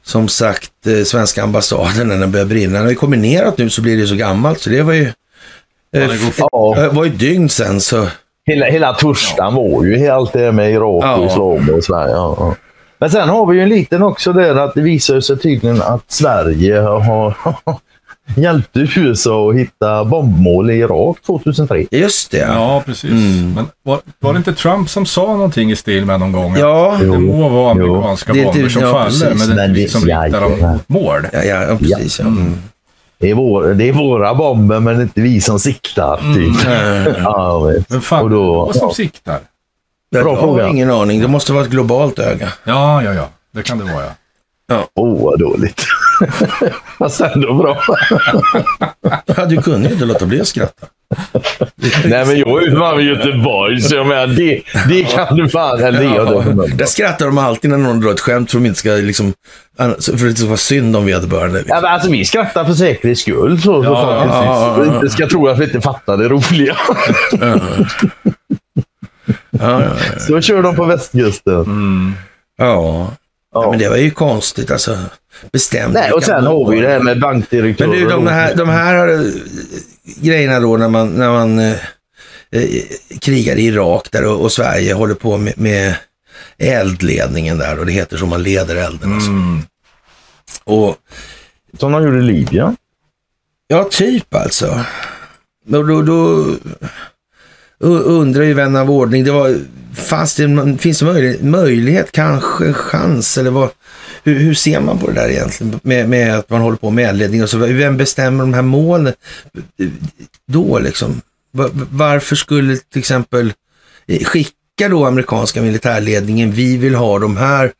C: som sagt eh, svenska ambassaden när den börjar brinna. När vi kommer neråt nu så blir det ju så gammalt så det var ju... Eh,
D: det går
C: f-
E: Ja.
C: eh, var ju ett dygn sen så...
E: Hela, hela torsdagen var ju allt det med Irak och
C: Ja.
E: islam och Sverige. Ja, ja. Men sen har vi ju en liten också där att det visar sig tydligen att Sverige har hjälpt USA att hitta bombmål i Irak 2003.
C: Just det. Ja.
D: Ja, precis.
E: Mm.
D: Men var, var det inte Trump som sa någonting i stil med någon gång? att
C: Ja,
D: Det må vara
E: Jo.
D: amerikanska
C: Det är
D: bomber
C: inte-
D: som
C: ja,
D: faller,
C: precis,
D: men det är
E: men
D: inte
E: det-
D: vi som riktar dem
E: jajamän.
D: mål.
C: ja, ja, ja precis. Ja. Mm.
E: Det är, vår, det är våra bomber, men det är inte vi som siktar.
C: Mm.
E: Typ. Ja, jag vet.
D: Vem fan
E: Och då-
D: vad som
E: ja.
D: siktar?
C: Jag
E: Bra
C: har
E: fråga.
C: ingen aning. Det måste vara ett globalt öga.
D: Ja, ja, ja. Det kan det vara, ja.
E: Åh, vad dåligt. Fast ändå bra.
C: Ja, du kunde ju inte låta bli att skratta.
E: Nej, men jag är ju fan från Göteborg, så jag menar, det, det kan du fan... Eller det gör du.
C: Där skrattar de alltid när någon drar ett skämt för att de inte ska liksom... annars- För att det ska vara synd om vederbörande. Liksom.
E: Ja, men alltså, vi skrattar för säkerhets skull. Så, så
D: Ja,
C: ja,
E: fan,
C: ja,
E: precis.
C: ja.
E: Inte ska tro att vi inte fattar det roliga.
C: Ja, ja, Mm,
E: så kör de på västkusten.
C: ja. ja, men det var ju konstigt alltså. Bestämt.
E: Nej, och sen har vi ju det här med
C: Men
E: bankdirektörer.
C: du, de här, de här eh, grejerna då när man, när man eh, eh, krigar i Irak där och, och Sverige håller på med, med eldledningen där och det heter så man leder elden. Alltså.
E: Mm.
C: Och
E: Som de gjorde i Libyen.
C: Ja, typ alltså. Då, då, då u- undrar ju vän av ordning, det var, fanns det, en- finns det möjlighet, möjlighet, kanske chans eller vad? Hur, hur ser man på det där egentligen med, med att man håller på med eldledning och så? Vem bestämmer de här målen då liksom? Va- Varför skulle till exempel eh, skicka då amerikanska militärledningen, vi vill ha de här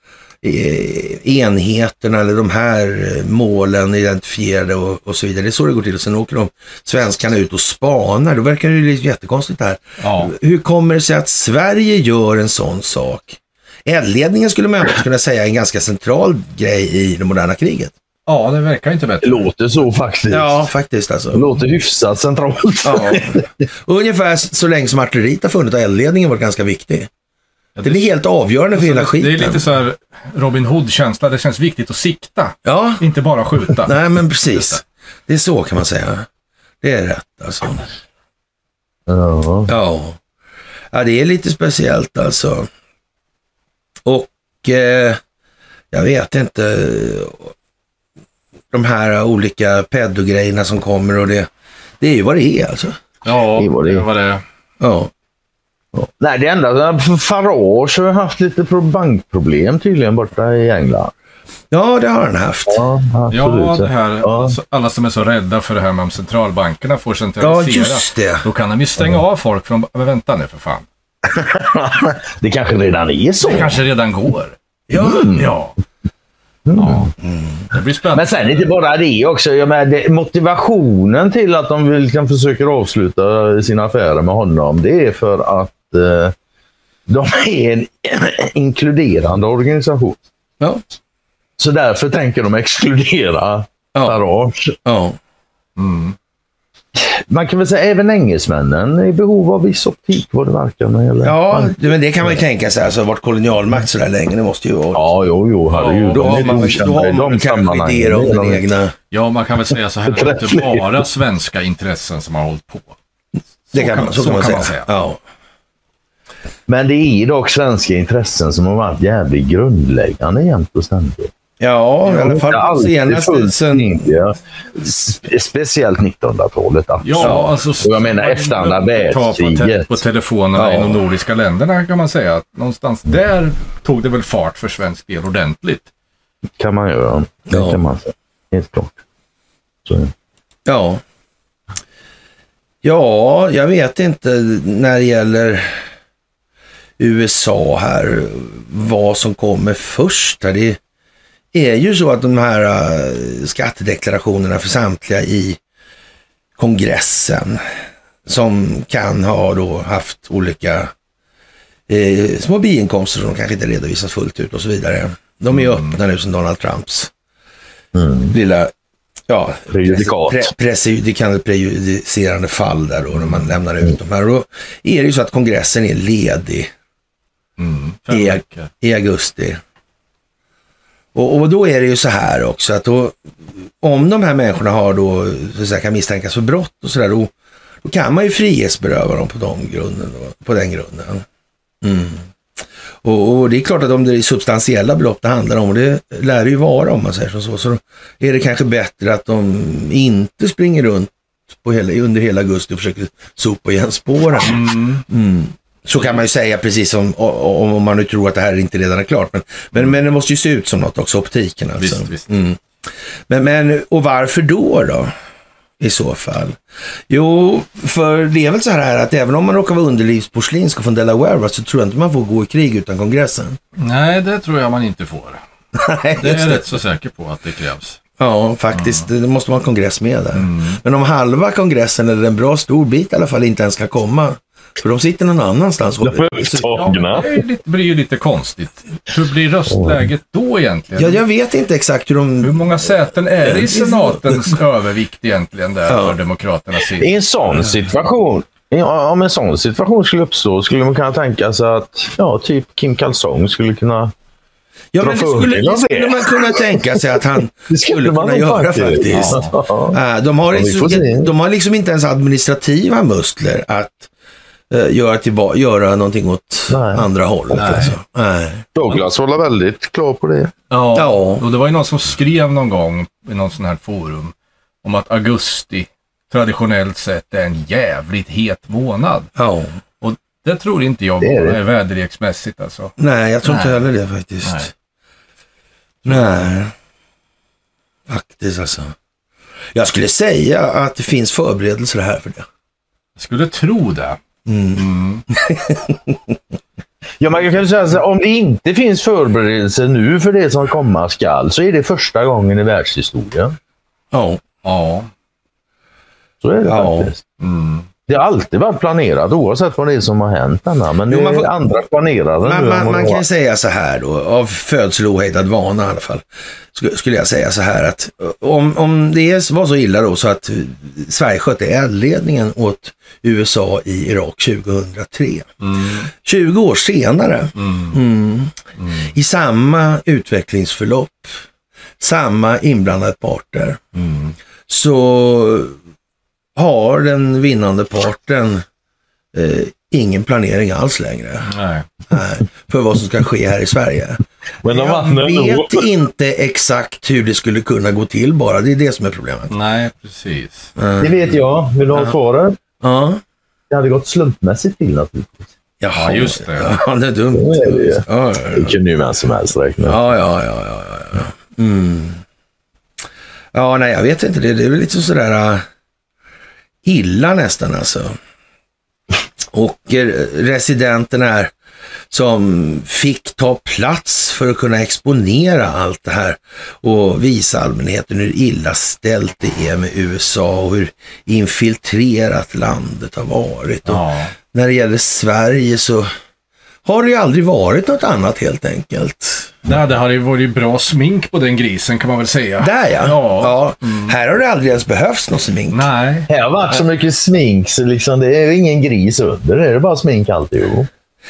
C: eh, enheterna eller de här eh, målen identifierade och, och så vidare. Det är så det går till. Och sen åker de svenskarna ut och spanar. Då verkar det ju lite jättekonstigt det här.
D: Ja.
C: Hur kommer det sig att Sverige gör en sån sak? Eldledningen skulle man annars kunna säga är en ganska central grej i det moderna kriget.
D: ja, det verkar inte
E: Det
D: bättre.
E: låter så faktiskt.
C: Ja, faktiskt
E: Det
C: alltså.
E: låter hyfsat centralt.
C: Ja. Ungefär så länge som artilleriet har funnits har eldledningen varit ganska viktig.
D: Ja,
C: Den är helt avgörande för hela
D: det,
C: skiten.
D: det är lite så här Robin Hood-känsla. Det känns viktigt att sikta,
C: Ja,
D: inte bara skjuta.
C: nej men precis. Det är så kan man säga. Det är rätt alltså.
E: Ja.
C: Ja. ja, det är lite speciellt alltså. Och eh, jag vet inte. De här olika pedogrejerna som kommer och det. Det är ju vad det är alltså.
D: Ja,
E: Det var det.
D: det var det.
C: Ja,
E: Nej, det enda... Farage har haft lite pro- bankproblem tydligen borta i England.
C: ja det har han haft.
E: Ja,
D: Ja,
E: absolut.
D: det här,
E: Ja.
D: alltså, alla som är så rädda för det här med om centralbankerna får
C: Ja,
D: centralisera.
C: just det.
D: Då kan de ju stänga av folk från... Men vänta nu för fan.
E: Det kanske redan är så.
D: Det kanske redan går.
C: Ja,
E: Mm.
D: Ja. ja. Det blir spännande.
E: Men sen inte bara det också. Jag menar, det, motivationen till att de vill, liksom, försöker avsluta sina affärer med honom, det är för att eh, de är en inkluderande organisation.
C: ja,
E: Så därför tänker de exkludera
C: Ja.
E: Farage.
C: ja.
E: Man kan väl säga även engelsmännen är i behov av viss optik vad det verkar. När det gäller
C: ja
E: bank.
C: det- men det kan man ju tänka sig. Alltså, varit kolonialmakt så där länge, det måste ju vara.
E: ja, jo, jo, herregud.
C: Då
E: De
C: har
E: är
C: man,
E: godkända
C: då har
E: i
C: man
E: de
C: kanske
E: sammanhangen.
C: idéer om
E: Det är de
C: den
E: inte.
C: egna...
D: Ja, man kan väl säga så här. Det är inte bara svenska intressen som har hållit på.
C: Det kan man, så kan man säga. Ja.
E: Men det är dock svenska intressen som har varit jävligt grundläggande jämt och ständigt.
C: Ja, i alla fall på
E: alltid
C: senaste
E: fullt
C: sen...
E: synliga. Spe- Speciellt 1900-talet. absolut.
D: Ja, alltså...
E: Och jag menar efter andra
D: Ta på, te-
E: världskriget.
D: på telefonerna
E: Ja.
D: i de nordiska länderna kan man säga att någonstans där tog det väl fart för svensk del ordentligt.
E: kan man göra. Det
C: Ja.
E: kan man säga. Helt klart. Så.
C: Ja. Ja, jag vet inte när det gäller USA här, vad som kommer först. här. Det är ju så att de här eh, skattedeklarationerna för samtliga i kongressen som kan ha då haft olika eh, små biinkomster som kanske inte redovisas fullt ut och så vidare. De är ju öppna nu som Donald Trumps lilla ja,
E: Prejudikat.
C: pre- prejudikande, prejudicerande fall där då när man lämnar ut de här. Och då är det ju så att kongressen är ledig
D: Fem
C: i,
D: veckor.
C: i augusti. Och, och då är det ju så här också att då, om de här människorna har då, så att säga, kan misstänkas för brott och sådär, då, då kan man ju frihetsberöva dem på, de grunden, då, på den grunden. Mm. Och, och det är klart att om det är substantiella belopp det handlar om, och det lär det ju vara om man säger som så, så är det kanske bättre att de inte springer runt på hela, under hela augusti och försöker sopa igen spåren. Mm. Så kan man ju säga precis som om, om man nu tror att det här inte redan är klart. Men, men, men det måste ju se ut som något också, optiken alltså.
D: Visst, visst.
C: Mm. Men, men, och varför då då? I så fall. Jo, för det är väl så här att även om man råkar vara underlivsporslinsk och från Delaware va, så tror jag inte man får gå i krig utan kongressen.
D: Nej, det tror jag man inte får.
C: Nej,
D: Det är
C: just
D: jag
C: det.
D: rätt så säker på att det krävs.
C: Ja, faktiskt. Det måste vara en kongress med där.
D: Mm.
C: Men om halva kongressen, eller en bra stor bit i alla fall, inte ens kan komma. För de sitter någon annanstans.
D: Ja, men
E: Upptagna.
D: det är ju lite- blir ju lite konstigt. Hur blir röstläget då egentligen?
C: Ja, jag vet inte exakt hur
D: Hur
C: de...
D: många säten är det i senatens övervikt egentligen där för demokraternas sida?
E: I en sån situation, i- om en sån situation skulle uppstå, skulle man kunna tänka sig att ja, typ Kim Kalsong skulle kunna...
C: Ja, men det
E: Dra
C: skulle,
E: fördel
C: det
E: av det.
C: skulle man kunna tänka sig att han skulle kunna göra faktiskt.
E: Ja.
C: Äh, De har,
E: Ja, vi får se.
C: liksom, de har liksom inte ens administrativa muskler att eh, göra, tillba- göra någonting åt
E: Nej.
C: andra hållet. Nej. Alltså. Nej.
E: Douglas var väldigt klar på det.
D: Ja.
C: Ja.
D: Och det var ju någon som skrev någon gång i någon sån här forum om att augusti traditionellt sett är en jävligt het månad.
C: Ja.
D: Och det tror inte jag
E: Det är det.
D: bara är väderleksmässigt alltså.
C: Nej, jag tror inte
D: Nej.
C: heller det faktiskt.
D: Nej.
C: Nej. Faktiskt alltså. Jag skulle säga att det finns förberedelser här för det.
D: Jag skulle tro det.
E: Ja, men jag kan ju säga så här, om det inte finns förberedelser nu för det som komma skall så är det första gången i världshistorien.
C: Ja.
D: Ja.
E: Så är det
C: Ja.
E: faktiskt.
D: Mm.
E: Det har alltid varit planerat oavsett vad det är som har hänt. Anna. Men
C: Jo,
E: det
C: man får-
E: är andra planerade
C: Man,
E: nu. än
C: man,
E: vad
C: man
E: det
C: kan
E: var.
C: ju säga så här då, av födsel och ohejdad vana i alla fall, sk- skulle jag säga så här att eh, om, om det är- var så illa då så att eh, Sverige skötte eldledningen åt USA i Irak 2003. 20 år senare, mm, i samma utvecklingsförlopp, samma inblandade parter, Mm. så har den vinnande parten eh, ingen planering alls längre
D: Nej.
C: här för vad som ska ske här i Sverige.
E: Men de vann
C: Jag
E: ändå.
C: vet inte exakt hur det skulle kunna gå till bara. Det är det som är problemet.
D: Nej, precis.
E: Det vet jag. Vill du ha svaret?
C: Ja,
E: Det hade gått slumpmässigt till naturligtvis.
C: Jaha.
D: Ja, just det.
C: Ja, det är dumt.
E: Så är det ju.
C: Ja,
E: Det kunde ju vem som helst räkna ut.
C: ja, ja. ja, ja, ja, ja. Mm. ja nej, jag vet inte. Det, det är väl lite sådär äh, illa nästan alltså. Och eh, residenten här som fick ta plats för att kunna exponera allt det här och visa allmänheten hur illa ställt det är med USA och hur infiltrerat landet har varit. Och
D: Ja.
C: när det gäller Sverige så har det ju aldrig varit något annat helt enkelt.
D: Nej, det hade ju varit bra smink på den grisen kan man väl säga.
C: Där ja.
D: Ja.
C: ja.
D: Mm.
C: Här har det aldrig ens behövts något smink.
D: Nej.
E: Det har varit så mycket smink så liksom, det är ju ingen gris under. Det är bara smink alltihop.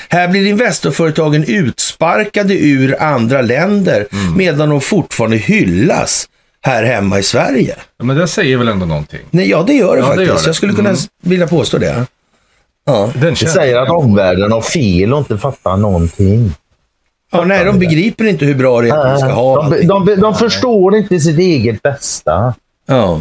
C: Här blir investerföretagen utsparkade ur andra länder
D: Mm.
C: medan de fortfarande hyllas här hemma i Sverige.
D: Ja, Men det säger väl ändå någonting.
C: Nej, ja, det gör det
D: Ja, det
C: faktiskt.
D: gör det. Mm.
C: Jag skulle kunna s- vilja påstå det. Ja.
D: Den
E: Det
D: känns-
E: säger att omvärlden har fel och inte fattar någonting.
C: ja, nej, de begriper inte hur bra det är att vi ska ha
E: De,
C: allting.
E: de, de, de förstår inte sitt eget bästa.
C: Ja.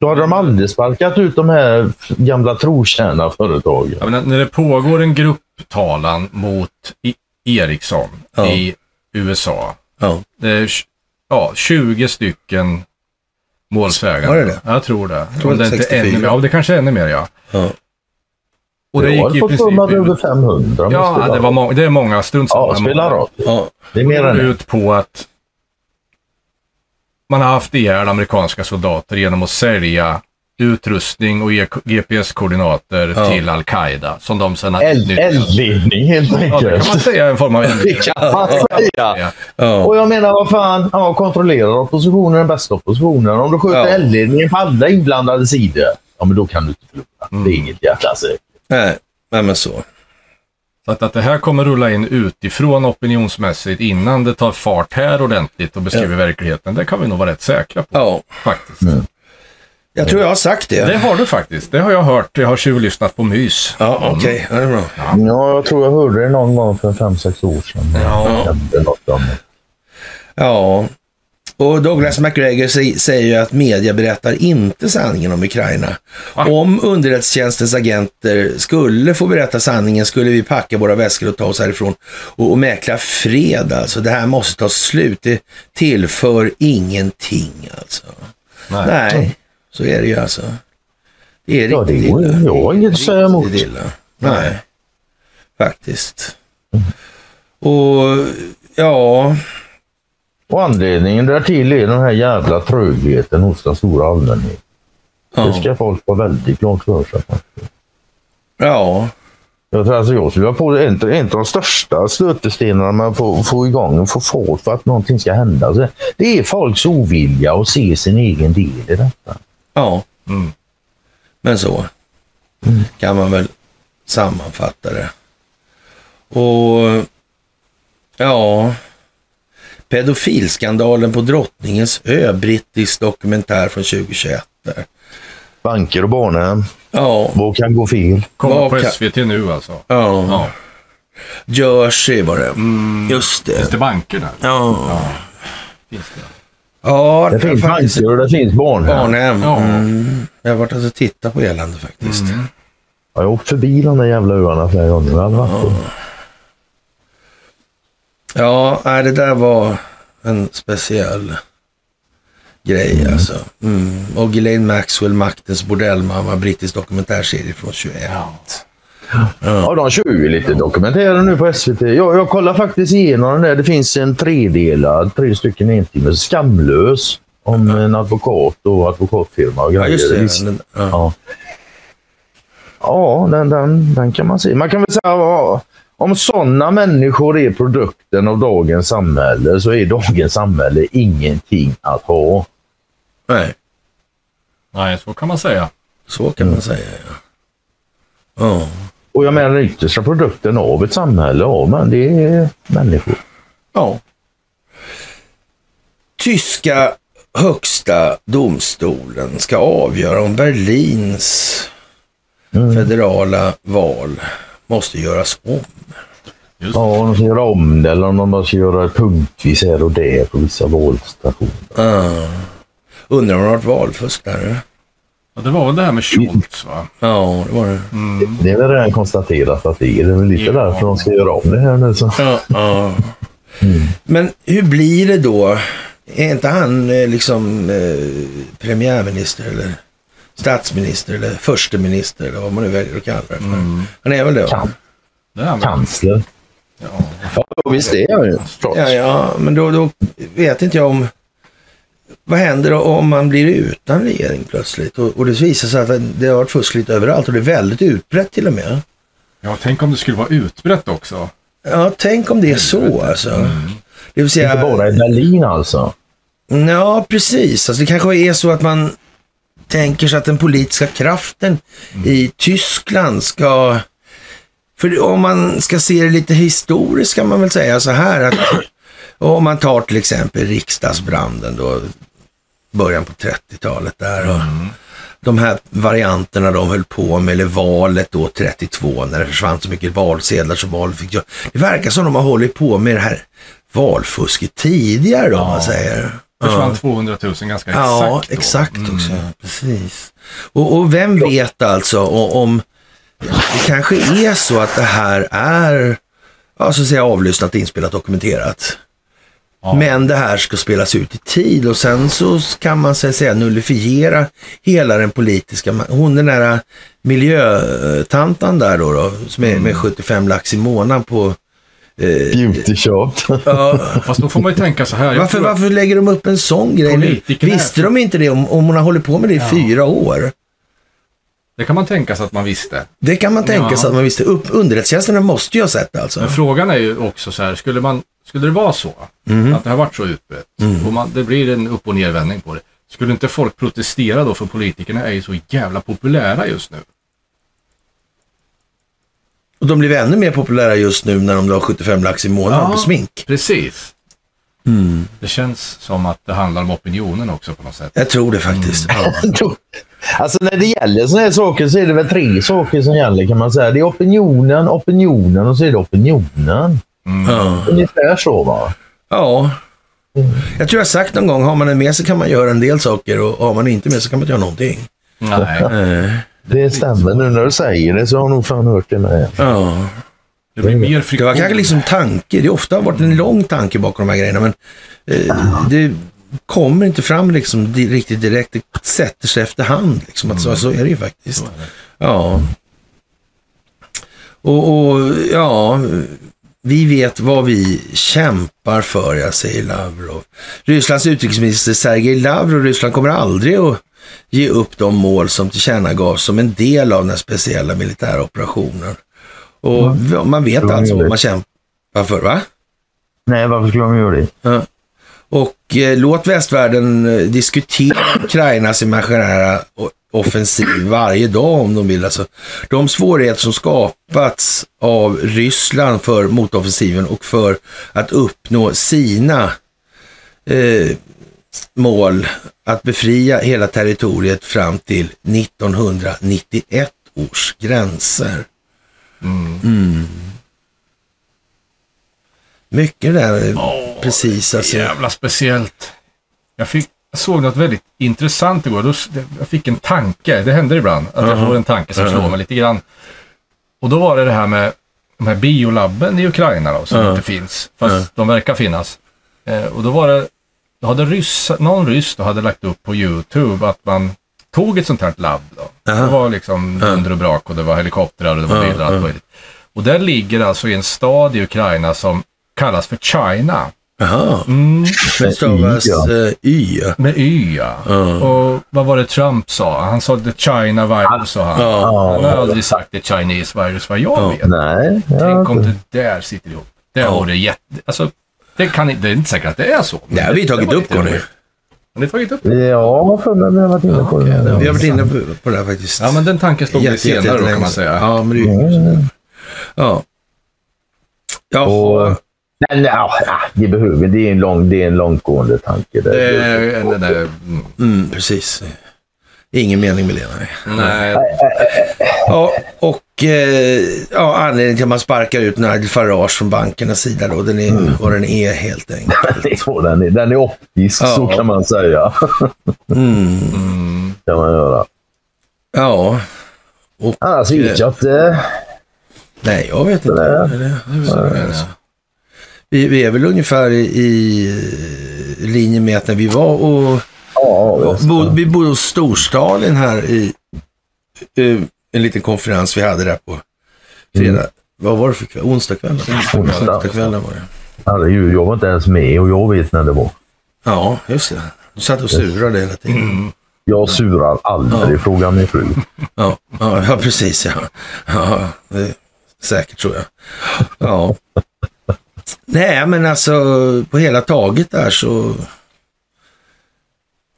E: Då hade de aldrig sparkat ut de här gamla trotjäna företagen.
D: Ja, men när det pågår en grupptalan mot I- Ericsson
C: Ja.
D: i USA.
C: Ja.
D: Det är tj- ja, 20 stycken målsägande.
C: Var det det?
D: Ja, Jag tror det.
C: tror
D: Om
C: det
D: det inte är
C: 64.
D: ännu mer. Ja, det kanske är ännu mer ja.
C: Ja.
D: Och det
E: Jag
D: gick
E: har
D: ju i
E: fått
D: princip...
E: för mig att det är
D: ut-
E: över 500. men
D: Ja,
E: spelar
D: det, var
E: roll.
D: må- det är många. Strunt
E: Ja,
D: samma.
E: spelar roll.
C: Ja.
E: Det är mer
D: går
E: än
C: Mm.
E: det.
D: ut på att man har haft ihjäl amerikanska soldater genom att sälja utrustning och ge GPS-koordinater
C: Ja.
D: till Al-Qaida som de sedan har
E: Eld- Eldledning helt
D: Ja, det kan man
E: enkelt.
D: säga är en form av
E: Det
D: eldning.
E: kan man säga.
D: Ja.
C: Ja.
E: Och jag menar, vad fan, ja, kontrollerar oppositionen den bästa oppositionen? Om du skjuter
C: Ja.
E: eldledningen på alla inblandade
D: Mm.
E: sidor, ja men då kan du inte förlora. Det är inget jäkla säkert.
C: Nej. nej, men så.
D: Så att, att det här kommer rulla in utifrån opinionsmässigt innan det tar fart här ordentligt och beskriver verkligheten. Det kan vi nog vara rätt säkra på
C: Ja, Mm.
D: faktiskt.
C: jag tror jag har sagt det.
D: Det har du faktiskt. Det har jag hört. Jag har tjuvlyssnat på mys.
C: Ja, okej. Ja, det är bra.
E: Ja, jag tror jag hörde det någon gång för fem sex år sedan.
C: Ja.
E: Det är något om det.
C: Ja. Och Douglas McGregor sä- säger ju att media berättar inte sanningen om Ukraina. Om underrättelsetjänstens agenter skulle få berätta sanningen skulle vi packa våra väskor och ta oss härifrån och, och mäkla fred alltså. Det här måste ta slut. Det tillför ingenting alltså. Nej, så är det ju alltså. Det är
E: Ja, det
C: riktigt
E: går-
C: illa.
E: jag har inget att säga emot.
C: Riktigt illa. Nej, faktiskt.
E: Mm.
C: Och ja,
E: Och anledningen därtill är den här jävla trögheten hos den stora allmänheten. Det
C: ja,
E: ska folk vara väldigt klart för sig.
C: ja.
E: Jag tror alltså jag skulle vilja på en, en av de största stötestenarna man får få igång och få fart för att någonting ska hända. Alltså, Det är folks ovilja att se sin egen del i detta.
C: Ja.
D: Mm.
C: Men så kan man väl sammanfatta det. Och ja, pedofilskandalen på Drottningens ö, brittisk dokumentär från 2021. Där.
E: Banker och barnhem.
C: Ja,
E: Vad kan gå fel?
D: Kommer
C: Vad
D: på
C: kan-
D: SVT nu alltså.
C: ja.
D: Ja.
C: Jersey var det. Mm. Just det.
D: Finns det banker där?
C: Ja,
D: Finns det?
C: ja
E: Det finns
C: faktiskt
E: banker och det finns barnhem.
C: barnhem.
D: Ja.
C: Mm. Jag har varit och tittat på elände faktiskt.
E: Ja, Jag har åkt förbi de där jävla öarna flera gånger. Jag har aldrig varit där.
C: Ja, nej, det där var en speciell grej alltså. Mm. Och Ghislaine Maxwell, Maktens bordellmamma, brittisk dokumentärserie från 21.
E: Ja, de kör ju lite dokumentärer nu på SVT. Jag, jag kollar faktiskt igenom den där. Det finns en tredelad, tre stycken entimmes. Skamlös. Om en advokat och advokatfirma och
C: Ja,
E: grejer.
C: just
E: Visst.
C: det. Den, ja.
E: Ja, ja den, den, den kan man se. Man kan väl säga ja, om sådana människor är produkten av dagens samhälle så är dagens samhälle ingenting att ha.
C: Nej,
D: Nej, så kan man säga.
C: så kan man säga. Ja. Ja.
E: Och jag menar den yttersta produkten av ett samhälle, ja, men det är människor.
C: ja. Tyska högsta domstolen ska avgöra om Berlins Mm. federala val måste göras om.
D: Just.
E: Ja, om de ska göra om det eller om de bara ska göra det punktvis här och där på vissa valstationer.
C: Ja. Undrar om det har varit valfusk där? eller?
D: Ja, det var väl det här med Schultz va?
C: Ja, det var det.
E: Det är väl redan konstaterat att det är det. är väl lite
D: Ja.
E: därför de ska göra om det här nu. Så.
C: Ja, ja. Men hur blir det då? Är inte han eh, liksom eh, premiärminister eller statsminister eller försteminister eller vad man nu väljer att kalla det för?
E: Mm.
C: Han är väl det? va?
E: Kan-
D: Det här med...
E: Kansler.
D: Ja.
E: Ja, visst är jag ju.
C: Ja, ja, men då, då vet inte jag om... Vad händer om man blir utan regering plötsligt? Och, och det visar sig att det har varit fusk lite överallt och det är väldigt utbrett till och med.
D: ja, tänk om det skulle vara utbrett också.
C: Ja, tänk om det är så alltså. Det vill säga...
E: Mm. Inte bara i Berlin alltså.
C: Ja, precis. Alltså, det kanske är så att man tänker sig att den politiska kraften i Tyskland ska... För om man ska se det lite historiskt kan man väl säga så här att om man tar till exempel riksdagsbranden då, början på 30-talet där. Och De här varianterna de höll på med, eller valet då 32 när det försvann så mycket valsedlar så valet fick jag. Det verkar som de har hållit på med det här valfusket tidigare då, om man säger.
D: Försvann 200 000 ganska exakt.
C: Ja,
D: då. Mm.
C: exakt också. Precis. Och, och vem vet alltså o- om det kanske är så att det här är ja, så att säga avlyssnat, inspelat, dokumenterat. Men det här ska spelas ut i tid och sen så kan man så att säga nullifiera hela den politiska, ma- hon den där miljötantan där då, då som
D: Mm.
C: är med 75 lax i månaden på,
E: Beauty shop.
C: ja,
D: Fast då får man ju tänka så här. Jag
C: Varför,
D: tror att-
C: varför lägger de upp en sån grej nu?
D: Politikerna-
C: Visste de inte det om, om hon har hållit på med det i fyra år?
D: Det kan man tänka sig att man visste.
C: Det kan man tänka
D: Ja.
C: sig att man visste. Upp, underrättelsetjänsterna måste ju ha sett alltså.
D: Men frågan är ju också så här, skulle, man, skulle det vara så?
C: Mm.
D: Att det har varit så utbrett? Och man, det blir en upp och nervändning på det. Skulle inte folk protestera då? För politikerna är ju så jävla populära just nu.
C: Och de blev ännu mer populära just nu när de la 75 lax i månaden
D: Ja.
C: på smink.
D: Precis.
C: Mm.
D: Det känns som att det handlar om opinionen också på något sätt.
C: Jag tror det faktiskt. Ja.
E: Alltså när det gäller sådana här saker så är det väl tre saker som gäller kan man säga. Det är opinionen, opinionen och så är det opinionen.
C: Ja.
E: Ungefär så va?
C: ja. Jag tror jag har sagt någon gång, har man den med sig kan man göra en del saker och har man inte med sig kan man inte göra någonting.
D: Nej,
E: Det stämmer nu när du säger det så har jag nog fan hört det med.
C: Ja.
D: det blir mer
C: Det
D: friktion.
C: var kanske liksom tanke. Det har ofta varit en lång tanke bakom de här grejerna, men eh, det kommer inte fram liksom di- riktigt direkt. Det sätter sig efterhand. Liksom. Att så, så är det ju faktiskt. Ja. Och, och ja, vi vet vad vi kämpar för, jag säger Lavrov. Rysslands utrikesminister Sergej Lavrov, Ryssland kommer aldrig att ge upp de mål som tillkännagavs som en del av den här speciella militära operationen. Och v- man vet
E: Tror
C: alltså
E: jag
C: vad
E: det.
C: man kämpar för, va?
E: Nej, varför skulle de göra det?
C: Ja. Och eh, låt västvärlden eh, diskutera Ukrainas imaginära eh, o- offensiv varje dag om de vill. Alltså, de svårigheter som skapats av Ryssland för motoffensiven och för att uppnå sina eh, mål att befria hela territoriet fram till 1991 års gränser. Mm. Mycket där, precis alltså.
D: Jävla speciellt. Jag, fick, jag såg något väldigt intressant igår. Då, s- jag fick en tanke. Det händer ibland att jag får en tanke som slår mig lite grann. Och då var det det här med de här biolabben i Ukraina då, som inte finns. Fast de verkar finnas. Eh, och då var det, då hade ryss, någon ryss då hade lagt upp på YouTube att man tog ett sånt här labb då. Det var liksom dunder och brak och det var helikoptrar och det var bilar och allt möjligt. Och där ligger alltså i en stad i Ukraina som kallas för China.
C: Jaha.
D: Mm.
C: Det stavas
E: Ja.
C: eh, Y.
D: Med Y ja. Och vad var det Trump sa? Han sa the China virus sa han. Han har aldrig sagt the Chinese virus vad jag vet.
E: Nej.
D: Tänk om det där sitter ihop. Det vore jätte... Alltså, det, kan, inte- det är inte säkert att det är så. men
C: Det har vi
D: det-
C: tagit
D: det var
C: upp,
D: lite
C: Conny.
D: roligt. Har ni tagit upp det?
E: Ja, för mig har varit inne på det.
C: Vi har varit inne på, på det här faktiskt.
D: Ja, men den tanken slog mig
C: Jätte- jätte-
D: senare då, kan
C: länge
D: man
C: sedan.
D: säga.
C: Ja, men det är ju... Mm. Ja. Ja,
E: Och, nej, nej, ah, det behöver det är en lång, det är en långtgående tanke. Där.
D: Det är en- den där... mm,
C: mm, precis. Ingen mening med det. Nej.
D: Nej,
C: Ja, och eh, ja, anledningen till att man sparkar ut Nigel Farage från bankernas sida då, den är vad den är helt enkelt.
E: Det är så den är. Den är optisk,
C: Ja.
E: så kan man säga. kan man göra.
C: Ja, och
E: Annars vet jag inte.
C: nej, jag vet inte. Eller, hur ska jag säga? Vi, vi är väl ungefär i, i linje med att när vi var och
E: Ja, visst.
C: Bo, vi bodde hos Storstalin här i eh, en liten konferens vi hade där på fredag. Vad var det för kväll? Onsdagskvällen?
E: Onsdag.
C: Onsdagskvällen var det.
E: Herregud, jag var inte ens med och jag vet när det var.
C: Ja, just det. Du satt och surade hela tiden.
E: Jag surar aldrig, fråga min fru.
C: Ja, ja, ja, precis ja. ja det är säkert tror jag. Ja. Nej, men alltså på hela taget där så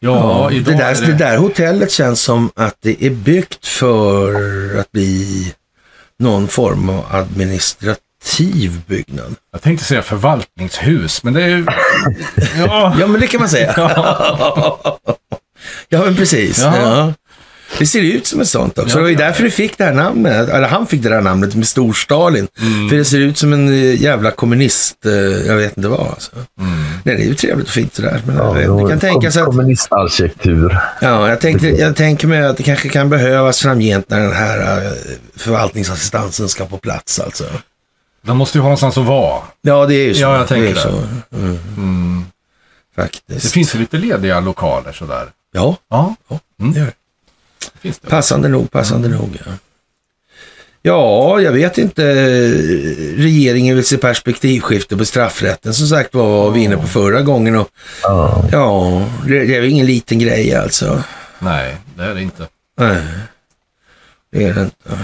D: ja,
C: det,
D: idag
C: där,
D: är
C: det... där hotellet känns som att det är byggt för att bli någon form av administrativ byggnad.
D: Jag tänkte säga förvaltningshus, men det är ju... Ja,
C: Ja, men det kan man säga. ja, men precis.
D: Ja.
C: Ja. Det ser ut som ett sånt också.
D: Ja,
C: det var ju därför du fick det här namnet, eller han fick det här namnet med Storstalin.
D: Mm.
C: För det ser ut som en eh, jävla kommunist, eh, jag vet inte vad. Alltså.
D: Mm.
C: Nej, det är ju trevligt och fint sådär. Men jag vet, det kan tänka sig att
E: Kommunistarkitektur.
C: Ja, jag, tänkte, jag tänker mig att det kanske kan behövas framgent när den här eh, förvaltningsassistansen ska på plats alltså.
D: de måste ju ha någonstans att vara.
C: Ja, det är ju så.
D: Ja, jag tänker
C: det. Är ju
D: det.
C: så. Mm.
D: Det
C: Faktiskt.
D: finns ju lite lediga lokaler sådär.
C: Ja,
D: Ja,
C: det gör det.
D: finns det.
C: Passande nog, passande nog. Ja. ja, jag vet inte. Regeringen vill se perspektivskifte på straffrätten. Som sagt var, var vi inne på förra gången. Och,
E: Ja.
C: ja, det, det är väl ingen liten grej alltså.
D: Nej, det är det inte.
C: Nej, det är det inte.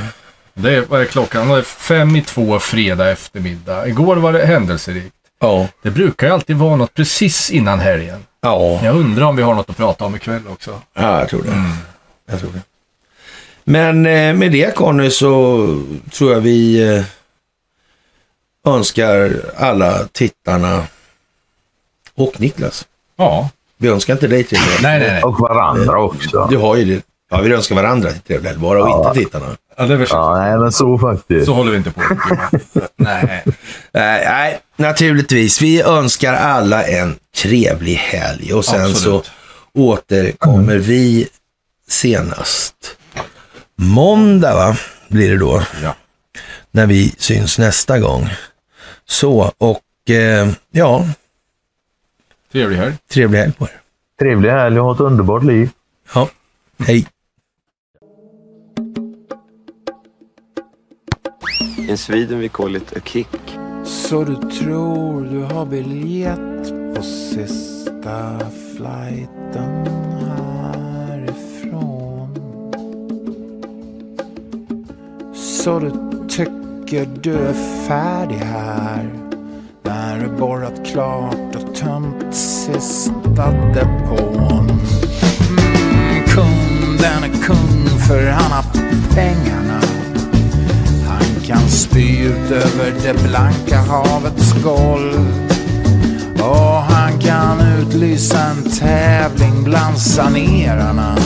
D: Det är, vad är klockan? Det är fem i två fredag eftermiddag. Igår var det händelserikt.
C: Ja,
D: Det brukar ju alltid vara något precis innan helgen.
C: ja.
D: Jag undrar om vi har något att prata om ikväll också.
C: Ja, jag tror det. Jag tror det. Men eh, med det Conny så tror jag vi eh, önskar alla tittarna och Niklas.
D: Ja.
C: Vi önskar inte dig trevlig helg.
D: Nej, nej, nej.
E: Och varandra också.
C: Du har ju det. Ja, vi önskar varandra trevlig helg bara och inte tittarna.
D: Ja, det är väl så.
E: Ja, nej, men så faktiskt.
D: Så håller vi inte på. nej.
C: Nej, nej, naturligtvis. Vi önskar alla en trevlig helg och sen
D: Absolut.
C: så återkommer vi senast måndag, va? Blir det då.
D: Ja.
C: När vi syns nästa gång. Så, och eh, ja,
D: Trevlig helg.
C: trevlig helg på er.
E: Trevlig helg och ha ett underbart liv.
C: Ja, hej.
A: In Sweden we call it a kick.
B: Så du tror du har biljett på sista flighten härifrån Så du tycker du är färdig här När du borrat klart och tömt sista depån mm, Kung, den är kung för han har pengarna han kan spy ut över det blanka havets golv. Och han kan utlysa en tävling bland sanerarna.